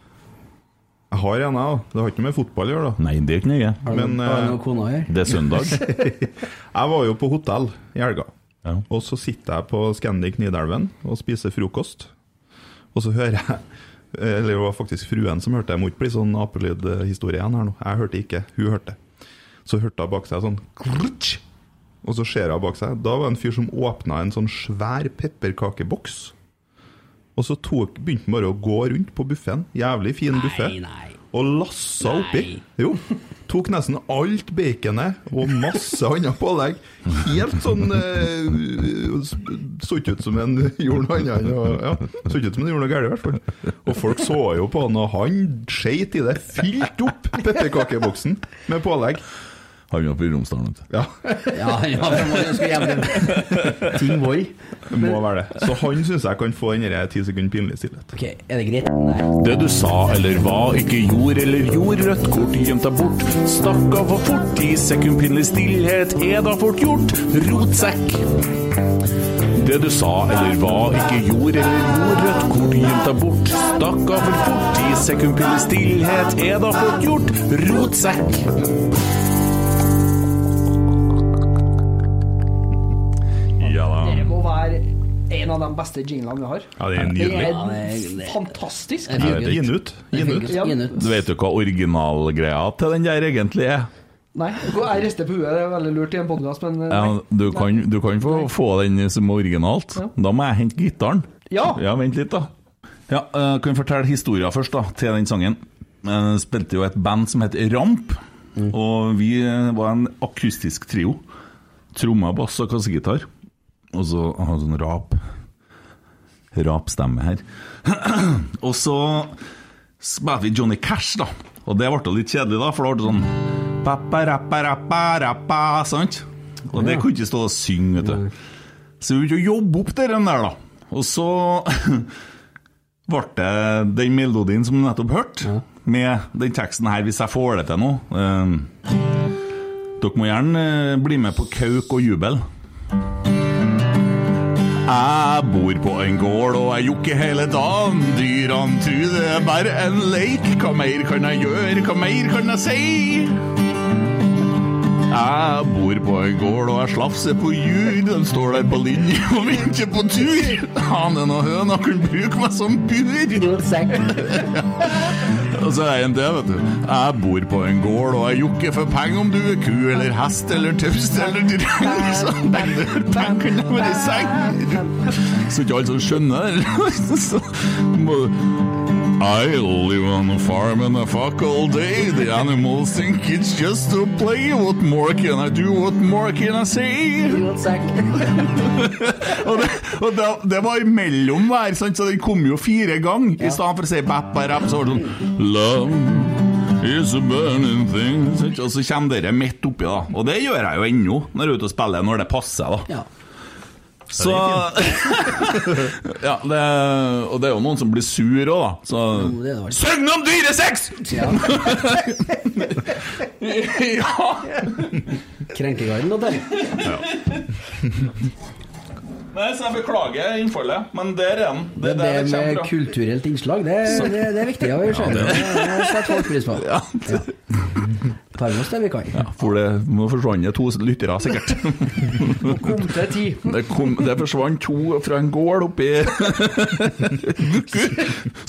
[SPEAKER 7] Jeg har en, jeg òg. Det har ikke noe med fotball å gjøre, da. eh,
[SPEAKER 4] Nei, det er ikke nøye.
[SPEAKER 5] Har det- har det noe kona gjør?
[SPEAKER 4] Det er søndag.
[SPEAKER 7] jeg var jo på hotell i helga. Og så sitter jeg på Scandic Nidelven og spiser frokost. Og så hører jeg Eller det var faktisk fruen som hørte. Jeg må ikke bli sånn apelydhistorie igjen her nå. Jeg hørte ikke, hun hørte. Så hørte hun bak seg sånn klutsk, Og så ser hun bak seg. Da var det en fyr som åpna en sånn svær pepperkakeboks. Og så tok, begynte han bare å gå rundt på buffeen. Jævlig fin buffé. Og lassa oppi. Jo. Tok nesten alt baconet og masse annet pålegg. Helt sånn eh, s- Så ikke ut som en gjorde noe annet enn å- ja, Så ikke ut som en gjorde noe galt, i hvert fall. Og folk så jo på han, og han skeit i det. Fylte opp pepperkakeboksen med pålegg.
[SPEAKER 4] Han var på Romsdalen, vet
[SPEAKER 7] Ja.
[SPEAKER 5] Ja, ja, for må ønske hjem Ting var
[SPEAKER 7] Må være det. Så han syns jeg kan få den der ti sekunder pinlig stillhet.
[SPEAKER 5] Ok, er det greit?
[SPEAKER 4] Det du sa eller hva ikke gjorde eller gjorde, rødt kort gjemt deg bort. Stakk av for fort, ti sekund pinlig stillhet er da fort gjort. Rotsekk. Det du sa eller hva ikke gjorde eller gjorde, rødt kort gjemt deg bort. Stakk av for fort, ti sekund pinlig stillhet er da fort gjort. Rotsekk. Ja
[SPEAKER 6] Det må være en av de beste jinglene vi har.
[SPEAKER 4] Ja, det er nydelig. Ja, det
[SPEAKER 6] er fantastisk.
[SPEAKER 4] Jeg vet ikke.
[SPEAKER 6] Gi den ut. Ja.
[SPEAKER 4] Du vet jo hva originalgreia til den der egentlig er?
[SPEAKER 6] Nei, jeg rister på huet, det er veldig lurt i en podcast, men eh,
[SPEAKER 4] Ja, du kan, du kan få, få den som originalt. Da må jeg hente gitaren.
[SPEAKER 6] Ja.
[SPEAKER 4] Vent litt, da. Ja, eh, Kan jeg fortelle historien først da, til den sangen. Jeg spilte jo et band som het Ramp, og vi eh, var en akustisk trio. Trommer, bass og kassegitar. Og så hadde sånn rap Rapstemme her. og så spilte vi Johnny Cash, da. Og det ble jo litt kjedelig, da, for det ble sånn Pappa-rappa-rappa-rappa, sant? Og det kunne ikke stå og synge, vet du. Så vi begynte å jobbe opp det den der, da. Og så ble det den melodien som du nettopp hørte, med den teksten her, hvis jeg får det til nå. Eh, dere må gjerne eh, bli med på Kauk og jubel. Jeg bor på en gård og jeg jokker hele dagen. Dyrene tror det er bare en leik. Hva mer kan jeg gjøre, hva mer kan jeg si? Jeg bor på en gård og jeg slafser på jur. De står der på linje og venter på tur. Hanen og høna kan bruke meg som bur. Og så er en det, vet du. Jeg bor på en gård og jeg jokker for penger om du er ku eller hest eller taust eller dreng. Så lenge du har penger, kan jeg være i seng. Så ikke alle som skjønner det. Så må du- I live on a farm and I fuck all day. The animals think it's just a play. What more can I do? What more can I say? og det, og det, det var imellom hver, sant? så den kom jo fire ganger. I stedet for å si bappa-rapp, så var det sånn Love is a burning thing. sant? Og så kommer dere midt oppi, da. Og det gjør jeg jo ennå, når jeg er ute og spiller, når det passer. da Så Ja, det, og det er jo noen som blir sur òg, da. Så Søgn om dyresex!
[SPEAKER 5] Ja.
[SPEAKER 4] ja!
[SPEAKER 5] Krenkegarden og den.
[SPEAKER 4] Nei, så jeg beklager innfallet, men der er den.
[SPEAKER 5] Det,
[SPEAKER 4] er der det kommer
[SPEAKER 5] med
[SPEAKER 4] fra.
[SPEAKER 5] kulturelt innslag, det,
[SPEAKER 4] Så-
[SPEAKER 5] det, det er viktig. Ja, vi
[SPEAKER 4] Ja,
[SPEAKER 5] skjønner.
[SPEAKER 4] det-
[SPEAKER 5] det det setter folk pris på. Ja. Tar med oss det vi kan.
[SPEAKER 4] Ja, for det nå forsvant det to lyttere, sikkert.
[SPEAKER 5] Kom til ti.
[SPEAKER 4] Det, kom, det forsvant to fra en gård oppi Vuku,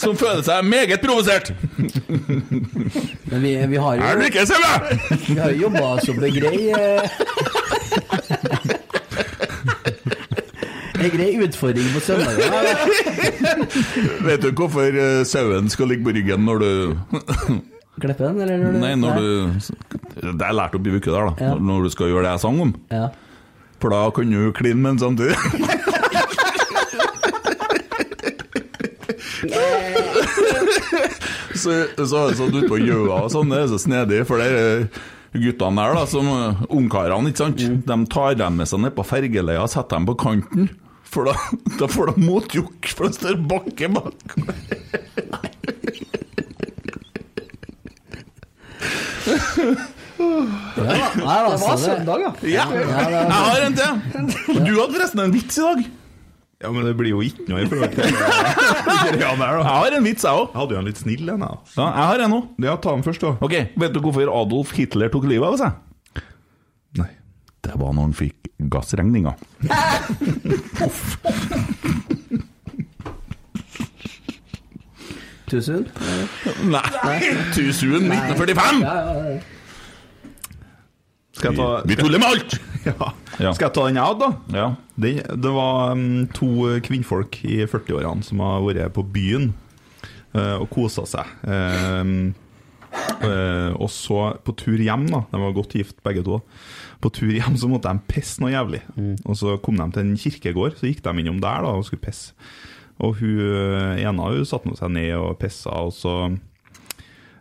[SPEAKER 4] som føler seg meget provosert.
[SPEAKER 5] Men vi, vi har
[SPEAKER 4] Er du
[SPEAKER 5] jo
[SPEAKER 4] ikke Sølve?
[SPEAKER 5] Vi har jo jobba som ei grei eh, Ei grei utfordring på søndager.
[SPEAKER 4] Vet du hvorfor eh, sauen skal ligge på ryggen når du
[SPEAKER 5] Klippe den, eller? når du-
[SPEAKER 4] Nei, når du Det har jeg lært opp i uke der, da.
[SPEAKER 5] Ja.
[SPEAKER 4] Når- Når du skal gjøre det jeg sang om.
[SPEAKER 5] Ja.
[SPEAKER 4] For da kan du kline med sånn den samtidig. så, så, så du på gjøa og sånn, det er så snedig, for det er guttene der, da, som eh, ungkarene, ikke sant, de tar dem med seg ned på fergeleia og setter dem på kanten. For da, da får de motjukk, for det står bakke bak.
[SPEAKER 5] Ja, nei,
[SPEAKER 6] Det
[SPEAKER 5] altså,
[SPEAKER 6] var søndag, ja.
[SPEAKER 4] Ja, jeg har en til! Du hadde forresten en vits i dag.
[SPEAKER 7] Ja, men det blir jo ikke noe i forhold til greia der, da.
[SPEAKER 4] Jeg har en vits, jeg òg.
[SPEAKER 7] Jeg hadde jo en litt snill en, jeg.
[SPEAKER 4] Ja, jeg har en òg.
[SPEAKER 7] Ja, ta den først, da.
[SPEAKER 4] Ok, Vet du hvorfor Adolf Hitler tok livet av seg?
[SPEAKER 7] Nei.
[SPEAKER 4] Det var når han fikk gassregninga.
[SPEAKER 5] Tusen.
[SPEAKER 4] Nei, Tusen 1945!
[SPEAKER 5] Ja, ja, ja.
[SPEAKER 7] Skal jeg ta
[SPEAKER 4] Vi tuller med alt!
[SPEAKER 7] Ja.
[SPEAKER 4] Ja.
[SPEAKER 7] Skal jeg ta den jeg hadde, da?
[SPEAKER 4] Ja.
[SPEAKER 7] Det, det var mm, to kvinnfolk i 40-årene som har vært på byen eh, og kosa seg. Ehm, eh, og så, på tur hjem, da de var godt gift begge to, på tur hjem så måtte de pisse noe jævlig. Og så kom de til en kirkegård, så gikk de innom der da og skulle pisse. Og hun eh, ene hun satte nå seg ned og pissa, og så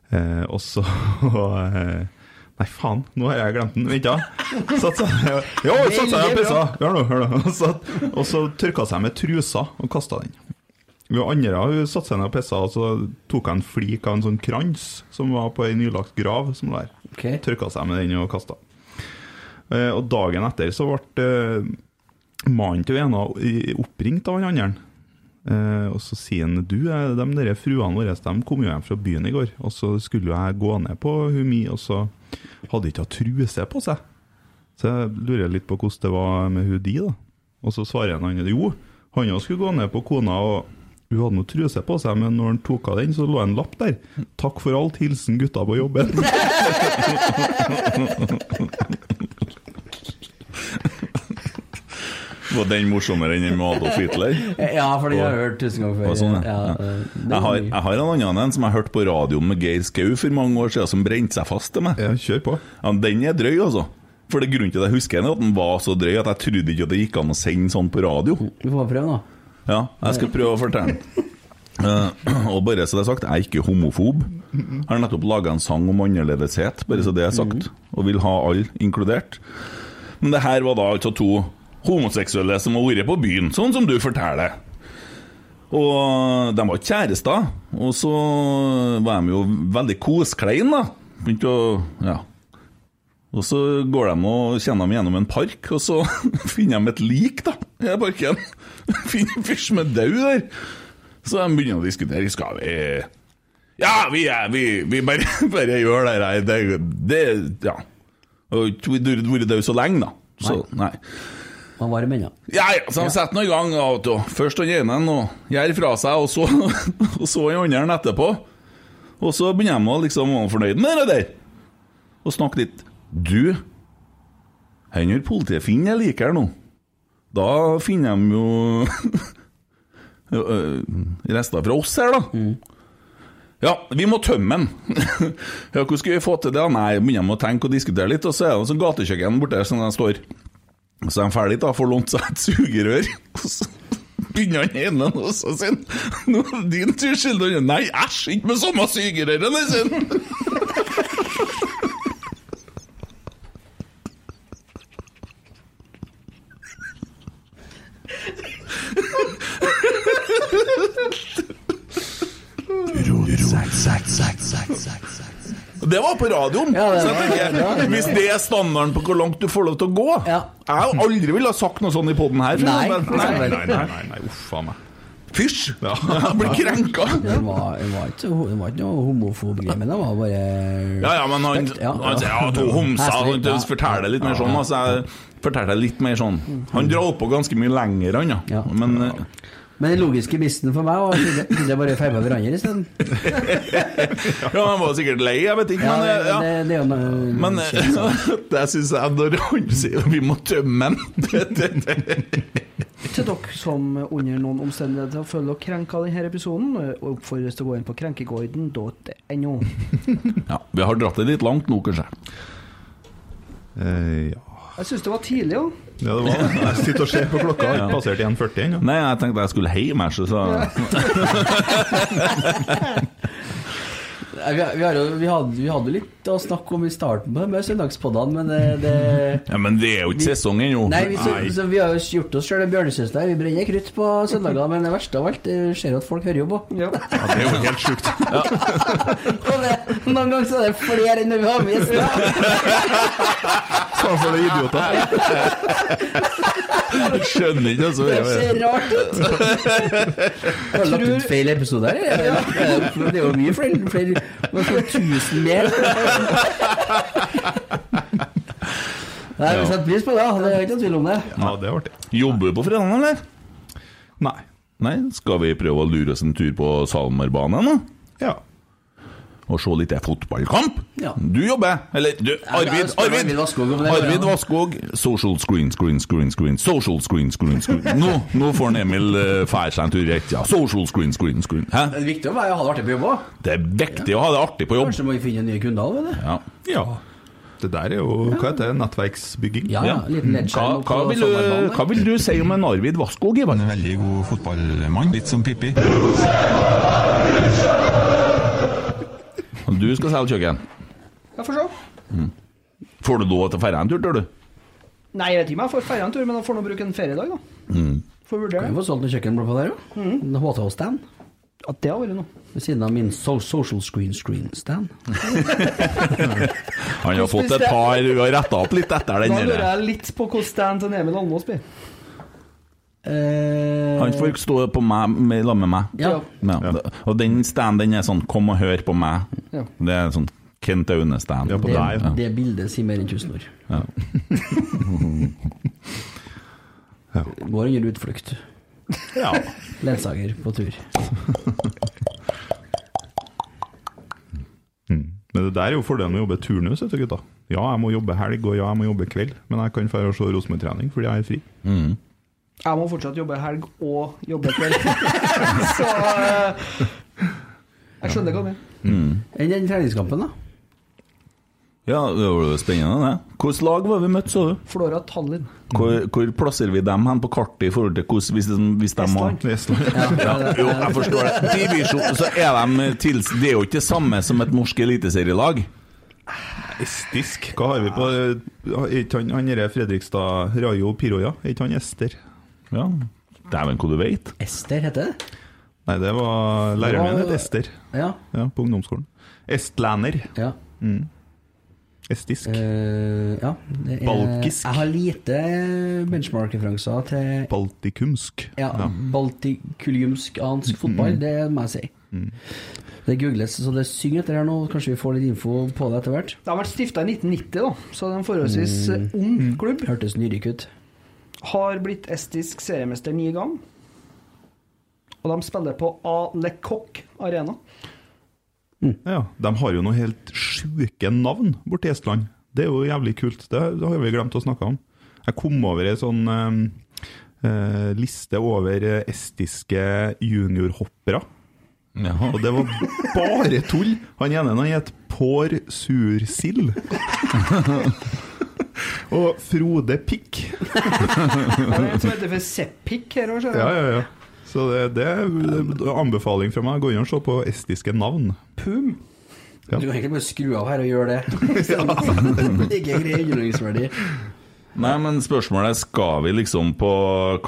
[SPEAKER 7] eh, Og så eh, Nei, faen, nå har jeg glemt den. Vent, da. Satt seg Jo, satt seg og pissa. Hør nå, hør nå. Og satt- Og så tørka seg med trusa og kasta den. Hun andre hun satte seg ned og pissa, og så tok hun en flik av en sånn krans som var på ei nylagt grav som lå der.
[SPEAKER 5] Ok.
[SPEAKER 7] Tørka seg med den og kasta. Eh, Og dagen etter så ble eh, mannen til ene i- oppringt av han andre. Eh, og så sier han du, eh, de der fruene våre de kom jo hjem fra byen i går, og så skulle jo jeg gå ned på hun mi, og så hadde ikke hun truse på seg. Så jeg lurer litt på hvordan det var med hun de, da. Og så svarer han andre jo, han også skulle gå ned på kona, og hun hadde noe truse på seg, men når han tok av den, så lå en lapp der. 'Takk for alt. Hilsen gutta på jobben'.
[SPEAKER 4] Var den morsommere enn den med Adolf Hitler?
[SPEAKER 5] ja, for det har jeg hørt tusen ganger før.
[SPEAKER 4] Og sånn, ja.
[SPEAKER 5] Ja, eh, det
[SPEAKER 4] Jeg har,
[SPEAKER 5] er mye.
[SPEAKER 4] jeg har en annen en som jeg hørte på radioen med Geir Skau for mange år siden, som brente seg fast til meg.
[SPEAKER 7] Ja, eh, kjør på.
[SPEAKER 4] Ja, den er drøy, altså. For det grunnen til at jeg husker den, er at den var så drøy at jeg trodde ikke at det gikk an å sende sånn på radio.
[SPEAKER 5] Vi får prøve, da.
[SPEAKER 4] Ja, jeg skal prøve å fortelle den. Eh, og bare så det er sagt, jeg er ikke homofob. Jeg har nettopp laga en sang om annerledeshet, bare så det er sagt. Og vil ha alle inkludert. Men det her var da altså to homoseksuelle som har vært på byen, sånn som du forteller. Og de var kjærester, og så var de jo veldig kosklein da. Begynte å Ja. Og så går de og kjenner de gjennom en park, og så finner de et lik, da, i den parken. Finner en fyr som er død der. Så de begynner å diskutere. Skal vi Ja, vi, er, vi, vi bare, bare gjør det her. Det, det Ja. Og vi har ikke vært døde så lenge, da. Så, nei.
[SPEAKER 5] Man var i menna.
[SPEAKER 4] Ja, ja, så de setter nå i gang. da, vet du. Først han ene og gjør fra seg, og så, og så han andre etterpå. Og så begynner de å liksom være fornøyd med det der. Og snakke litt. Du, hvor har politiet funnet det liket her nå? Da finner de jo ø, ø, rester fra oss her, da. Ja, vi må tømme den. ja, hvordan skal vi få til det? da? Nei, begynner de å tenke og diskutere litt, og så er det sånn gatekjøkken borte der som de står. Så er han ferdig, da, får lånt seg et sugerør. Og så begynner han ene også sin. Nå er det din tur, skylder han. Nei, æsj, ikke med samme sugerøret, nei, sier han. Det var på radioen!
[SPEAKER 5] det
[SPEAKER 4] så
[SPEAKER 5] var-
[SPEAKER 4] jeg tenker,
[SPEAKER 5] det var-
[SPEAKER 4] Hvis det er standarden på hvor langt du får lov til å gå Jeg har aldri ville ha sagt noe sånt i poden her. for
[SPEAKER 7] Nei,
[SPEAKER 4] eksempel.
[SPEAKER 7] nei, nei, nei, nei, nei, uff a meg.
[SPEAKER 4] Fysj! Jeg blir krenka.
[SPEAKER 5] Det var, det var ikke, det var ikke noe homofob-greie, men det var bare
[SPEAKER 4] Ja, ja, men han,
[SPEAKER 5] respekt, ja.
[SPEAKER 4] han sier ja, to homser
[SPEAKER 5] Heslig,
[SPEAKER 4] Han
[SPEAKER 5] ja.
[SPEAKER 4] forteller det litt mer sånn. Altså, jeg forteller det litt mer sånn. Han drar på ganske mye lenger, han, ja. Men eh,
[SPEAKER 5] Men den logiske bissen for meg var at de bare feiba hverandre isteden.
[SPEAKER 4] ja, han var sikkert lei, jeg vet ikke.
[SPEAKER 5] Ja,
[SPEAKER 4] Men, eh, ja.
[SPEAKER 5] det, det er jo noe
[SPEAKER 4] Men eh, det syns jeg når han sier vi må tømme den det, det, det.
[SPEAKER 6] Til dere som under noen omstendigheter føler dere krenka av denne episoden, eh, oppfordres til å gå inn på krenkeguiden.no.
[SPEAKER 4] Ja, vi har dratt det litt langt nå, kanskje.
[SPEAKER 7] Eh, ja.
[SPEAKER 6] Jeg syns det var tidlig, jo.
[SPEAKER 7] det var det. Jeg sitter og ser på klokka, har ikke
[SPEAKER 4] Ja.
[SPEAKER 7] passert 1,40 ennå.
[SPEAKER 4] Nei, jeg tenkte jeg skulle hjem, jeg, så sa
[SPEAKER 5] Nei, Vi, har- vi, har jo- vi, hadde, vi hadde jo litt å snakke om i starten på de her søndagspoddene, men det, det
[SPEAKER 4] Ja, men det er jo ikke sesong ennå.
[SPEAKER 5] Nei, vi, så, så vi har jo gjort oss sjøl en bjørnesøster. Vi brenner krutt på søndager, men det verste av alt det skjer at folk hører jo på.
[SPEAKER 4] Ja, det er jo helt sjukt. Ja.
[SPEAKER 5] Og det, noen ganger så er det flere enn det vi har med gjester.
[SPEAKER 7] Sånn for deg idioter.
[SPEAKER 4] Skjønner ikke, altså.
[SPEAKER 5] Det ser rart ut. Har du lagt ut feil episode her? eller? Det er jo mye flere. flere det er sånn tusen mer. Nei, Vi setter pris på det, det er ikke noe tvil om det.
[SPEAKER 4] Ja, det er artig. Jobber du på fredagen, eller?
[SPEAKER 7] Nei.
[SPEAKER 4] Nei, Skal vi prøve å lure oss en tur på Salmerbanen, da?
[SPEAKER 7] Ja.
[SPEAKER 4] Og se litt eh, fotballkamp?
[SPEAKER 5] Ja.
[SPEAKER 4] Du jobber! Eller du,
[SPEAKER 5] jeg
[SPEAKER 4] Arvid!
[SPEAKER 5] spør
[SPEAKER 4] Arvid
[SPEAKER 5] Arvid Vassskog om det,
[SPEAKER 4] Arvid
[SPEAKER 5] ja.
[SPEAKER 4] Vassskog. Social screen, screen, screen, screen. Social screen, screen, screen. Nå, nå får han Emil eh, fære seg en tur i ett, ja. Social screen, screen, screen. Hæ?
[SPEAKER 5] Det er viktig å være- ha det artig på jobb òg.
[SPEAKER 4] Det er viktig å ha det artig på jobb.
[SPEAKER 5] Kanskje må vi finne nye kunder òg, vet du.
[SPEAKER 4] Ja.
[SPEAKER 7] Det der er jo Hva heter det? Nettverksbygging?
[SPEAKER 5] Ja, ja, liten
[SPEAKER 4] Hva,
[SPEAKER 5] ledskjerm
[SPEAKER 4] hva, vil du, hva vil du si om en Arvid Vassskog? Ivan?
[SPEAKER 8] En veldig god fotballmann, litt som Pippi.
[SPEAKER 4] Du skal selge kjøkken.
[SPEAKER 6] Jeg får se.
[SPEAKER 4] Får du lov til å ferde en tur, tror du?
[SPEAKER 6] Nei, jeg vet ikke om jeg får feire en tur, men jeg får nå bruke en feriedag, da.
[SPEAKER 4] Mm.
[SPEAKER 6] Får vurdere.
[SPEAKER 5] Vi får solgt noen kjøkkenblomster der òg. En HTH-stand.
[SPEAKER 6] At det har vært noe.
[SPEAKER 5] Ved siden av min so social screen screen-stand.
[SPEAKER 4] Han har fått et par Hun har retta opp litt etter den
[SPEAKER 6] Da lurer
[SPEAKER 4] der.
[SPEAKER 6] jeg litt på hvordan stand til Emil Almås blir.
[SPEAKER 4] Han får stå på meg med- sammen med meg.
[SPEAKER 6] Ja.
[SPEAKER 4] Og den standen er sånn 'kom og hør på meg'.
[SPEAKER 5] Ja.
[SPEAKER 4] Det er sånn Kent Aune-stand.
[SPEAKER 5] det, det bildet sier mer enn 1000 år.
[SPEAKER 4] Ja.
[SPEAKER 5] Går under utflukt.
[SPEAKER 4] Ja.
[SPEAKER 5] Ledsager på tur.
[SPEAKER 7] Men det der er jo fordelen med å jobbe turnus, vet du, gutta. Ja, jeg må jobbe helg, og ja, jeg må jobbe kveld, men jeg kan dra og se Rosenborg-trening fordi jeg er fri.
[SPEAKER 6] Jeg må fortsatt jobbe helg og jobbe kveld. Så eh, jeg skjønner hva du mener.
[SPEAKER 4] Mm.
[SPEAKER 5] Enn den treningskampen, da?
[SPEAKER 4] Ja, det var jo spennende, det. Hvilket lag var vi møtt, så du?
[SPEAKER 6] Flora Tallinn.
[SPEAKER 7] Mm.
[SPEAKER 4] Hvor, hvor plasserer vi dem hen på kartet i forhold til hvordan hvis, de- hvis de har
[SPEAKER 7] Estland.
[SPEAKER 4] Ja, jo, jeg forstår det. Divisjon, så er de til, Det er jo ikke det samme som et norsk eliteserielag.
[SPEAKER 7] Estisk. Hva har vi på eh, Er ikke han han derre Fredrikstad Rayo Piroja? Er ikke han Ester?
[SPEAKER 4] Ja. Dæven, hva du veit.
[SPEAKER 5] Ester heter det?
[SPEAKER 7] Nei, det var læreren min
[SPEAKER 5] Det var-
[SPEAKER 7] het Ester.
[SPEAKER 5] Ja.
[SPEAKER 7] På ungdomsskolen. Estlander.
[SPEAKER 5] Ja.
[SPEAKER 7] Mm. Estisk.
[SPEAKER 4] Eh.
[SPEAKER 5] Eh, ja. Det er-
[SPEAKER 7] Balkisk.
[SPEAKER 5] Jeg har lite benchmark-referanser til
[SPEAKER 7] Baltikumsk.
[SPEAKER 5] ja, baltikuliumsk-ansk fotball,
[SPEAKER 7] Mm.
[SPEAKER 5] det må jeg si.
[SPEAKER 7] Mm.
[SPEAKER 5] Det googles, så det synger etter her nå. Kanskje vi får litt info på det etter hvert.
[SPEAKER 6] Det har vært stifta i 1990, da, så det er en forholdsvis
[SPEAKER 4] Mm.
[SPEAKER 6] eh, ung klubb.
[SPEAKER 5] Hørtes nyrik ut.
[SPEAKER 6] Har blitt estisk seriemester ni ganger. Og de spiller på A. Le Coq Arena.
[SPEAKER 7] Ja, De har jo noe helt sjuke navn borti Estland. Det er jo jævlig kult. Det, det har vi glemt å snakke om. Jeg kom over ei sånn eh, eh, liste over eh, estiske juniorhoppere. Og det var bare tull! Han ene han het Pår Sursild. Og Frode Pikk.
[SPEAKER 6] Det er en som heter for Sepik her òg, ser
[SPEAKER 7] Ja, ja, ja. Så det, det er anbefaling fra meg. Gå inn og se på estiske navn.
[SPEAKER 6] Pum.
[SPEAKER 7] Ja.
[SPEAKER 5] Du kan egentlig bare skru av her og gjøre det. det er ikke grei underholdningsverdi.
[SPEAKER 4] Nei, men spørsmålet er skal vi liksom på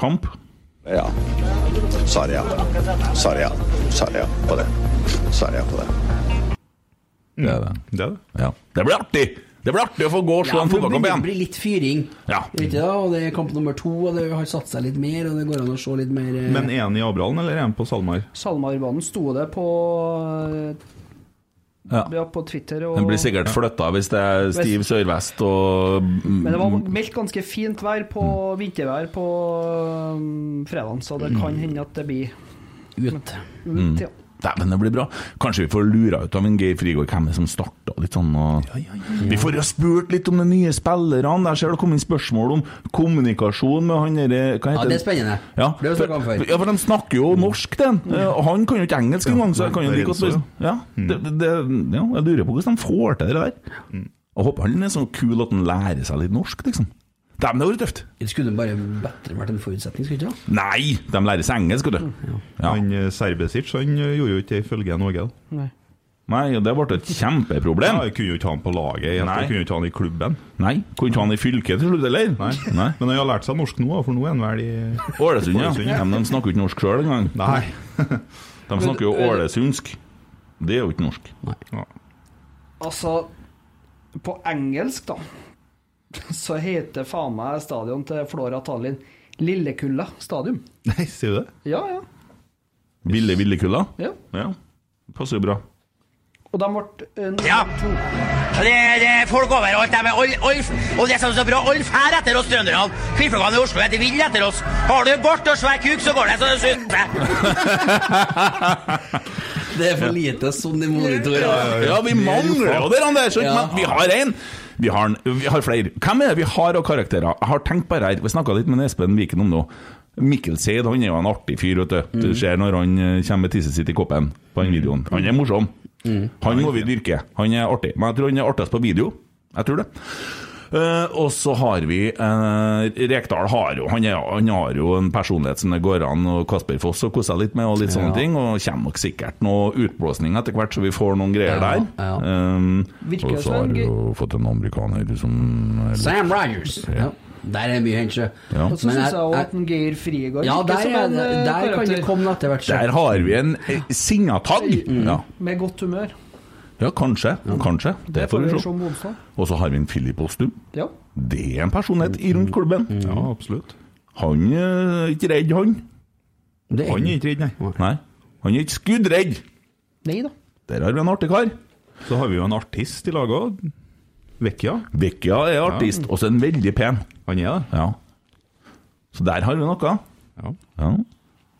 [SPEAKER 4] kamp? Ja.
[SPEAKER 12] Svarer ja. Svarer ja. Svarer ja på det. Svarer ja på det.
[SPEAKER 4] Det er det. Ja. Det blir artig! Det blir artig å få gå og slå en
[SPEAKER 5] det
[SPEAKER 4] fotballkamp
[SPEAKER 5] blir-
[SPEAKER 4] igjen!
[SPEAKER 5] blir litt fyring.
[SPEAKER 4] Ja.
[SPEAKER 5] Vet du, og det er kamp nummer to, og det har satt seg litt mer, og det går an å se litt mer eh,
[SPEAKER 7] Men er han i Abraham, eller er han på Salmar?
[SPEAKER 6] SalMar-banen sto det på
[SPEAKER 4] Ja.
[SPEAKER 6] ja, på Twitter. Og,
[SPEAKER 4] Den blir sikkert flytta hvis det er stiv sørvest og
[SPEAKER 6] Men det var meldt ganske fint vær på
[SPEAKER 4] Mm.
[SPEAKER 6] vintervær på um, fredagen, så det kan hende at det blir
[SPEAKER 5] eh, ut.
[SPEAKER 4] Mm.
[SPEAKER 6] ja.
[SPEAKER 4] Dæven, det blir bra. Kanskje vi får lura ut av en Geir Frigård hvem det er som starta litt sånn. Og... Vi får jo spurt litt om de nye spillerne. Der ser det kom inn spørsmål om kommunikasjon med han derre Hva
[SPEAKER 5] Ja,
[SPEAKER 4] heter
[SPEAKER 5] det er spennende.
[SPEAKER 4] Ja,
[SPEAKER 5] Det har vi
[SPEAKER 4] for,
[SPEAKER 5] snakket om før.
[SPEAKER 4] ja, for de snakker jo norsk, den. Eh, Og han kan jo ikke engelsk engang, så jeg kan jo like godt
[SPEAKER 7] Lorenzo,
[SPEAKER 4] Ja, det, det, ja, jeg lurer på hvordan de får til det der. Jeg håper han er så kul at han lærer seg litt norsk, liksom. Dæven, det hadde vært tøft.
[SPEAKER 5] Det skulle bare bedre vært en forutsetning, skulle det ikke?
[SPEAKER 4] Nei, de lærer seg engelsk, vet du.
[SPEAKER 7] Han eh, Serbesic han eh, gjorde jo ikke det ifølge Norge. da.
[SPEAKER 5] Nei.
[SPEAKER 4] Nei, og det ble et kjempeproblem.
[SPEAKER 7] Ja, jeg kunne jo ikke ha han på laget, jeg
[SPEAKER 4] Nei.
[SPEAKER 7] kunne jo ikke ha han i klubben.
[SPEAKER 4] Nei, kunne ikke ha han i fylket til slutt, eller?
[SPEAKER 7] Nei. Men han har lært seg norsk nå, da, for nå er han vel i
[SPEAKER 4] Ålesund, ja.
[SPEAKER 7] Ålesund,
[SPEAKER 4] ja. Men de snakker jo ikke norsk sjøl engang.
[SPEAKER 7] Nei.
[SPEAKER 4] De snakker jo ålesundsk. Det er jo ikke norsk.
[SPEAKER 7] Ja.
[SPEAKER 6] Altså, på engelsk, da, så heter faen meg stadion til Flora Tallinn Lillekulla stadion.
[SPEAKER 7] Nei, sier du det?
[SPEAKER 6] Ja, ja.
[SPEAKER 4] Ville Villekulla?
[SPEAKER 6] Ja.
[SPEAKER 4] ja. Passer jo bra.
[SPEAKER 6] Og de ble uh,
[SPEAKER 12] Ja. Det, det er folk overalt. De er all, all, og det som er så bra, alle fær etter oss trønderne. Kvinnfolkene i Oslo er de ville etter oss. Har du bart og svær kuk, så går det så det suser.
[SPEAKER 5] Det er for lite sånn i monitor.
[SPEAKER 4] Ja, vi mangler jo der, Anders! ikke? Men vi har én! Vi har, en- vi har flere. Hvem er det vi har av karakterer? Jeg har tenkt på det her. Vi snakka litt med Espen Viken om det òg. Mikkel Seid han er jo en artig fyr. vet Du Du ser når han eh, kommer med tisset sitt i koppen på den videoen. Han er morsom. Han må vi dyrke. Han er artig. Men jeg tror han er artigst på video. Jeg tror det. Eh, og så har vi eh, Rekdal har jo han, er, han har jo en personlighet som det går an å Kasper Foss og kose seg litt med, og litt sånne
[SPEAKER 5] Ja.
[SPEAKER 4] ting. Og kommer nok sikkert noe utblåsning etter hvert, så vi får noen greier
[SPEAKER 5] Ja,
[SPEAKER 4] der. Um,
[SPEAKER 5] Virker
[SPEAKER 4] og
[SPEAKER 5] det
[SPEAKER 4] så
[SPEAKER 5] som en
[SPEAKER 4] har vi
[SPEAKER 5] gøy-
[SPEAKER 4] jo fått en amerikaner som er litt-
[SPEAKER 5] Sam Rogers. Ja. Der er mye hendt, sjø.
[SPEAKER 4] Ja.
[SPEAKER 6] Og så
[SPEAKER 5] Men
[SPEAKER 6] syns
[SPEAKER 5] jeg-
[SPEAKER 6] jeg òg
[SPEAKER 5] jeg-
[SPEAKER 6] at en Geir Frigård
[SPEAKER 5] Ja,
[SPEAKER 6] virker
[SPEAKER 5] der,
[SPEAKER 6] som
[SPEAKER 5] er,
[SPEAKER 6] en, eh,
[SPEAKER 5] der kan det
[SPEAKER 6] karakter
[SPEAKER 5] komme etter hvert. sjø.
[SPEAKER 4] Der har vi en eh, signatag!
[SPEAKER 5] Mm.
[SPEAKER 4] Ja.
[SPEAKER 6] med godt humør.
[SPEAKER 4] ja, kanskje. Kanskje. Det får vi se.
[SPEAKER 6] om onsdag.
[SPEAKER 4] Og så har vi en Philip Ostum.
[SPEAKER 6] Ja.
[SPEAKER 4] Det er en personlighet i
[SPEAKER 5] Mm.
[SPEAKER 4] rundt klubben.
[SPEAKER 7] Ja, absolutt.
[SPEAKER 4] Han er ikke redd, han.
[SPEAKER 7] Han er ikke redd, nei.
[SPEAKER 4] Nei. Han er ikke skuddredd.
[SPEAKER 6] Nei da.
[SPEAKER 4] Der har vi en artig kar.
[SPEAKER 7] Så har vi jo en artist i laget òg. Vekkia.
[SPEAKER 4] Vekkia er artist, og så er han veldig pen.
[SPEAKER 7] Han er det.
[SPEAKER 4] Ja. Så der har vi noe.
[SPEAKER 7] Ja.
[SPEAKER 4] Ja.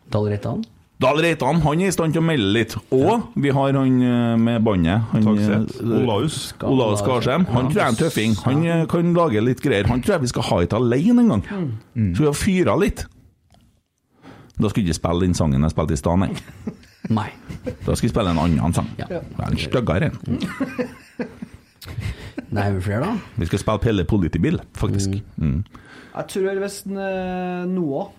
[SPEAKER 5] Dahl Reitan.
[SPEAKER 4] Dahl Reitan han er i stand til å melde litt. Og vi har han eh, med bandet. Han,
[SPEAKER 7] Takset.
[SPEAKER 4] eh,
[SPEAKER 7] Olaus.
[SPEAKER 4] Olaus Skarsheim. Han tror jeg er en tøffing. Han eh, kan lage litt greier. Han tror jeg vi skal ha hit alene en gang.
[SPEAKER 7] Mm.
[SPEAKER 4] Så vi har fyra litt. Da skal vi ikke spille den sangen jeg spilte i stad, nei.
[SPEAKER 5] Nei.
[SPEAKER 4] Da skal vi spille en annen sang.
[SPEAKER 5] Ja.
[SPEAKER 4] Det er En styggere en.
[SPEAKER 5] Det er vel flere, da.
[SPEAKER 4] Vi skal spille Pelle Politibil, faktisk. Mm.
[SPEAKER 6] Jeg tror hvis en, eh, Noah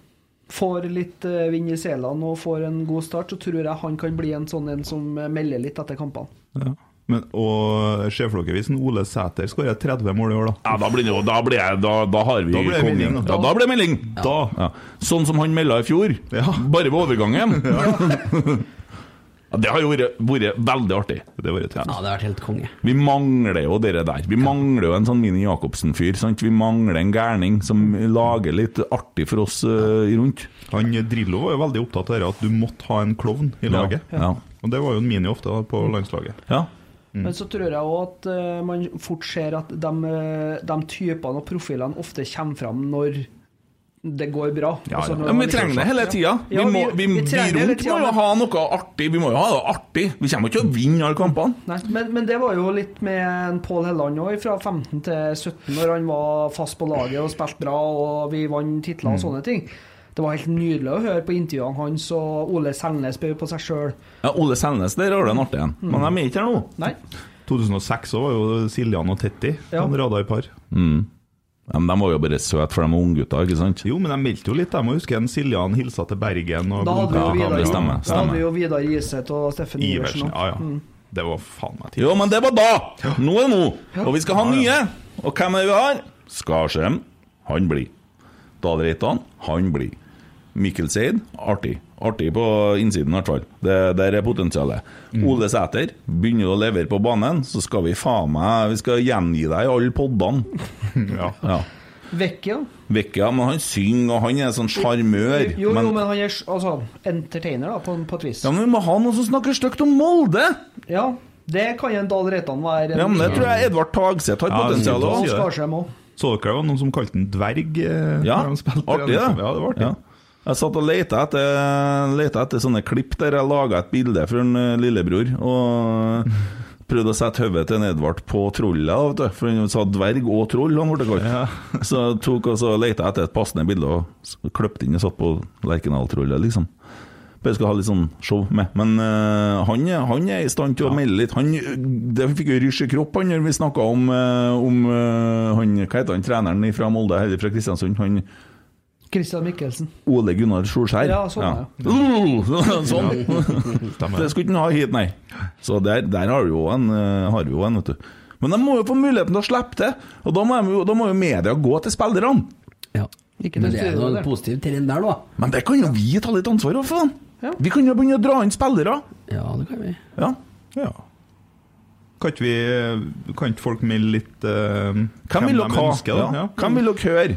[SPEAKER 6] får litt eh, vind i selene og får en god start, så tror jeg han kan bli en sånn en som eh, melder litt etter kampene.
[SPEAKER 7] Ja. Men, og ser for dere hvis en Ole Sæter skårer 30 mål i år, da?
[SPEAKER 4] Ja, da blir det jo Da, blir jeg, da, da har vi
[SPEAKER 7] Da blir det
[SPEAKER 4] kongen.
[SPEAKER 7] melding, da.
[SPEAKER 4] Ja, da blir det melding.
[SPEAKER 7] Da
[SPEAKER 4] Ja. Sånn som han melda i fjor, bare ved overgangen. Ja, Det har jo vært, vært veldig artig.
[SPEAKER 7] Det har vært tøft.
[SPEAKER 5] Ja, det har vært helt konge.
[SPEAKER 4] Vi mangler jo dere der. Vi mangler jo en sånn Mini Jacobsen-fyr. sant? Vi mangler en gærning som lager litt artig for oss eh, rundt.
[SPEAKER 7] Han Drillo var jo veldig opptatt av det at du måtte ha en klovn i laget.
[SPEAKER 4] Ja.
[SPEAKER 7] Og det var jo en mini ofte da,
[SPEAKER 6] Mm.
[SPEAKER 7] på landslaget.
[SPEAKER 4] Ja. Mm.
[SPEAKER 6] Men så tror jeg òg at eh, man fort ser at de, eh, de typene og profilene ofte kommer fram når det går bra.
[SPEAKER 4] Ja,
[SPEAKER 6] Altså,
[SPEAKER 4] ja.
[SPEAKER 6] når
[SPEAKER 4] Men
[SPEAKER 6] man
[SPEAKER 4] vi
[SPEAKER 6] liksom-
[SPEAKER 4] trenger det hele tida. Vi,
[SPEAKER 6] Ja,
[SPEAKER 4] må, vi, vi,
[SPEAKER 6] trenger det hele
[SPEAKER 4] rundt
[SPEAKER 6] tida,
[SPEAKER 4] må jo
[SPEAKER 6] men-
[SPEAKER 4] ha noe artig. Vi må jo ha det artig. Vi kommer jo ikke til å vinne alle kampene.
[SPEAKER 6] Nei, men, men det var jo litt med en Pål Helland òg, fra 15 til 17, når han var fast på laget og spilte bra, og vi vant titler
[SPEAKER 4] Mm.
[SPEAKER 6] og sånne ting. Det var helt nydelig å høre på intervjuene hans, og Ole Selnes bød på seg sjøl.
[SPEAKER 4] Ja, Ole Selnes, der har du en artig en. Men de er ikke her nå.
[SPEAKER 6] Nei.
[SPEAKER 7] 2006 så var jo Siljan og Tetti
[SPEAKER 6] Ja.
[SPEAKER 7] en radarpar.
[SPEAKER 4] Mm. Ja, Men de var jo bare søte, for de var unggutter, ikke sant?
[SPEAKER 7] Jo, men de meldte jo litt, de. Jeg husker en Siljan hilsa til Bergen. Og
[SPEAKER 6] Da hadde vi jo
[SPEAKER 4] Ja,
[SPEAKER 6] Vidar,
[SPEAKER 4] det stemmer,
[SPEAKER 6] da hadde
[SPEAKER 4] stemmer.
[SPEAKER 6] vi jo Vidar Iseth og Steffen
[SPEAKER 7] Iversen.
[SPEAKER 6] Iversen. også. Mm.
[SPEAKER 7] Ja, ja. Det var faen meg tid.
[SPEAKER 4] Jo, men det var da! Nå er nå! Og vi skal ha nye! Og hvem er det vi har? Skarsheim, han blir. Dahl Reitan, han blir. Mikkel Seid, artig. Artig på innsiden, i hvert fall. Det- Der er potensialet. Ole Sæter, begynner du å levere på banen, så skal vi faen meg Vi skal gjengi deg i alle poddene. ja.
[SPEAKER 6] Vekke, da.
[SPEAKER 4] Vekka, men han synger, og han er sånn sjarmør.
[SPEAKER 6] Jo,
[SPEAKER 4] men-
[SPEAKER 6] jo, men han er s- altså, entertainer, da, på, en- på et vis.
[SPEAKER 4] Ja, men vi må ha noen som snakker stygt om Molde!
[SPEAKER 6] Ja, det kan jo en Dahl Reitan være.
[SPEAKER 4] Ja, men det tror jeg Edvard Tagseth har
[SPEAKER 7] Ja,
[SPEAKER 4] potensial
[SPEAKER 7] jeg
[SPEAKER 6] Og
[SPEAKER 7] sier det.
[SPEAKER 6] Skarsheim òg.
[SPEAKER 7] Så dere det var noen som kalte den dverg? eh,
[SPEAKER 4] Ja,
[SPEAKER 7] når de spilte i
[SPEAKER 4] artig det.
[SPEAKER 7] NFF? Ja, det var artig.
[SPEAKER 4] Ja. Jeg satt og lette etter, lette etter sånne klipp der jeg laga et bilde for en eh, lillebror. Og prøvde å sette hodet til en Edvard på trollet, da, vet du. for han sa dverg og troll. han ble kalt. Så jeg tok og så lette jeg etter et passende bilde og s- kløpte inn og satt på Lerkendal-trollet, liksom. Bare skal ha litt sånn show med. Men eh, han, er- han er i stand til å melde litt. Han det fikk jo rysj i kropp han når vi snakka om, eh, om eh, han, hva heter han, treneren fra Molde, eller fra Kristiansund. han
[SPEAKER 6] Christian Michelsen.
[SPEAKER 4] Ole Gunnar Solskjær.
[SPEAKER 6] Ja, sånn, ja.
[SPEAKER 4] Uh, sånn.
[SPEAKER 7] Stemmer.
[SPEAKER 4] Det skulle ikke han ha hit, nei. Så der, der har vi jo en, eh, har vi jo en vet du. Men de må jo få muligheten til å slippe til, og da må, de, jo- da må jo media gå til spillerne.
[SPEAKER 6] Ikke
[SPEAKER 5] Men det
[SPEAKER 6] til
[SPEAKER 5] er
[SPEAKER 6] styret
[SPEAKER 5] noe
[SPEAKER 6] der.
[SPEAKER 5] positivt til den der, da.
[SPEAKER 4] Men det kan jo vi ta litt ansvar for, faen! Vi kan jo begynne å dra inn spillere.
[SPEAKER 5] Ja, det kan vi.
[SPEAKER 4] Ja.
[SPEAKER 7] Ja. Kan ikke vi eh, Kan ikke folk melde litt eh,
[SPEAKER 4] Hvem vil dere
[SPEAKER 7] de
[SPEAKER 4] ha?
[SPEAKER 7] ønsker, da? Mm.
[SPEAKER 4] Ja. Hvem vil dere høre?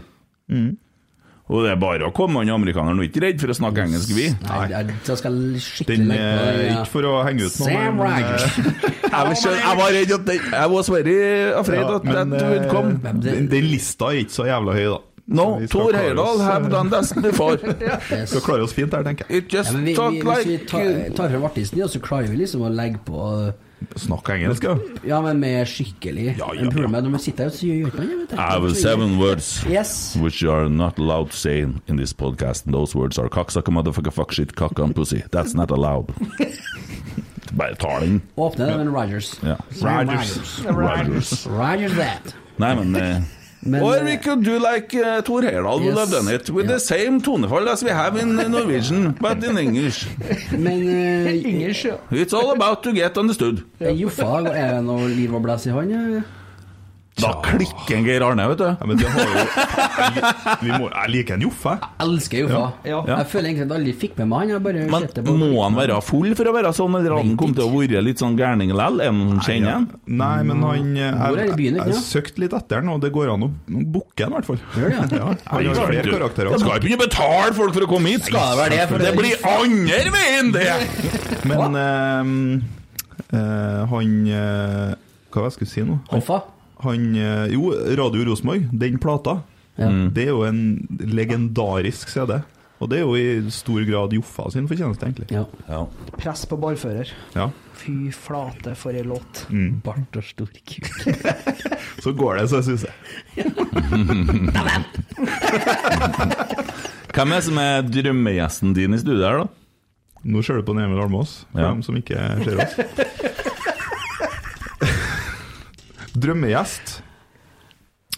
[SPEAKER 4] Og det er bare å komme, han amerikaneren er ikke redd for å snakke engelsk, vi.
[SPEAKER 5] Nei, jeg, jeg skal skikkelig
[SPEAKER 7] Den eh,
[SPEAKER 5] legge på
[SPEAKER 7] er
[SPEAKER 5] den, ja.
[SPEAKER 7] ikke for å henge ut
[SPEAKER 5] Sam
[SPEAKER 7] men, eh,
[SPEAKER 5] Rogers.
[SPEAKER 4] Jeg var, skjøn- jeg var redd at det, I was very afraid
[SPEAKER 7] ja,
[SPEAKER 4] at
[SPEAKER 7] men,
[SPEAKER 4] that would come.
[SPEAKER 7] eh, den, den lista er ikke så jævla høy, da.
[SPEAKER 4] No,
[SPEAKER 7] Vi skal
[SPEAKER 4] Thor
[SPEAKER 7] klare
[SPEAKER 4] Heyerdahl
[SPEAKER 7] oss,
[SPEAKER 4] have
[SPEAKER 7] eh,
[SPEAKER 4] done this before.
[SPEAKER 7] Vi skal klare oss fint her, tenker jeg.
[SPEAKER 4] It just
[SPEAKER 5] Eh, Ja, men vi,
[SPEAKER 4] talk like
[SPEAKER 5] vi, hvis vi
[SPEAKER 4] uh,
[SPEAKER 5] tar, eh, tar fra Vartisen, ja, så klarer vi liksom å legge på
[SPEAKER 7] Snakk engelsk, ja.
[SPEAKER 5] Ja, men med skikkelig ja,
[SPEAKER 4] ja, ja.
[SPEAKER 5] Når man sitter her, så gjør gjør man det, vet du.
[SPEAKER 4] I have seven words
[SPEAKER 5] Yes.
[SPEAKER 4] which you are not allowed to say in, in this podcast, and those words are cocksucker, motherfucker, fuck shit, cock and pussy. That's not allowed. Bare ta den.
[SPEAKER 5] Åpne den med Rogers.
[SPEAKER 4] Ja. Rogers. Rogers.
[SPEAKER 5] Rogers that.
[SPEAKER 4] Nei, men eh,
[SPEAKER 5] Men,
[SPEAKER 4] Or
[SPEAKER 5] eh,
[SPEAKER 4] we could do like uh, Thor Heyerdahl would have
[SPEAKER 5] Yes.
[SPEAKER 4] done it, with the same tonefall as we have in Norwegian, but in English.
[SPEAKER 5] Men eh,
[SPEAKER 6] Engelsk, ja.
[SPEAKER 4] It's all about to get understood.
[SPEAKER 5] Joffa, er det noe liv og blæs i han? eller?
[SPEAKER 4] Da klikker en Geir Arne, vet du.
[SPEAKER 7] Ja, men det har jo vi må, Jeg liker en Joffe, jeg.
[SPEAKER 5] Jeg elsker Joffa.
[SPEAKER 6] Ja.
[SPEAKER 5] Jeg føler egentlig at jeg aldri fikk med meg han. Jeg bare
[SPEAKER 4] Men
[SPEAKER 5] sett det på
[SPEAKER 4] må han være full for å være sånn, eller har han kommet til å være litt sånn gærning likevel? Er han kjenner han?
[SPEAKER 7] Nei, men han
[SPEAKER 5] Hvor er
[SPEAKER 7] eh,
[SPEAKER 5] det
[SPEAKER 7] Jeg,
[SPEAKER 5] i
[SPEAKER 7] jeg,
[SPEAKER 5] byen, ikke
[SPEAKER 7] jeg
[SPEAKER 5] sant?
[SPEAKER 7] søkte litt etter han, og det går an å booke han, i hvert fall.
[SPEAKER 5] Gjør det, ja?
[SPEAKER 7] Ja, han har flere karakterer. altså.
[SPEAKER 4] Jeg skal ikke begynne å betale folk for å komme hit! Skal det være det? For det blir andre veien, det!
[SPEAKER 7] Men eh, eh, han eh, Hva var det jeg skulle si nå? Han,
[SPEAKER 5] Hoffa.
[SPEAKER 7] han eh, Jo, Radio Rosenborg, den plata,
[SPEAKER 5] Ja.
[SPEAKER 7] det er jo en legendarisk CD. Og det er jo i stor grad Joffa sin fortjeneste, egentlig.
[SPEAKER 5] Ja.
[SPEAKER 4] Ja.
[SPEAKER 6] Press på barfører.
[SPEAKER 7] Ja.
[SPEAKER 6] Fy flate, for ei låt.
[SPEAKER 5] Bart og stor kuk.
[SPEAKER 7] Så går det, så jeg synes jeg.
[SPEAKER 4] Hvem er som er drømmegjesten din i studio her, da?
[SPEAKER 7] Nå ser du på Emil Almås, for
[SPEAKER 4] Ja.
[SPEAKER 7] dem som ikke ser oss. Drømmegjest.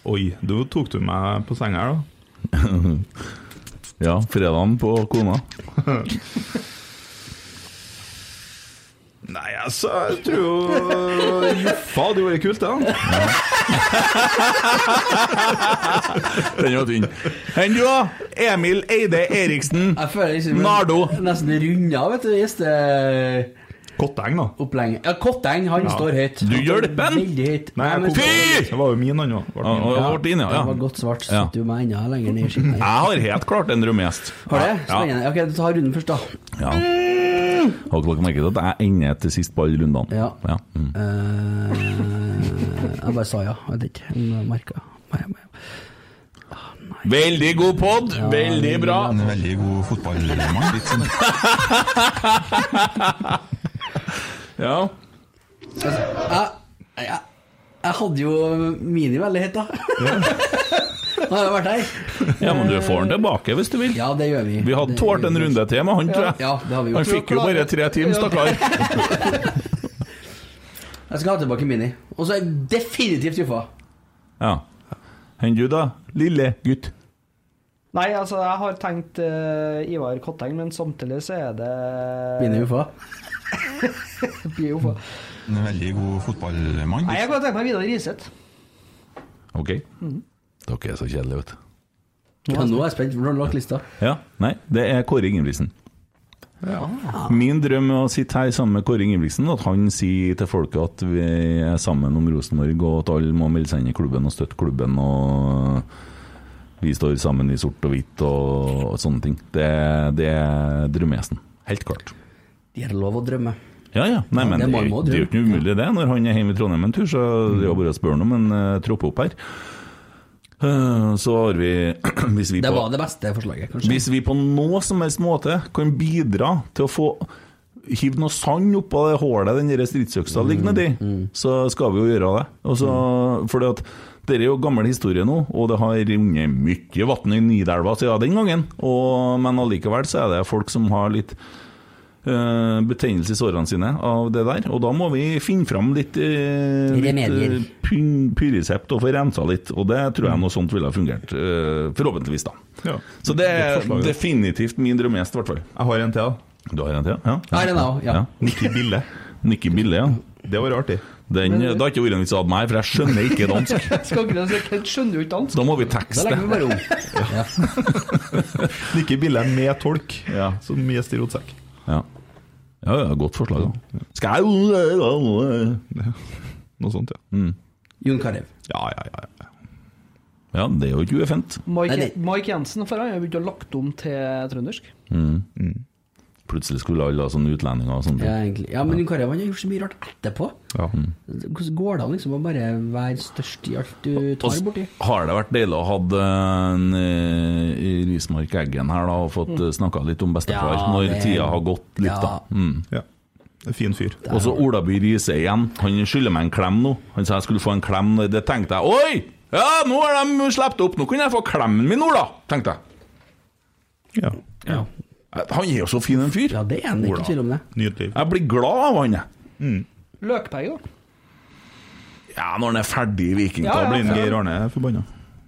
[SPEAKER 7] Oi, du tok du meg på senga her, da.
[SPEAKER 4] Ja, fredagen på kona.
[SPEAKER 7] Nei, altså, jeg tror jo Joffa hadde jo vært kult, det. da.
[SPEAKER 4] Den var tynn. Enn du, da? Emil Eide Eriksen.
[SPEAKER 5] Jeg føler liksom
[SPEAKER 4] Nardo.
[SPEAKER 5] Nesten runda, vet du, gjesteopplegget.
[SPEAKER 7] Kotteng, da.
[SPEAKER 5] Ja, Kotteng, han står høyt.
[SPEAKER 4] Du hjelper han!
[SPEAKER 5] Veldig høyt.
[SPEAKER 7] Nei, jeg
[SPEAKER 5] men-
[SPEAKER 7] kom,
[SPEAKER 4] Fy!
[SPEAKER 7] det var jo min, han òg.
[SPEAKER 4] Ja, og- og ble inn, ja.
[SPEAKER 5] Det var godt svart.
[SPEAKER 4] Ja.
[SPEAKER 5] Satt du meg enda lenger ned i skitten.
[SPEAKER 4] Jeg har helt klart en drømmegjest.
[SPEAKER 5] Har du det?
[SPEAKER 4] Ja.
[SPEAKER 5] Spennende. Ok, du tar runden først, da.
[SPEAKER 4] Ja. Har dere merket at jeg ender til sist på alle rundene?
[SPEAKER 5] Ja.
[SPEAKER 4] ja. Mm.
[SPEAKER 5] Eh, jeg bare sa ja. Jeg vet ikke. Jeg merka
[SPEAKER 4] Veldig god pod, veldig bra.
[SPEAKER 8] En veldig god fotballmann. Litt sånn
[SPEAKER 4] Ja.
[SPEAKER 5] jeg, jeg hadde jo mini veldig høyt, da. Nå har jeg vært her.
[SPEAKER 4] ja, men du får den tilbake hvis du vil.
[SPEAKER 5] Ja, det gjør vi.
[SPEAKER 4] Vi hadde
[SPEAKER 5] Det-
[SPEAKER 4] tålt en runde til med han, tror jeg.
[SPEAKER 5] Ja, det har vi gjort.
[SPEAKER 4] Han fikk jo bare tre timer, stakkar.
[SPEAKER 5] Jeg skal ha tilbake mini. Og så er jeg definitivt Joffa.
[SPEAKER 4] Ja. Enn du, da? Lille gutt.
[SPEAKER 6] Nei, altså, jeg har tenkt eh, Ivar Kotteng, men samtidig så er det
[SPEAKER 5] Mini Joffa.
[SPEAKER 6] Blir jo for-
[SPEAKER 8] En veldig god fotballmann.
[SPEAKER 6] Nei, jeg kan tenke meg Vidar Riseth.
[SPEAKER 5] Mhm.
[SPEAKER 4] Ok. Dere er så kjedelige, vet du.
[SPEAKER 5] Ja, nå er jeg spent. Hvordan har du lagt lista?
[SPEAKER 4] Ja, nei, det er Kåre Ingebrigtsen. Min drøm er å sitte her sammen med Kåre Ingebrigtsen, at han sier til folket at vi er sammen om Rosenborg, og at alle må melde seg inn i klubben og støtte klubben, og vi står sammen i sort og hvitt og, og sånne ting. Det, det er drømmehesten. Helt klart.
[SPEAKER 5] Det er lov å drømme.
[SPEAKER 4] Ja, ja. Nei,
[SPEAKER 5] Ja,
[SPEAKER 4] men det,
[SPEAKER 5] det er
[SPEAKER 4] er jo-
[SPEAKER 5] Malmö,
[SPEAKER 4] det er jo ikke noe umulig, det. Når han er hjemme i Trondheim en tur, så det er jo bare å spørre ham om han eh, tropper opp her. Eh, Så har vi, hvis vi
[SPEAKER 5] Det
[SPEAKER 4] på-
[SPEAKER 5] var det beste forslaget, kanskje.
[SPEAKER 4] hvis vi på noe som helst måte kan bidra til å få Hiv noe sand oppå det hullet den der stridsøksa
[SPEAKER 5] Mm,
[SPEAKER 4] ligger nedi, så skal vi jo gjøre det. Og så, fordi at det er jo gammel historie nå, og det har runnet mye vann i Nidelva siden den gangen. Og, men allikevel så er det folk som har litt eh, betennelse i sårene sine av det der. Og da må vi finne fram litt, eh,
[SPEAKER 5] Remedier. Mm.
[SPEAKER 4] litt uh, pyresept og få rensa litt. Og det tror jeg noe sånt ville ha fungert. eh, forhåpentligvis, da. Så det er
[SPEAKER 7] Godt forslag, ja.
[SPEAKER 4] Eh, definitivt min drømmegjest, i hvert fall. Jeg har en til, da. Du har en til, ja?
[SPEAKER 7] Jeg har en til, ja.
[SPEAKER 4] Nikki Bille. Nikki Bille, ja. Det var artig. Den, eh, det har ikke vært en vits å ha meg, for jeg skjønner ikke dansk.
[SPEAKER 6] Skal ikke det, så jeg skjønner jo ikke dansk.
[SPEAKER 4] Da må vi tekste.
[SPEAKER 7] Ikke billig med tolk, som gjest i rotsekk.
[SPEAKER 4] Ja. ja, ja, godt forslag, da. Skal jeg
[SPEAKER 7] Noe sånt, ja.
[SPEAKER 5] Jon Carew.
[SPEAKER 4] Ja, ja, ja. ja. Ja, det er jo ikke ueffent.
[SPEAKER 6] Mike, Mike Jensen for han har begynt å lagt om til trøndersk.
[SPEAKER 4] Mm. Plutselig skulle alle ha sånne utlendinger og sånne
[SPEAKER 5] Ja, egentlig. ja, men Jon Carew han har gjort så mye rart etterpå.
[SPEAKER 4] Ja.
[SPEAKER 5] Hvordan går det an liksom å bare være størst i alt du tar
[SPEAKER 4] Og
[SPEAKER 5] borti?
[SPEAKER 4] s- har det vært deilig å ha hatt, eh, en, eh, Rismark Eggen her da, og fått
[SPEAKER 5] Mm.
[SPEAKER 4] mm. snakka litt om bestefar
[SPEAKER 5] Ja,
[SPEAKER 4] når
[SPEAKER 5] det-
[SPEAKER 4] tida har gått litt,
[SPEAKER 5] Ja.
[SPEAKER 4] da. Mm.
[SPEAKER 7] Fin fyr.
[SPEAKER 4] Og så Olaby Riise igjen. Han skylder meg en klem nå. Han sa jeg skulle få en klem. og Det tenkte jeg Oi! Ja, nå har de sluppet opp! Nå kunne jeg få klemmen min, Ola! tenkte jeg. Ja. Han er jo så fin en fyr. Ja, det
[SPEAKER 5] er han, det er ikke tvil om det.
[SPEAKER 4] Nydelig. Jeg blir glad av han, jeg.
[SPEAKER 6] Løkberg, da.
[SPEAKER 4] Ja, når han er ferdig i Viking,
[SPEAKER 6] Ja,
[SPEAKER 4] da
[SPEAKER 6] ja,
[SPEAKER 4] blir han
[SPEAKER 6] ja.
[SPEAKER 4] Geir Arne forbanna.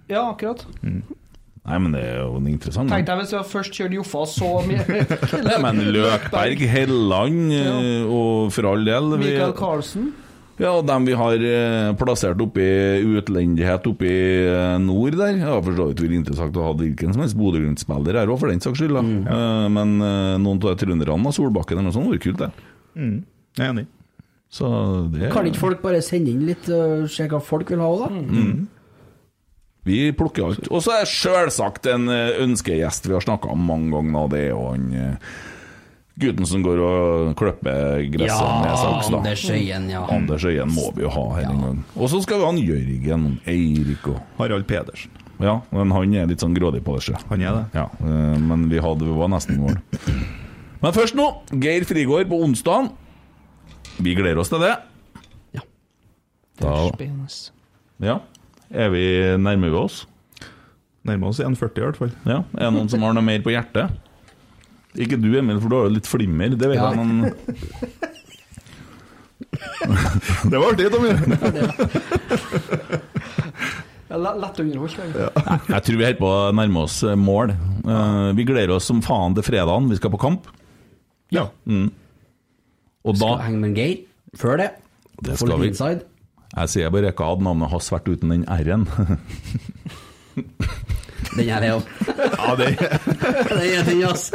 [SPEAKER 6] Ja, akkurat.
[SPEAKER 4] Nei, men det er jo en interessant.
[SPEAKER 6] Tenkte jeg hvis jeg først kjørte Joffa så mye
[SPEAKER 4] Nei, men Løkberg, Helland eh, og for all del vi,
[SPEAKER 6] Michael Carlsen.
[SPEAKER 4] Ja, dem vi har eh, plassert oppe i utlendighet oppe i eh, nord der. Ja, for så vidt ville interessant å ha hvilken som helst Bodø-Glimt-spiller her òg, for den saks skyld. da.
[SPEAKER 5] Mm.
[SPEAKER 4] Eh, Men eh, noen av trønderne, Solbakken eller noe sånt, hadde vært kult, det.
[SPEAKER 7] Mm. Jeg er enig.
[SPEAKER 4] Så det
[SPEAKER 5] Kan ikke folk bare sende inn litt og se hva folk vil ha òg, da?
[SPEAKER 4] Mm. Vi plukker alt. Og så er selvsagt en eh, ønskegjest vi har snakka om mange ganger, og det er jo han eh, gutten som går og klipper gresset
[SPEAKER 5] Ja,
[SPEAKER 4] med saks, da.
[SPEAKER 5] Anders Øyen, ja.
[SPEAKER 4] sånn, altså. Anders Øyen må vi jo ha her en gang. Og så skal vi ha han Jørgen, han Eirik og Harald Pedersen. Ja, men han er litt sånn grådig på det, sjø. Han er det. Ja, eh, men vi hadde vi var nesten i mål. Men først nå, Geir Frigård på onsdag. Vi gleder oss til det. Ja. Da ja. Er vi nærmer vi oss? Nærmer oss 1,40 i hvert fall. Ja. Er det noen som har noe mer på hjertet? Ikke du, Emil, for du har jo litt flimmer. Det vet
[SPEAKER 7] Ja.
[SPEAKER 4] jeg, men Det var artig, Tommy.
[SPEAKER 6] Ja, le- Lett underholdt.
[SPEAKER 4] Jeg
[SPEAKER 6] egentlig.
[SPEAKER 4] tror vi holder på å nærme oss eh, mål. Eh, vi gleder oss som faen til fredagen. Vi skal på kamp. Ja. Mm. Og da Skal
[SPEAKER 5] henge med Geir før det.
[SPEAKER 4] Det
[SPEAKER 5] Få litt
[SPEAKER 4] skal vi.
[SPEAKER 5] inside.
[SPEAKER 4] Jeg sier bare ikke at navnet hans vært uten den R-en.
[SPEAKER 5] Den er det jo.
[SPEAKER 4] ja, det
[SPEAKER 5] Den er tynn, ass.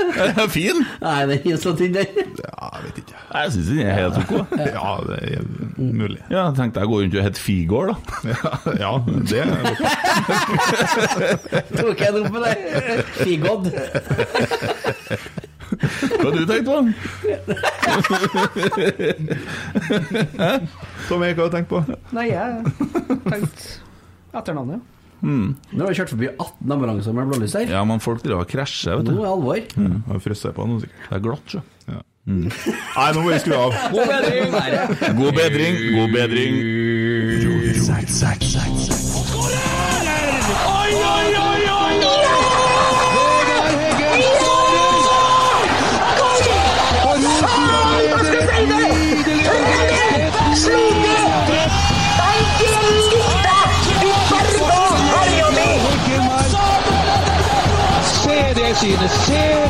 [SPEAKER 4] Fin?
[SPEAKER 5] Nei, den er så tynn, den.
[SPEAKER 4] Jeg syns den er helt ok. Ja, det er mulig. Ja, jeg tenkte jeg går rundt og heter Figård, da. ja, det er
[SPEAKER 5] Tok jeg den opp med deg? Figod.
[SPEAKER 4] Hva har du tenkt på?
[SPEAKER 7] Tommy, hva har du tenkt på?
[SPEAKER 6] Nei, jeg tenkte etternavnet. ja.
[SPEAKER 5] Nå har vi kjørt forbi 18 ambulanser med blålys her.
[SPEAKER 4] Ja, men folk driver og krasjer, vet du.
[SPEAKER 5] Nå er det alvor.
[SPEAKER 4] Mm. Har frosset på nå, sikkert. Det er glatt, sjø. Mm.
[SPEAKER 7] Nei, nå må vi skru av.
[SPEAKER 5] God bedring!
[SPEAKER 4] God bedring, god bedring.
[SPEAKER 3] Oi, oi, oi, oi, Vegard Heggen skårer! Og Rosenborg leder et nydelig øyeblikk. Vegard Heggen! Se det synet, se